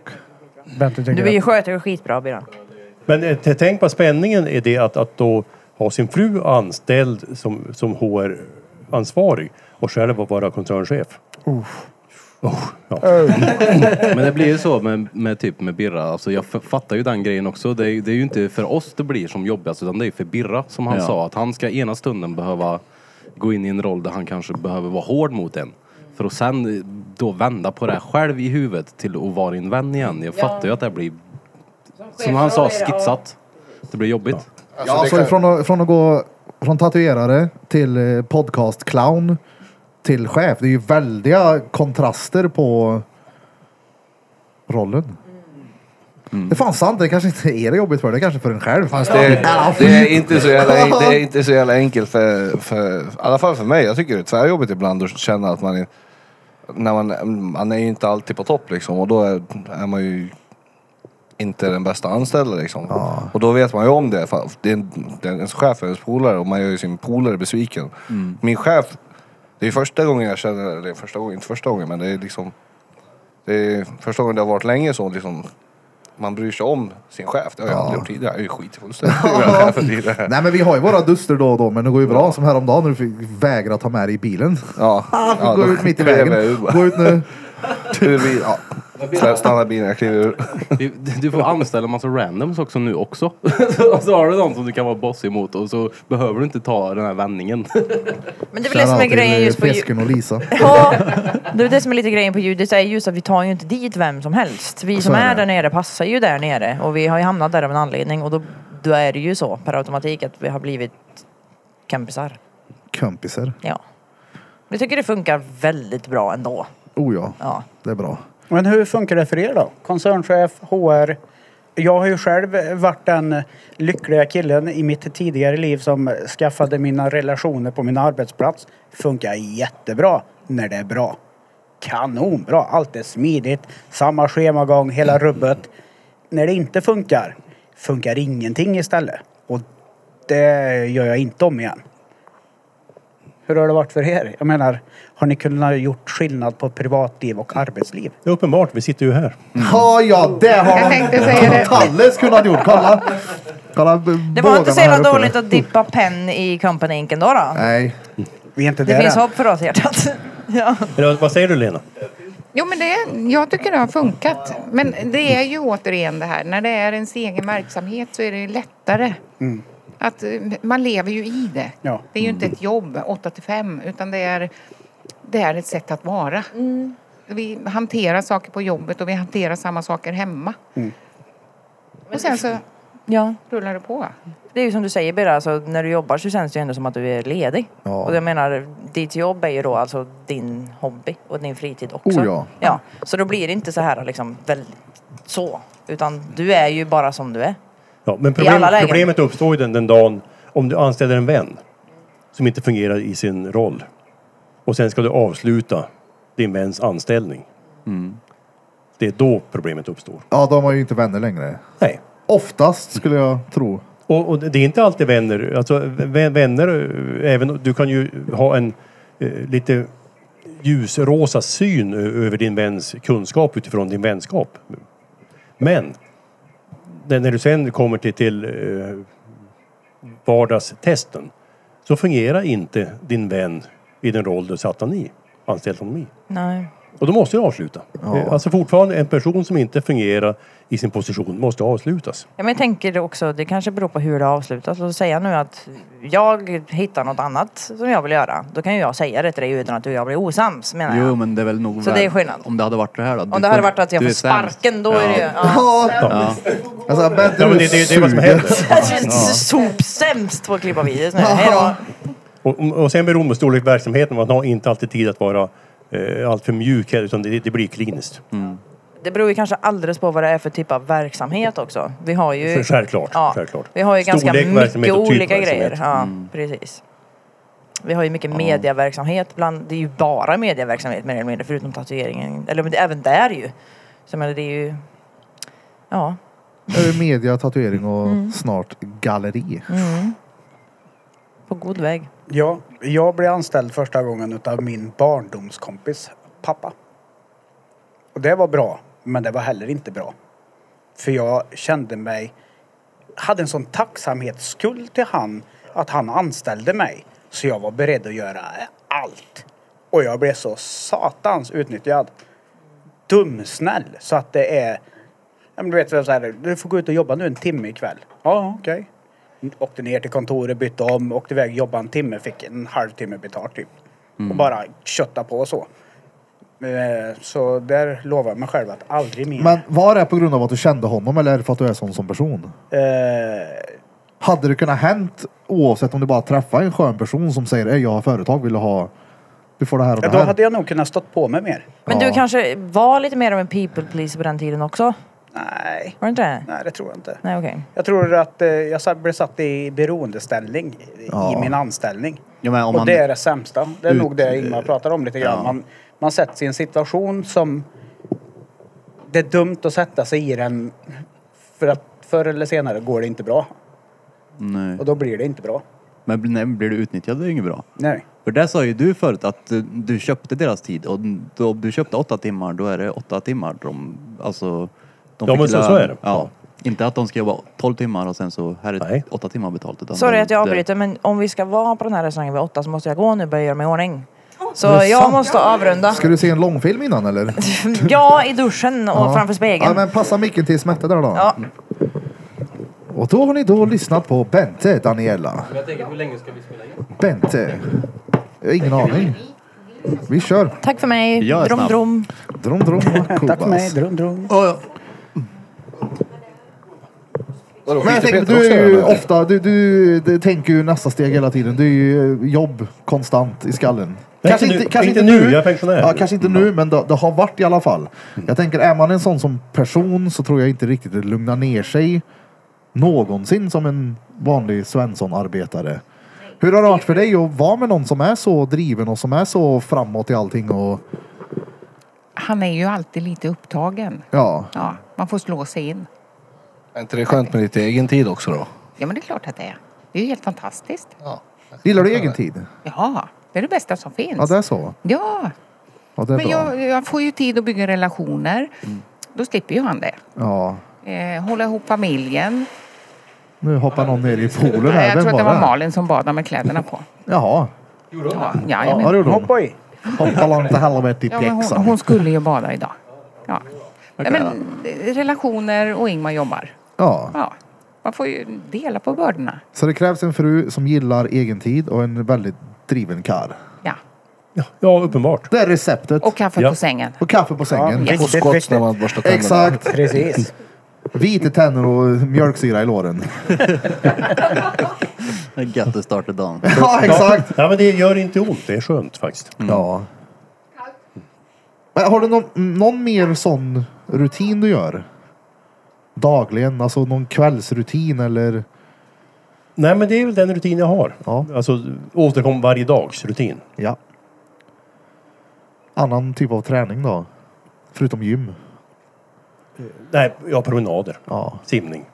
S3: Bente tycker
S2: Du är ju
S3: att-
S2: sköter det skitbra Birra.
S8: Men eh, t- tänk på spänningen i det att, att då ha sin fru anställd som, som HR-ansvarig och själv vara koncernchef. Oh, ja.
S11: Men det blir ju så med, med typ med Birra. Alltså jag f- fattar ju den grejen också. Det är, det är ju inte för oss det blir som jobbigast utan det är för Birra som han
S4: Ja.
S11: sa. Att han ska ena stunden behöva gå in i en roll där han kanske behöver vara hård mot en. För att sen eh, då vända på det här själv i huvudet till att vara din vän igen. Jag fattar ju att det blir, som han sa, skitsat. Det blir jobbigt.
S5: Alltså,
S1: Ja,
S5: det
S1: alltså
S5: kan-
S1: från, att, från att gå från tatuerare till eh, podcast-clown till chef. Det är ju väldiga kontraster på rollen. Det är fan sant, det kanske inte är det jobbigt för dig, det kanske är för en själv.
S5: Mm. Fast det, det, är inte så jävla, det är inte så jävla enkelt för, för, i alla fall för mig. Jag tycker det är tvärjobbigt ibland att känna att man, är- när man, man är ju inte alltid på topp liksom och då är, är man ju inte är den bästa anställda liksom. Och då vet man ju om det. För det är en, det är ens chef är ens polare och man gör ju sin polare besviken.
S15: Mm.
S5: Min chef, det är första gången jag känner, eller det är första gången, inte första gången men det är liksom det är första gången det har varit länge så liksom man bryr sig om sin chef. Det har jag aldrig gjort tidigare. Jag är ju skit i fullständigt. i mina chefer tidigare.
S1: Nej men vi har ju våra duster då och då, men det går ju bra. Som häromdagen när du fick vägra ta med dig i bilen.
S5: Ja.
S1: Han Ah, får gå ut mitt i vägen. Gå ut nu.
S5: Ur, ja. Slä- Stanna bilen, jag kliver ur.
S11: Du, du får anställa en massa randoms också nu också. Och så har du någon som du kan vara boss emot och så behöver du inte ta den här vändningen.
S2: Men det är väl det som är grejen just
S11: eh,
S2: på ju-
S1: Fesken och Lisa.
S2: Ja, det är det som är lite grejen på ljudet är just att vi tar ju inte dit vem som helst. Vi
S1: Så
S2: som
S1: är
S2: är
S1: det.
S2: där nere passar ju där nere och vi har ju hamnat där av en anledning och då, då är det ju så per automatik att vi har blivit kompisar.
S1: Kompisar.
S2: Ja. Jag tycker det funkar väldigt bra ändå.
S1: Oh ja.
S2: Ja.
S1: Det är bra.
S3: Men hur funkar det för er då? Koncernchef, HR. Jag har ju själv varit den lyckliga killen i mitt tidigare liv som skaffade mina relationer på min arbetsplats. Funkar jättebra när det är bra. Kanonbra! Allt är smidigt, samma schemagång, hela rubbet. När det inte funkar, funkar ingenting istället. Och det gör jag inte om igen. Hur har det varit för er? Jag menar, har ni kunnat gjort skillnad på privatliv och arbetsliv?
S8: Det är uppenbart, vi sitter ju här.
S1: Ja, ja, det
S3: Jag
S1: har
S3: tänkte säga det.
S1: de Talles kunnat gjort. Kolla. Kolla
S2: Det
S1: b-
S2: var inte
S1: bågarna
S2: så jävla
S1: här uppe.
S2: dåligt att dippa penn i company inken då. då.
S1: Nej.
S3: Vi är inte
S2: Det finns hopp för oss hjärtat. Ja.
S8: Eller, vad säger du Lena?
S7: Jo, men det, jag tycker det har funkat. Men det är ju återigen det här, när det är ens egen verksamhet så är det lättare.
S3: Mm.
S7: Att eh, man lever ju i det.
S3: Ja.
S7: Det är ju inte ett jobb 8 till 5 utan det är, det är ett sätt att vara. Vi hanterar saker på jobbet och vi hanterar samma saker hemma.
S3: Mm.
S7: Och sen så
S2: Ja.
S7: rullar det på.
S2: Det är ju som du säger Birra, alltså, när du jobbar så känns det ju ändå som att du är ledig.
S1: Ja.
S2: Och jag menar, ditt jobb är ju då alltså din hobby och din fritid också.
S1: Oh, ja.
S2: ja. Så då blir det inte så här liksom väldigt så. Utan du är ju bara som du är.
S8: Ja, men
S2: I
S8: problem,
S2: alla lägen.
S8: problemet uppstår ju den, den dagen om du anställer en vän som inte fungerar i sin roll och sen ska du avsluta din väns anställning.
S1: Mm.
S8: Det är då problemet uppstår.
S1: Ja, de var ju inte vänner längre.
S8: Nej.
S1: Oftast skulle jag tro.
S8: Och, och det är inte alltid vänner. Alltså, vä- vänner, eh, även, du kan ju ha en eh, lite ljusrosa syn ö- över din väns kunskap utifrån din vänskap. Men när när du sen kommer till, till eh, vardagstesten så fungerar inte din vän i den roll du satt han i, anställd honom i.
S2: Nej.
S8: Och då måste du avsluta. Eh, Alltså fortfarande en person som inte fungerar i sin position måste avslutas.
S2: Ja, men jag tänker också, det kanske beror på hur det avslutas. Låt oss säga nu att jag hittar något annat som jag vill göra. Då kan ju jag säga det till dig utan att du och jag blir osams menar jag.
S4: Jo men det är väl nog
S2: Så
S4: väl-
S2: det är skillnad.
S4: Om det hade varit det här då. Du
S2: Om det
S4: får-
S2: hade varit att jag
S4: du
S2: får
S4: är sämst.
S2: sparken då är det ju...
S1: Ja.
S4: Ja.
S1: Alltså, bättre
S8: Ja, men det, det, det är vad som händer.
S7: Alltså,
S2: Ja. Sopsämst på att klippa videos nu. Hejdå.
S8: Och, och sen beror det på storlek på verksamheten. Man har inte alltid tid att vara eh, alltför mjuk här, utan det, det blir kliniskt.
S7: Mm.
S2: Det beror ju kanske alldeles på vad det är för typ av verksamhet också. Vi har ju...
S8: För- självklart,
S2: Ja,
S8: självklart.
S2: Vi har ju ganska
S8: Storlek,
S2: mycket
S8: verksamhet och typ
S2: olika
S8: verksamhet. Mm.
S2: grejer. Ja, precis. Vi har ju mycket mediaverksamhet. Bland, det är ju bara mediaverksamhet mer eller mindre, förutom tatueringen. Eller men det, även där ju. Så jag menar, det är ju... Ja.
S1: Det är ju media, tatuering och
S2: Mm.
S1: snart galleri.
S2: Mm. På god väg.
S3: Ja, jag blev anställd första gången utav min barndomskompis pappa. Och det var bra, men det var heller inte bra. För jag kände mig, hade en sån tacksamhetsskuld till han att han anställde mig. Så jag var beredd att göra allt. Och jag blev så satans utnyttjad. Dumsnäll, så att det är... ja, men Du vet, så här, du får gå ut och jobba nu en timme ikväll. Ja, okej. Åkte ner till kontoret, bytte om, åkte iväg och jobbade en timme, fick en halvtimme betalt typ. Och bara kötta på och så. Eh, Så där lovar jag mig själv att aldrig mer.
S1: Men var det på grund av att du kände honom eller är det för att du är sån som person?
S3: Eh,
S1: Hade det kunnat hänt oavsett om du bara träffar en skön person som säger "Ey, jag har företag, vill du ha, du får det här och
S3: ja,
S1: det
S3: då
S1: här.
S3: hade jag nog kunnat stått på mig mer.
S2: Men du kanske var lite mer av en people pleaser på den tiden också?
S3: Nej.
S2: Var du inte det?
S3: Nej, det tror jag inte.
S2: Nej, okej.
S3: Jag tror att eh, jag sa- blev satt i beroendeställning i-
S4: Ja.
S3: i min anställning.
S4: Ja, men om
S3: och
S4: man-
S3: det är det sämsta. Det är
S4: Ut-
S3: nog det Ingmar pratar om lite grann.
S4: Ja.
S3: Man, man sätts i en situation som det är dumt att sätta sig i den För att förr eller senare går det inte bra.
S4: Nej.
S3: Och då blir det inte bra.
S4: Men bl- nej, blir du utnyttjad det är inget bra.
S3: Nej.
S4: För det sa ju du förut att eh, du köpte deras tid och då du köpte åtta timmar då är det åtta timmar de, alltså,
S8: Ja,
S4: de fick
S8: men så-
S4: lön.
S8: så är det.
S4: Ja. Inte att de ska jobba 12 timmar och sen så här är åtta timmar betalt. Utan
S2: Sorry
S4: det-
S2: att jag
S4: det-
S2: avbryter men om vi ska vara på den här restaurangen vid åtta så måste jag gå nu och börja göra mig i ordning. Så
S1: Men
S2: jag
S1: sant.
S2: måste avrunda.
S1: Ska du se en långfilm innan eller? och
S2: Ja, i duschen och framför spegeln.
S1: Ja, men passa micken till Smette där då.
S2: Ja.
S1: Och då har ni då lyssnat på Bente, Daniela.
S16: Jag tänker, hur länge ska vi spela in?
S1: Bente. Jag har ingen aning. Vi kör.
S2: Tack för mig.
S1: Jag är
S2: Drom
S1: snabb.
S2: drom.
S1: Drom drom
S3: Tack för mig. Drum, drum.
S5: Vadå,
S1: Men jag
S5: skiter
S1: tänker,
S5: Peter
S1: du
S5: också i
S1: är
S5: den
S1: ju
S5: här?
S1: ofta, du, du, du tänker ju nästa steg hela tiden. Du är ju eh, jobb konstant i skallen.
S8: Nej, inte nu. Inte nu, jag är pensionär.
S1: Ja, kanske inte nu, men det, det har varit i alla fall. Jag tänker, är man en sån som person så tror jag inte riktigt det lugnar ner sig någonsin som en vanlig Svensson-arbetare. Hur har det varit för dig att vara med någon som är så driven och som är så framåt i allting? Och,
S7: Han är ju alltid lite upptagen.
S1: ja.
S7: Ja, man får slå sig in.
S5: Är inte det skönt med lite egen tid också då?
S7: Ja, men det är klart att det är. Det är ju helt fantastiskt.
S5: Ja,
S1: Gillar du egen tid?
S7: Ja, det är det bästa som finns.
S1: Ja, det är så.
S7: Ja,
S1: Ja, det är
S7: men
S1: bra. Mm.
S7: jag, jag får ju tid att bygga relationer. Då slipper ju han det.
S1: Ja.
S7: Eh, hålla ihop familjen.
S1: Nu hoppar någon ner i poolen
S7: Nej,
S1: här.
S7: jag
S1: Vem
S7: tror att det var
S1: det?
S7: Malin som badade med kläderna på.
S1: Jaha.
S7: Ja,
S1: Ja,
S7: ja,
S1: det gjorde hon. Hoppa
S3: i.
S1: Hoppa långt till helvete i
S7: Ja, men hon,
S1: pjäxan.
S7: hon skulle ju bada idag. Ja. Nej,
S1: Okej.
S7: men, eh, relationer och Ingmar jobbar.
S1: Ja.
S7: Ja. Man får ju dela på bördorna.
S1: Så det krävs en fru som gillar egen tid och en väldigt driven karl.
S7: Ja.
S8: Ja, uppenbart.
S1: Det är receptet.
S7: Och kaffe
S1: Ja.
S7: på sängen.
S1: Och kaffe på sängen.
S7: Ja, yes. Och skott när man borstar tänderna.
S1: Exakt.
S7: Precis.
S1: Vita tänder och mjölksyra i låren.
S4: Gött att starta dagen.
S1: Ja, exakt.
S8: Ja, men det gör inte ont. Det är skönt faktiskt.
S1: Ja. Men Har du någon, någon mer sån rutin du gör? Dagligen? Alltså någon kvällsrutin eller?
S8: Nej, men det är väl den rutin jag har.
S1: Ja.
S8: Alltså återkom varje dags rutin.
S1: Ja. Annan typ av träning då? Förutom gym?
S8: Nej, ja, promenader.
S1: Ja.
S8: Simning.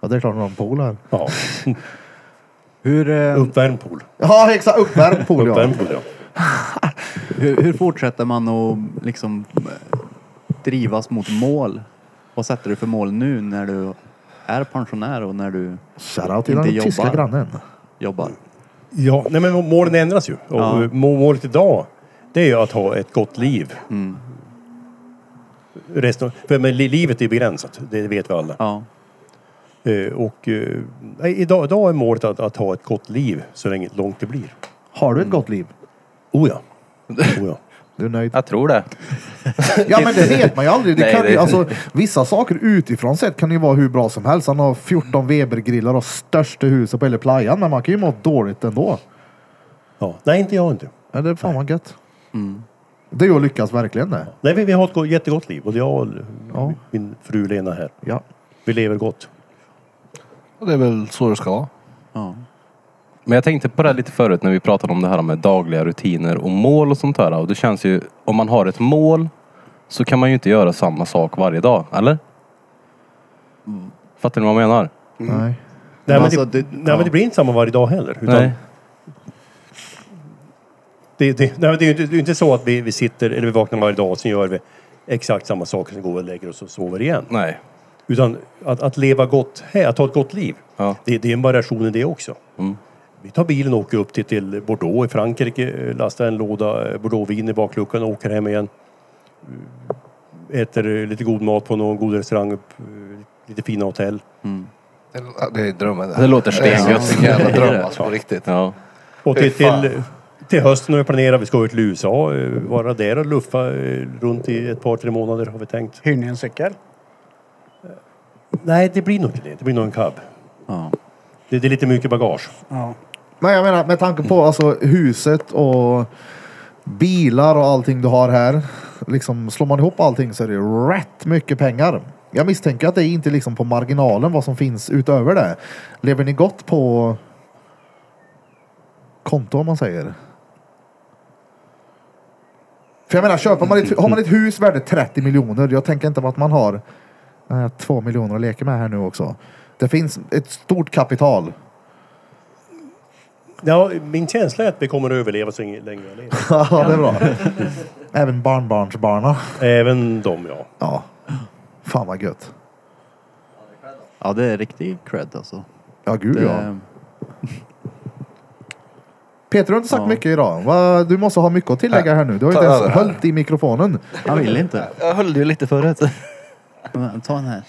S1: Ja, det är klart någon pool här.
S8: Ja.
S4: Hur,
S8: Uppvärmd pool.
S1: Ja, exakt. Uppvärmd pool, ja.
S8: Uppvärmd pool, ja.
S4: Hur, hur fortsätter man att liksom eh, drivas mot mål? Vad sätter du för mål nu när du är pensionär och när du
S1: Shoutout till den tyska grannen.
S4: Jobbar.
S8: Ja, nej men målen ändras ju. Och
S4: Ja.
S8: eh, må- målet idag, det är ju att ha ett gott liv.
S11: Mm.
S8: Resten, för men li- livet är begränsat, det vet vi alla. Eh, och eh, nej, idag, idag är målet att, att ha ett gott liv, så länge långt det blir.
S1: Har du ett gott liv?
S8: Oh ja. Oh ja.
S1: Du är nöjd?
S11: Jag tror det.
S1: Ja men det vet man ju aldrig. Det
S11: Nej,
S1: kan ju,
S11: det-
S1: alltså, vissa saker utifrån sett kan ju vara hur bra som helst. Han har 14 Webergrillar och största huset på hela playan. Men man kan ju må dåligt ändå.
S8: Ja. Nej, inte jag inte.
S1: Ja, det är fan vad gött. Det är ju att lyckas verkligen det.
S8: Nej, vi, vi har ett go- jättegott liv, både jag och l-
S1: Ja.
S8: min fru Lena här.
S1: Ja.
S8: Vi lever gott.
S5: Och det är väl så det ska vara.
S11: Men jag tänkte på det här lite förut när vi pratade om det här med dagliga rutiner och mål och sånt där. Och det känns ju, om man har ett mål så kan man ju inte göra samma sak varje dag, eller? Fattar ni vad jag menar?
S1: Nej.
S8: Mm. Nej, men,
S11: Alltså,
S8: det,
S11: det-
S8: nej
S11: ja.
S8: men det blir inte samma varje dag heller. Utan
S11: Nej.
S8: Det, det, nej, men det är ju inte, det är ju inte så att vi, vi sitter eller vi vaknar varje dag och sen gör vi exakt samma saker, sen går vi och lägger oss och sover igen.
S11: Nej.
S8: Utan att, att leva gott här, att ha ett gott liv, det, det är en variation i det också. Vi tar bilen och åker upp till, till Bordeaux i Frankrike, eh, lastar en låda eh, Bordeauxvin i bakluckan och åker hem igen. Eh, Äter eh, lite god mat på någon god restaurang, upp, eh, lite fina hotell.
S5: Ja, Det är drömmen
S8: Det låter stengött.
S5: Det är en jävla dröm alltså,
S8: Ja.
S5: på riktigt.
S8: Och
S5: Fy
S8: till,
S5: fan.
S8: till, till hösten har vi planerat, vi ska ut till USA, eh, vara där och luffa eh, runt i ett par, tre månader har vi tänkt.
S3: Hyr ni en cykel?
S8: Nej, det blir nog inte det. Det blir nog en cab. Det, det är lite mycket bagage.
S3: Ja.
S1: Men jag menar med tanke på alltså, huset och bilar och allting du har här. Liksom, slår man ihop allting så är det rätt mycket pengar. Jag misstänker att det är inte liksom på marginalen vad som finns utöver det. Lever ni gott på konto om man säger? För jag menar, köper man ett, har man ett hus värde 30 miljoner, jag tänker inte på att man har eh, två miljoner att leka med här nu också. Det finns ett stort kapital.
S8: Ja, min känsla är att vi kommer att överleva så länge jag lever.
S1: ja, det är bra. Även barnbarnsbarna.
S8: Även de, ja.
S1: Ja. Fan vad gött.
S4: Ja, det är riktig cred alltså.
S1: Ja, gud
S4: det...
S1: ja. Peter du har inte sagt
S4: Ja.
S1: mycket idag. Va? Du måste ha mycket att tillägga här nu. Du har ju
S4: Ta
S1: inte ens
S4: över här.
S1: höllt i mikrofonen.
S4: Han vill inte. Jag höll ju lite förut. Ta den här.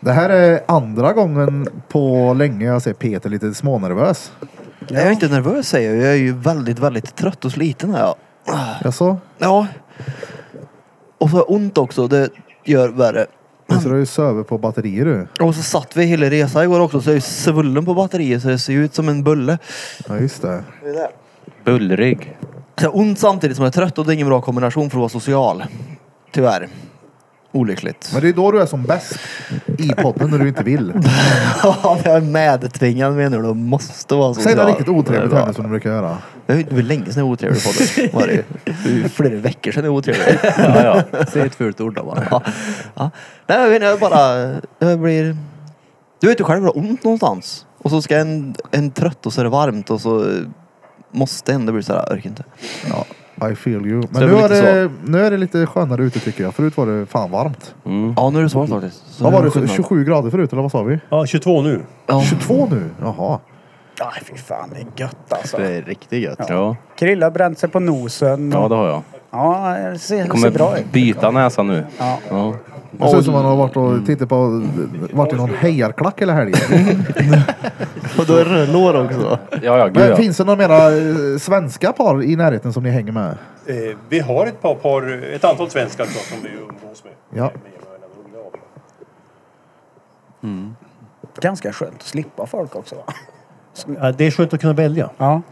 S1: Det här är andra gången på länge jag ser Peter lite smånervös.
S9: Jag är inte nervös säger jag. Jag är ju väldigt, väldigt trött och sliten är jag.
S1: Jaså?
S9: Ja. Och så har jag ont också. Det gör värre.
S1: Så du har ju sövit på batterier du.
S9: Och så satt vi hela resan igår också så jag är ju svullen på batteriet så det ser ju ut som en bulle.
S1: Ja just det.
S11: Bullrygg.
S9: Så jag har ont samtidigt som jag är trött och det är ingen bra kombination för att vara social. Tyvärr. Olyckligt.
S1: Men det är då du är som bäst. I podden när du inte vill.
S9: Ja, jag är medtvingad menar du. Måste vara social.
S1: Säg något riktigt otrevligt
S9: Det är
S1: här
S9: bra.
S1: nu som du brukar göra.
S9: Det är ju länge sedan jag var otrevlig på det. Var det ju. Det är ju flera veckor sedan jag var otrevlig.
S4: Ja, ja. Säg ett fult ord då bara.
S9: Ja. Ja. Nej, jag vet inte, jag bara... Jag blir... Du vet ju själv, jag har ont någonstans. Och så ska en, en trött och så är det varmt och så måste en. Det blir så här, jag orkar inte.
S1: I feel you.
S9: det
S1: Men
S9: är
S1: nu
S9: väl
S1: är,
S9: lite
S1: det, nu är det lite skönare ute tycker jag. Förut var det fan varmt.
S4: Mm.
S9: Ja, nu är det svårt faktiskt. Så
S1: Vad
S9: nu är
S1: var det?
S9: skillnad.
S1: 27 grader förut eller vad sa vi?
S8: Ja, 22 nu.
S1: 22 nu? Jaha.
S3: Nej, fy fan, det är gött alltså.
S4: Det är riktigt gött.
S11: Ja,
S3: Krilla har bränt sig på nosen.
S11: ja
S3: Och,
S11: det har jag.
S3: ja, det ser,
S11: Jag
S3: det ser bra ut.
S11: kommer byta näsa nu.
S3: Ja.
S11: Ja.
S1: Det ser ut som man har varit och tittat på, varit i någon
S8: Mm.
S1: hejarklack hela helgen.
S9: Och då är det lår också.
S11: Ja, ja, gud
S1: Men
S11: ja.
S1: finns det några mera eh, svenska par i närheten som ni hänger med?
S8: Eh, vi har ett par, par ett antal svenskar då, som vi umgås med.
S1: Ja.
S3: Ganska skönt att slippa folk också. Va?
S8: Ja, det är skönt att kunna välja.
S3: Ja.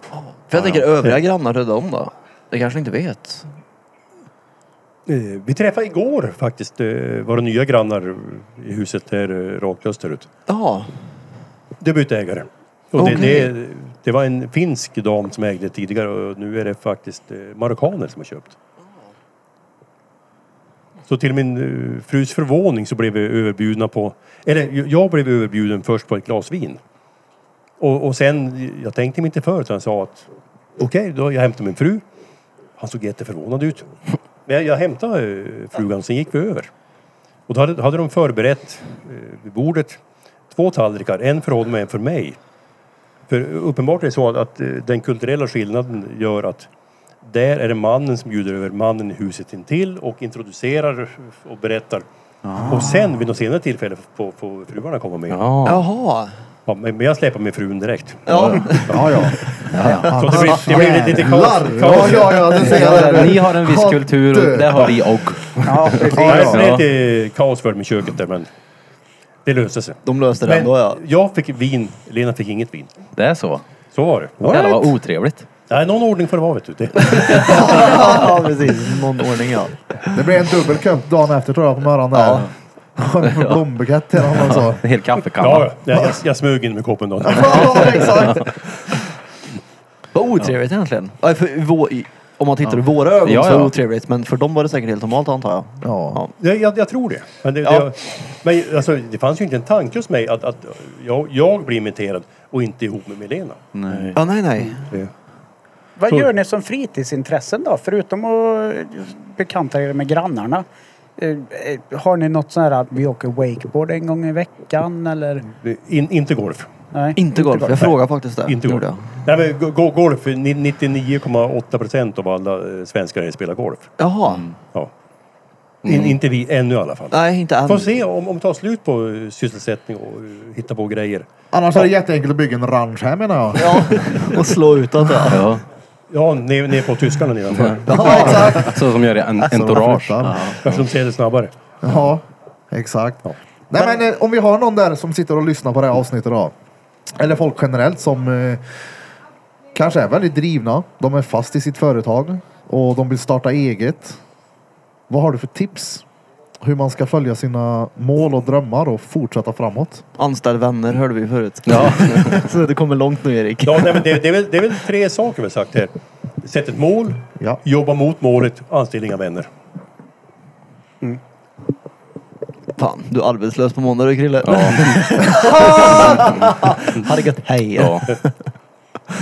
S9: För jag tänker övriga grannar till dem då? Det kanske ni inte vet.
S8: Eh, vi träffade igår faktiskt eh, våra nya grannar i huset där eh, rakt österut.
S9: Ja.
S8: Det bytte ägare. Och det,
S9: Okej.
S8: det, det var en finsk dam som ägde tidigare och nu är det faktiskt eh, marockaner som har köpt. Så till min eh, frus förvåning så blev vi överbjudna på, eller j- jag blev överbjuden först på ett glas vin. Och, och sen, jag tänkte mig inte för utan jag sa att okej, då jag hämtar min fru. Han såg jätteförvånad ut. Men jag, jag hämtade eh, frugan, sen gick vi över. Och då hade, hade de förberett eh, vid bordet två tallrikar, en för honom och en för mig. För uppenbart är det så att, att eh, den kulturella skillnaden gör att där är det mannen som bjuder över mannen i huset intill och introducerar och berättar. Och sen vid något senare tillfälle får, får fruarna komma med.
S9: Jaha.
S8: Ja, men men jag släpar med frun direkt.
S9: Ja.
S1: Ja, ja.
S8: Så det blir, det blir lite kaos.
S1: Ja, ja, ja, det ser jag. där.
S11: Ni har en viss kultur och det har vi också.
S3: Ja, precis.
S8: Ja, det är
S11: Ja.
S8: lite kaos för dem i köket där men det löser sig.
S9: De löste det
S8: Men
S9: ändå ja.
S8: jag fick vin, Lena fick inget vin.
S11: Det är så.
S8: Så var det.
S11: Jävlar vad otrevligt.
S8: Nej, någon ordning får det vara vet du. Det,
S9: ja, precis. Någon ordning ja.
S1: Det blev en dubbel köp dagen efter tror jag på morgonen där. Ja. Blombukett till honom också.
S11: En hel kaffekanna.
S8: ja, jag, jag, jag smög in med koppen då.
S1: Ja, exakt.
S9: Vad otrevligt egentligen. Ja, för, vå- i- om man tittar ur våra ögon
S11: Ja,
S9: så är det
S11: ja.
S9: otrevligt men för dem var det säkert helt normalt antar jag.
S1: Ja.
S8: Jag, jag, jag tror det. Men, det,
S9: Ja.
S8: det, men alltså, det fanns ju inte en tanke hos mig att, att jag, jag blir imiterad och inte ihop med Milena.
S9: Ja, nej nej.
S3: Vad gör ni som fritidsintressen då? Förutom att bekanta er med grannarna. Eh, eh, Har ni något sånt här att vi åker wakeboard en gång i veckan eller?
S8: In, inte golf.
S3: Nej.
S9: Inte golf. Jag frågar faktiskt det.
S8: Inte golf.
S9: Gjorde jag.
S8: Nej, men go- go- golf, ni- 99,8 procent av alla eh, svenskar spelar golf.
S9: Jaha.
S8: Ja. In, Inte vi ännu i alla fall.
S9: Mm. Nej inte än.
S8: Får se om, om vi tar slut på eh, sysselsättning och eh, hitta på grejer.
S1: Annars är det jätteenkelt att bygga en ranch här menar jag.
S9: Ja. Och slå ut allt det.
S11: Ja.
S8: Ja, ner, ner på tyskarna nedanför.
S11: Så som gör det en
S9: Alltså,
S11: entourage.
S1: Ja.
S8: Kanske de ser det snabbare.
S1: Ja, exakt. Nej, men, eh, om vi har någon där som sitter och lyssnar på det här avsnittet då. Eller folk generellt som eh, kanske är väldigt drivna. De är fast i sitt företag och de vill starta eget. Vad har du för tips? Hur man ska följa sina mål och drömmar och fortsätta framåt?
S9: Anställ vänner hörde vi förut. Ja. så det kommer långt nu Erik.
S8: Ja, nej, men det, det, är väl, det är väl tre saker vi har sagt här. Sätt ett mål,
S1: Ja.
S8: jobba mot målet, anställ inga vänner.
S9: Mm. Fan, du är arbetslös på måndag Krille. ha det gött, hej.
S1: Ja.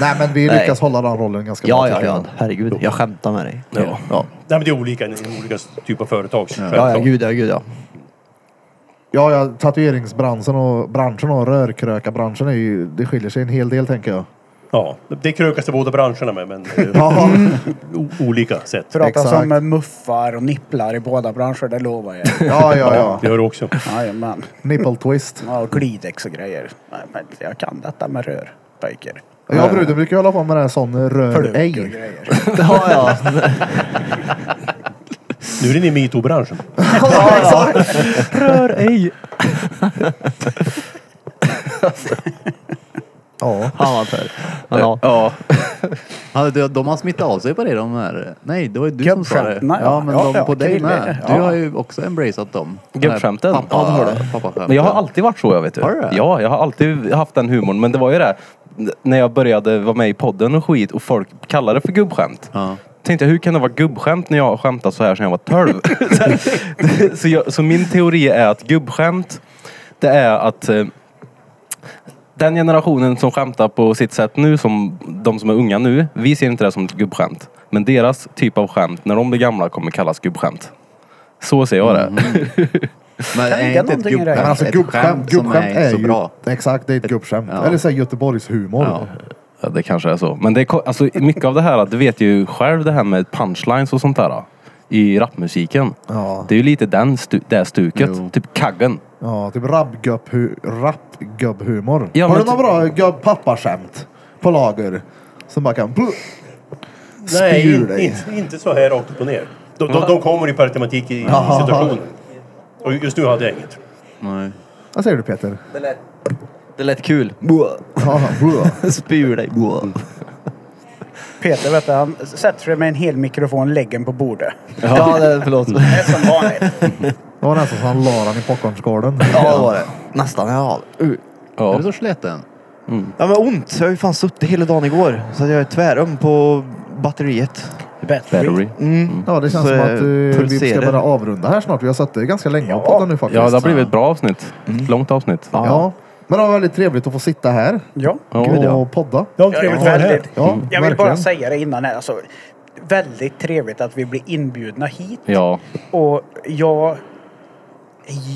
S1: Nej, men vi lyckas hålla den rollen ganska
S9: ja,
S1: bra,
S9: Ja,
S1: tycker
S9: ja,
S1: jag.
S9: herregud. Jag skämtar med dig.
S8: Ja.
S9: ja.
S8: Nej, men det är olika, olika typer av företag.
S9: Ja, ja, gud ja, gud ja.
S1: Ja, ja, tatueringsbranschen och branschen och rörkrökarbranschen är ju, det skiljer sig en hel del tänker jag.
S8: Ja, det krökas de båda branscherna med, men eh,
S1: Ja.
S8: o- olika sätt.
S3: Prata som eh, muffar och nipplar i båda branscher, det lovar jag.
S1: Ja, ja, ja.
S8: Det gör du också.
S3: Jajamän.
S1: Nipple twist.
S3: Ja, och glidex och grejer. Nej, men jag kan detta med rör, pojkar.
S1: Jag och bruden brukar hålla på med den här sån rör
S3: Plugg och
S1: ej.
S3: grejer.
S9: ja, ja.
S8: Nu är ni i metoo-branschen.
S9: Rör ej.
S1: Ja.
S9: Han var för. Men ja.
S4: Ja. Ja, de, de har smittat av sig på dig de här. Nej, det var ju du som sa det.
S3: Gubbskämtarna,
S4: Ja,
S3: ja.
S4: men
S3: Ja,
S4: de
S3: ja,
S4: på dig
S3: killar.
S4: med. Du
S3: Ja.
S4: har ju också embraceat dem.
S11: Gubbskämten?
S4: Pappa,
S11: Ja, det har du.
S4: Pappa
S11: Men jag har alltid varit så, jag vet du.
S4: Har du det?
S11: Ja, jag har alltid haft den humorn. Men det var ju det, när jag började vara med i podden och skit och folk kallade det för gubbskämt.
S4: Ja.
S11: Tänkte jag, hur kan det vara gubbskämt när jag har skämtat så här sedan jag var 12? så, så, jag, så min teori är att gubbskämt, det är att eh, den generationen som skämtar på sitt sätt nu, som de som är unga nu, vi ser inte det som ett gubbskämt. Men deras typ av skämt, när de blir gamla, kommer kallas gubbskämt. Så ser jag det.
S4: Mhm. Men är
S3: ligga
S4: inte ett
S3: någonting i det.
S4: gubbskämt
S1: Nej, men alltså
S4: ett
S1: gubbskämt,
S4: skämt som
S1: gubbskämt
S4: är
S1: är,
S4: så
S1: ju...
S4: bra?
S1: Exakt, det är ett gubbskämt.
S4: ja.
S1: Eller så här Göteborgs humor.
S4: Ja.
S11: Ja, det kanske är så. Men det är, ko- alltså, mycket av det här, du vet ju själv det här med punchlines och sånt där. I rapmusiken.
S1: Ja.
S11: Det är ju lite den stu, det här stuket. Typ kaggen.
S1: Ja, typ rappgubbhu- rappgubbhumor.
S11: Ja,
S1: Har
S11: men
S1: du några bra gubb pappaskämt på lager? Som bara kan...
S8: Nej,
S1: Spyr ur
S8: in,
S1: dig.
S8: inte, inte så här rakt upp och ner. De, de, de kommer ju per automatik i, i situationen. Och just nu hade jag inget.
S4: Nej.
S1: Vad säger du Peter?
S9: Det lät kul.
S1: Ja, bra.
S9: Spy ur dig. Buah.
S3: Peter, vet du, han sätter sig med en hel mikrofon och lägger den på bordet.
S9: Ja, det, förlåt.
S3: Det är som vanligt.
S1: Det var nästan som han la den i popcornskålen.
S9: Ja, det var det. Nästan. Ja. Mm. Uh.
S4: Är
S11: Ja.
S4: du så sliten?
S9: Ja, men ont. Jag har ju fan suttit hela dagen igår. Så att jag är tvärum på batteriet.
S11: Battery.
S9: Mm.
S1: Ja, det känns
S9: Så
S1: som
S9: det
S1: att eh, vi ska
S9: pulserar.
S1: börja avrunda här snart. Vi har satt eh, ganska länge och poddat nu faktiskt.
S11: Ja, det har blivit ett bra avsnitt. Ett Långt avsnitt.
S1: Mm. Ja. Men det var väldigt trevligt att få sitta här
S3: Ja.
S11: Ja.
S1: och podda.
S8: Det
S3: Jag
S8: var trevligt
S3: är
S8: att ha er här.
S3: väldigt... Mm.
S1: Ja,
S3: Jag vill
S1: verkligen.
S3: bara säga det innan här. Alltså, väldigt trevligt att vi blir inbjudna hit.
S11: Ja.
S3: Och jag,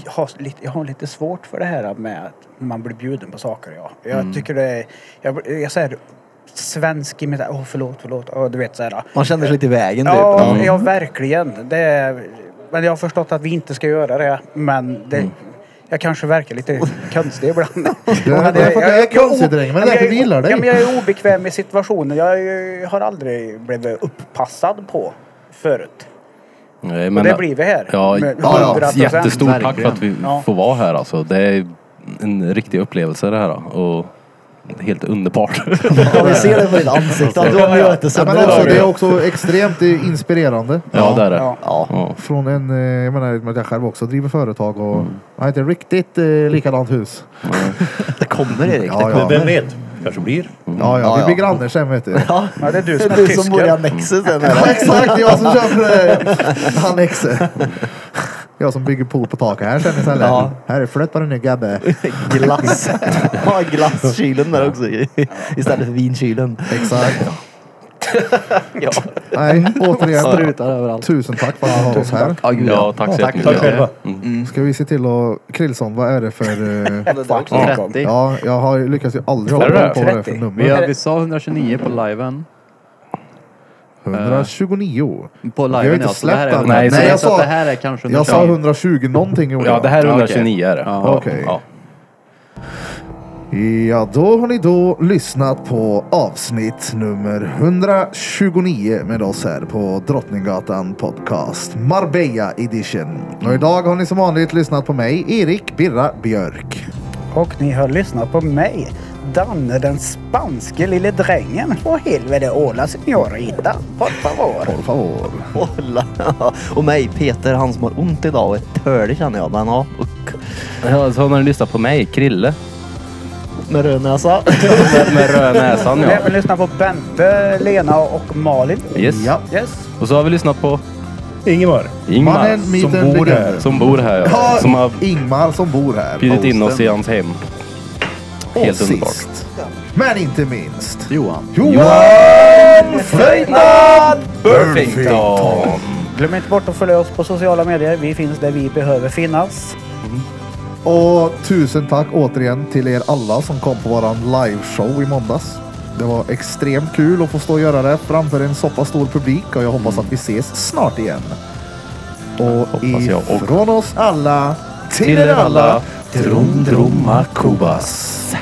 S3: jag, har lite, jag har lite svårt för det här med att man blir bjuden på saker. Ja. Jag tycker det är... Jag, jag säger svensk i mitt... Åh, förlåt, förlåt. Åh, du vet så här.
S9: Man känner sig lite i vägen typ.
S3: Ja, ja verkligen. Det är, men jag har förstått att vi inte ska göra det. Men det, jag kanske verkar lite konstig ibland.
S1: det är
S3: Men
S1: för att jag är
S3: jag- jag
S1: konstig, dräng, men det är därför
S3: jag-
S1: vi gillar dig.
S3: Ja, men jag är obekväm i situationen. Jag är- har aldrig blivit upppassad på förut.
S11: Nej,
S3: Och
S11: eh, men,
S3: det blir vi här.
S11: Ja,
S3: Med
S11: ja,
S3: 100%.
S11: jättestort tack för att vi
S3: Ja.
S11: får vara här alltså. Det är en riktig upplevelse det här. Och helt underbart.
S9: Ja, vi ser det på ditt ansikte. att Du har
S1: Ja,
S9: mötessämre
S1: men också,
S9: idag.
S1: det är också extremt eh, inspirerande.
S11: ja, det är det.
S3: Ja.
S11: Ja.
S1: Från en, eh, jag menar i och med att jag själv också driver företag och har inte riktigt eh, likadant hus.
S9: Det kommer Erik.
S1: Ja, ja.
S8: Men vem vet? kanske blir.
S1: Ja, ja, vi
S9: Ja,
S1: blir
S9: ja.
S1: grannar sen vet du.
S3: Ja, det är du
S9: Det
S3: som
S9: är
S3: är
S9: du som bor i
S3: tysken.
S9: annexet sen.
S1: Ja, exakt, det är jag som köper eh, annexet. Jag som bygger pool på taket här sen istället.
S9: Ja.
S1: Här är flytt på den nu gabbe.
S9: Glass. Ja, glasskylen där också. Istället för vinkylen.
S1: Exakt.
S9: Ja.
S1: Nej, återigen.
S9: Strutar överallt.
S1: Tusen tack för att ni har oss här.
S9: Ja, gud
S11: Ja, tack så
S9: Tack Mm.
S11: jättemycket. Mm.
S8: Tack själva.
S1: Ska vi se till att... Krillson, vad är det för... eh,
S9: Fuck.
S4: 30.
S1: Ja, jag har ju lyckats ju aldrig hålla
S11: Är
S1: koll
S11: det
S1: på vad det är för
S3: 30?
S1: nummer.
S4: Vi, har, vi sa 129 på liven.
S1: 129.
S4: På
S1: har
S4: liven
S1: inte
S4: ja, så det här
S1: släppt
S4: är
S1: den.
S11: Nej,
S4: så
S11: jag
S4: jag sa
S1: sa-
S4: det här är kanske
S1: Jag sa
S4: 120.
S1: 120 någonting gjorde
S11: Ja, det här är
S4: Ja, okej.
S11: 129 är det.
S4: Ja.
S1: Okej.
S11: Ja.
S1: Ja, då har ni då lyssnat på avsnitt nummer 129 med oss här på Drottninggatan Podcast Marbella Edition. Och idag har ni som vanligt lyssnat på mig, Erik Birra Björk.
S3: Och ni har lyssnat på mig. Danne den spanske lille drängen. Åh helvete, hola señorita. Por favor.
S1: Por favor.
S9: Kolla. Och mig, Peter, han som har ont idag och är tölig känner jag. Men ja, och
S11: Ja, så har ni lyssnat på mig, Krille.
S9: med röd näsa.
S11: Med, med röda näsan
S3: Vi har
S11: ja.
S3: även lyssnat på Bente, Lena och Malin.
S11: Yes.
S3: Yes.
S11: Och så har vi lyssnat på
S17: Ingemar.
S11: Ingmar
S8: Mannen,
S11: som
S8: myten,
S11: bor här.
S8: legenden.
S11: Som bor här ja.
S8: Ja,
S11: Som har
S8: Ingmar som bor här.
S11: bjudit in oss i
S8: Posten.
S11: hans hem.
S8: Och
S11: Helt
S8: sist,
S11: underbart.
S8: Men inte minst.
S11: Johan.
S8: Johan
S3: Flöjtnant
S11: Burfington.
S3: Glöm inte bort att följa oss på sociala medier. Vi finns där vi behöver finnas.
S1: Och tusen tack återigen till er alla som kom på våran liveshow i måndags. Det var extremt kul att få stå och göra det framför en så pass stor publik och jag hoppas
S11: Mm.
S1: att vi ses snart igen. Och
S11: jag också.
S1: ifrån oss alla till,
S11: Till
S1: er
S11: er alla,
S1: alla,
S11: Drum Drumma Kubas.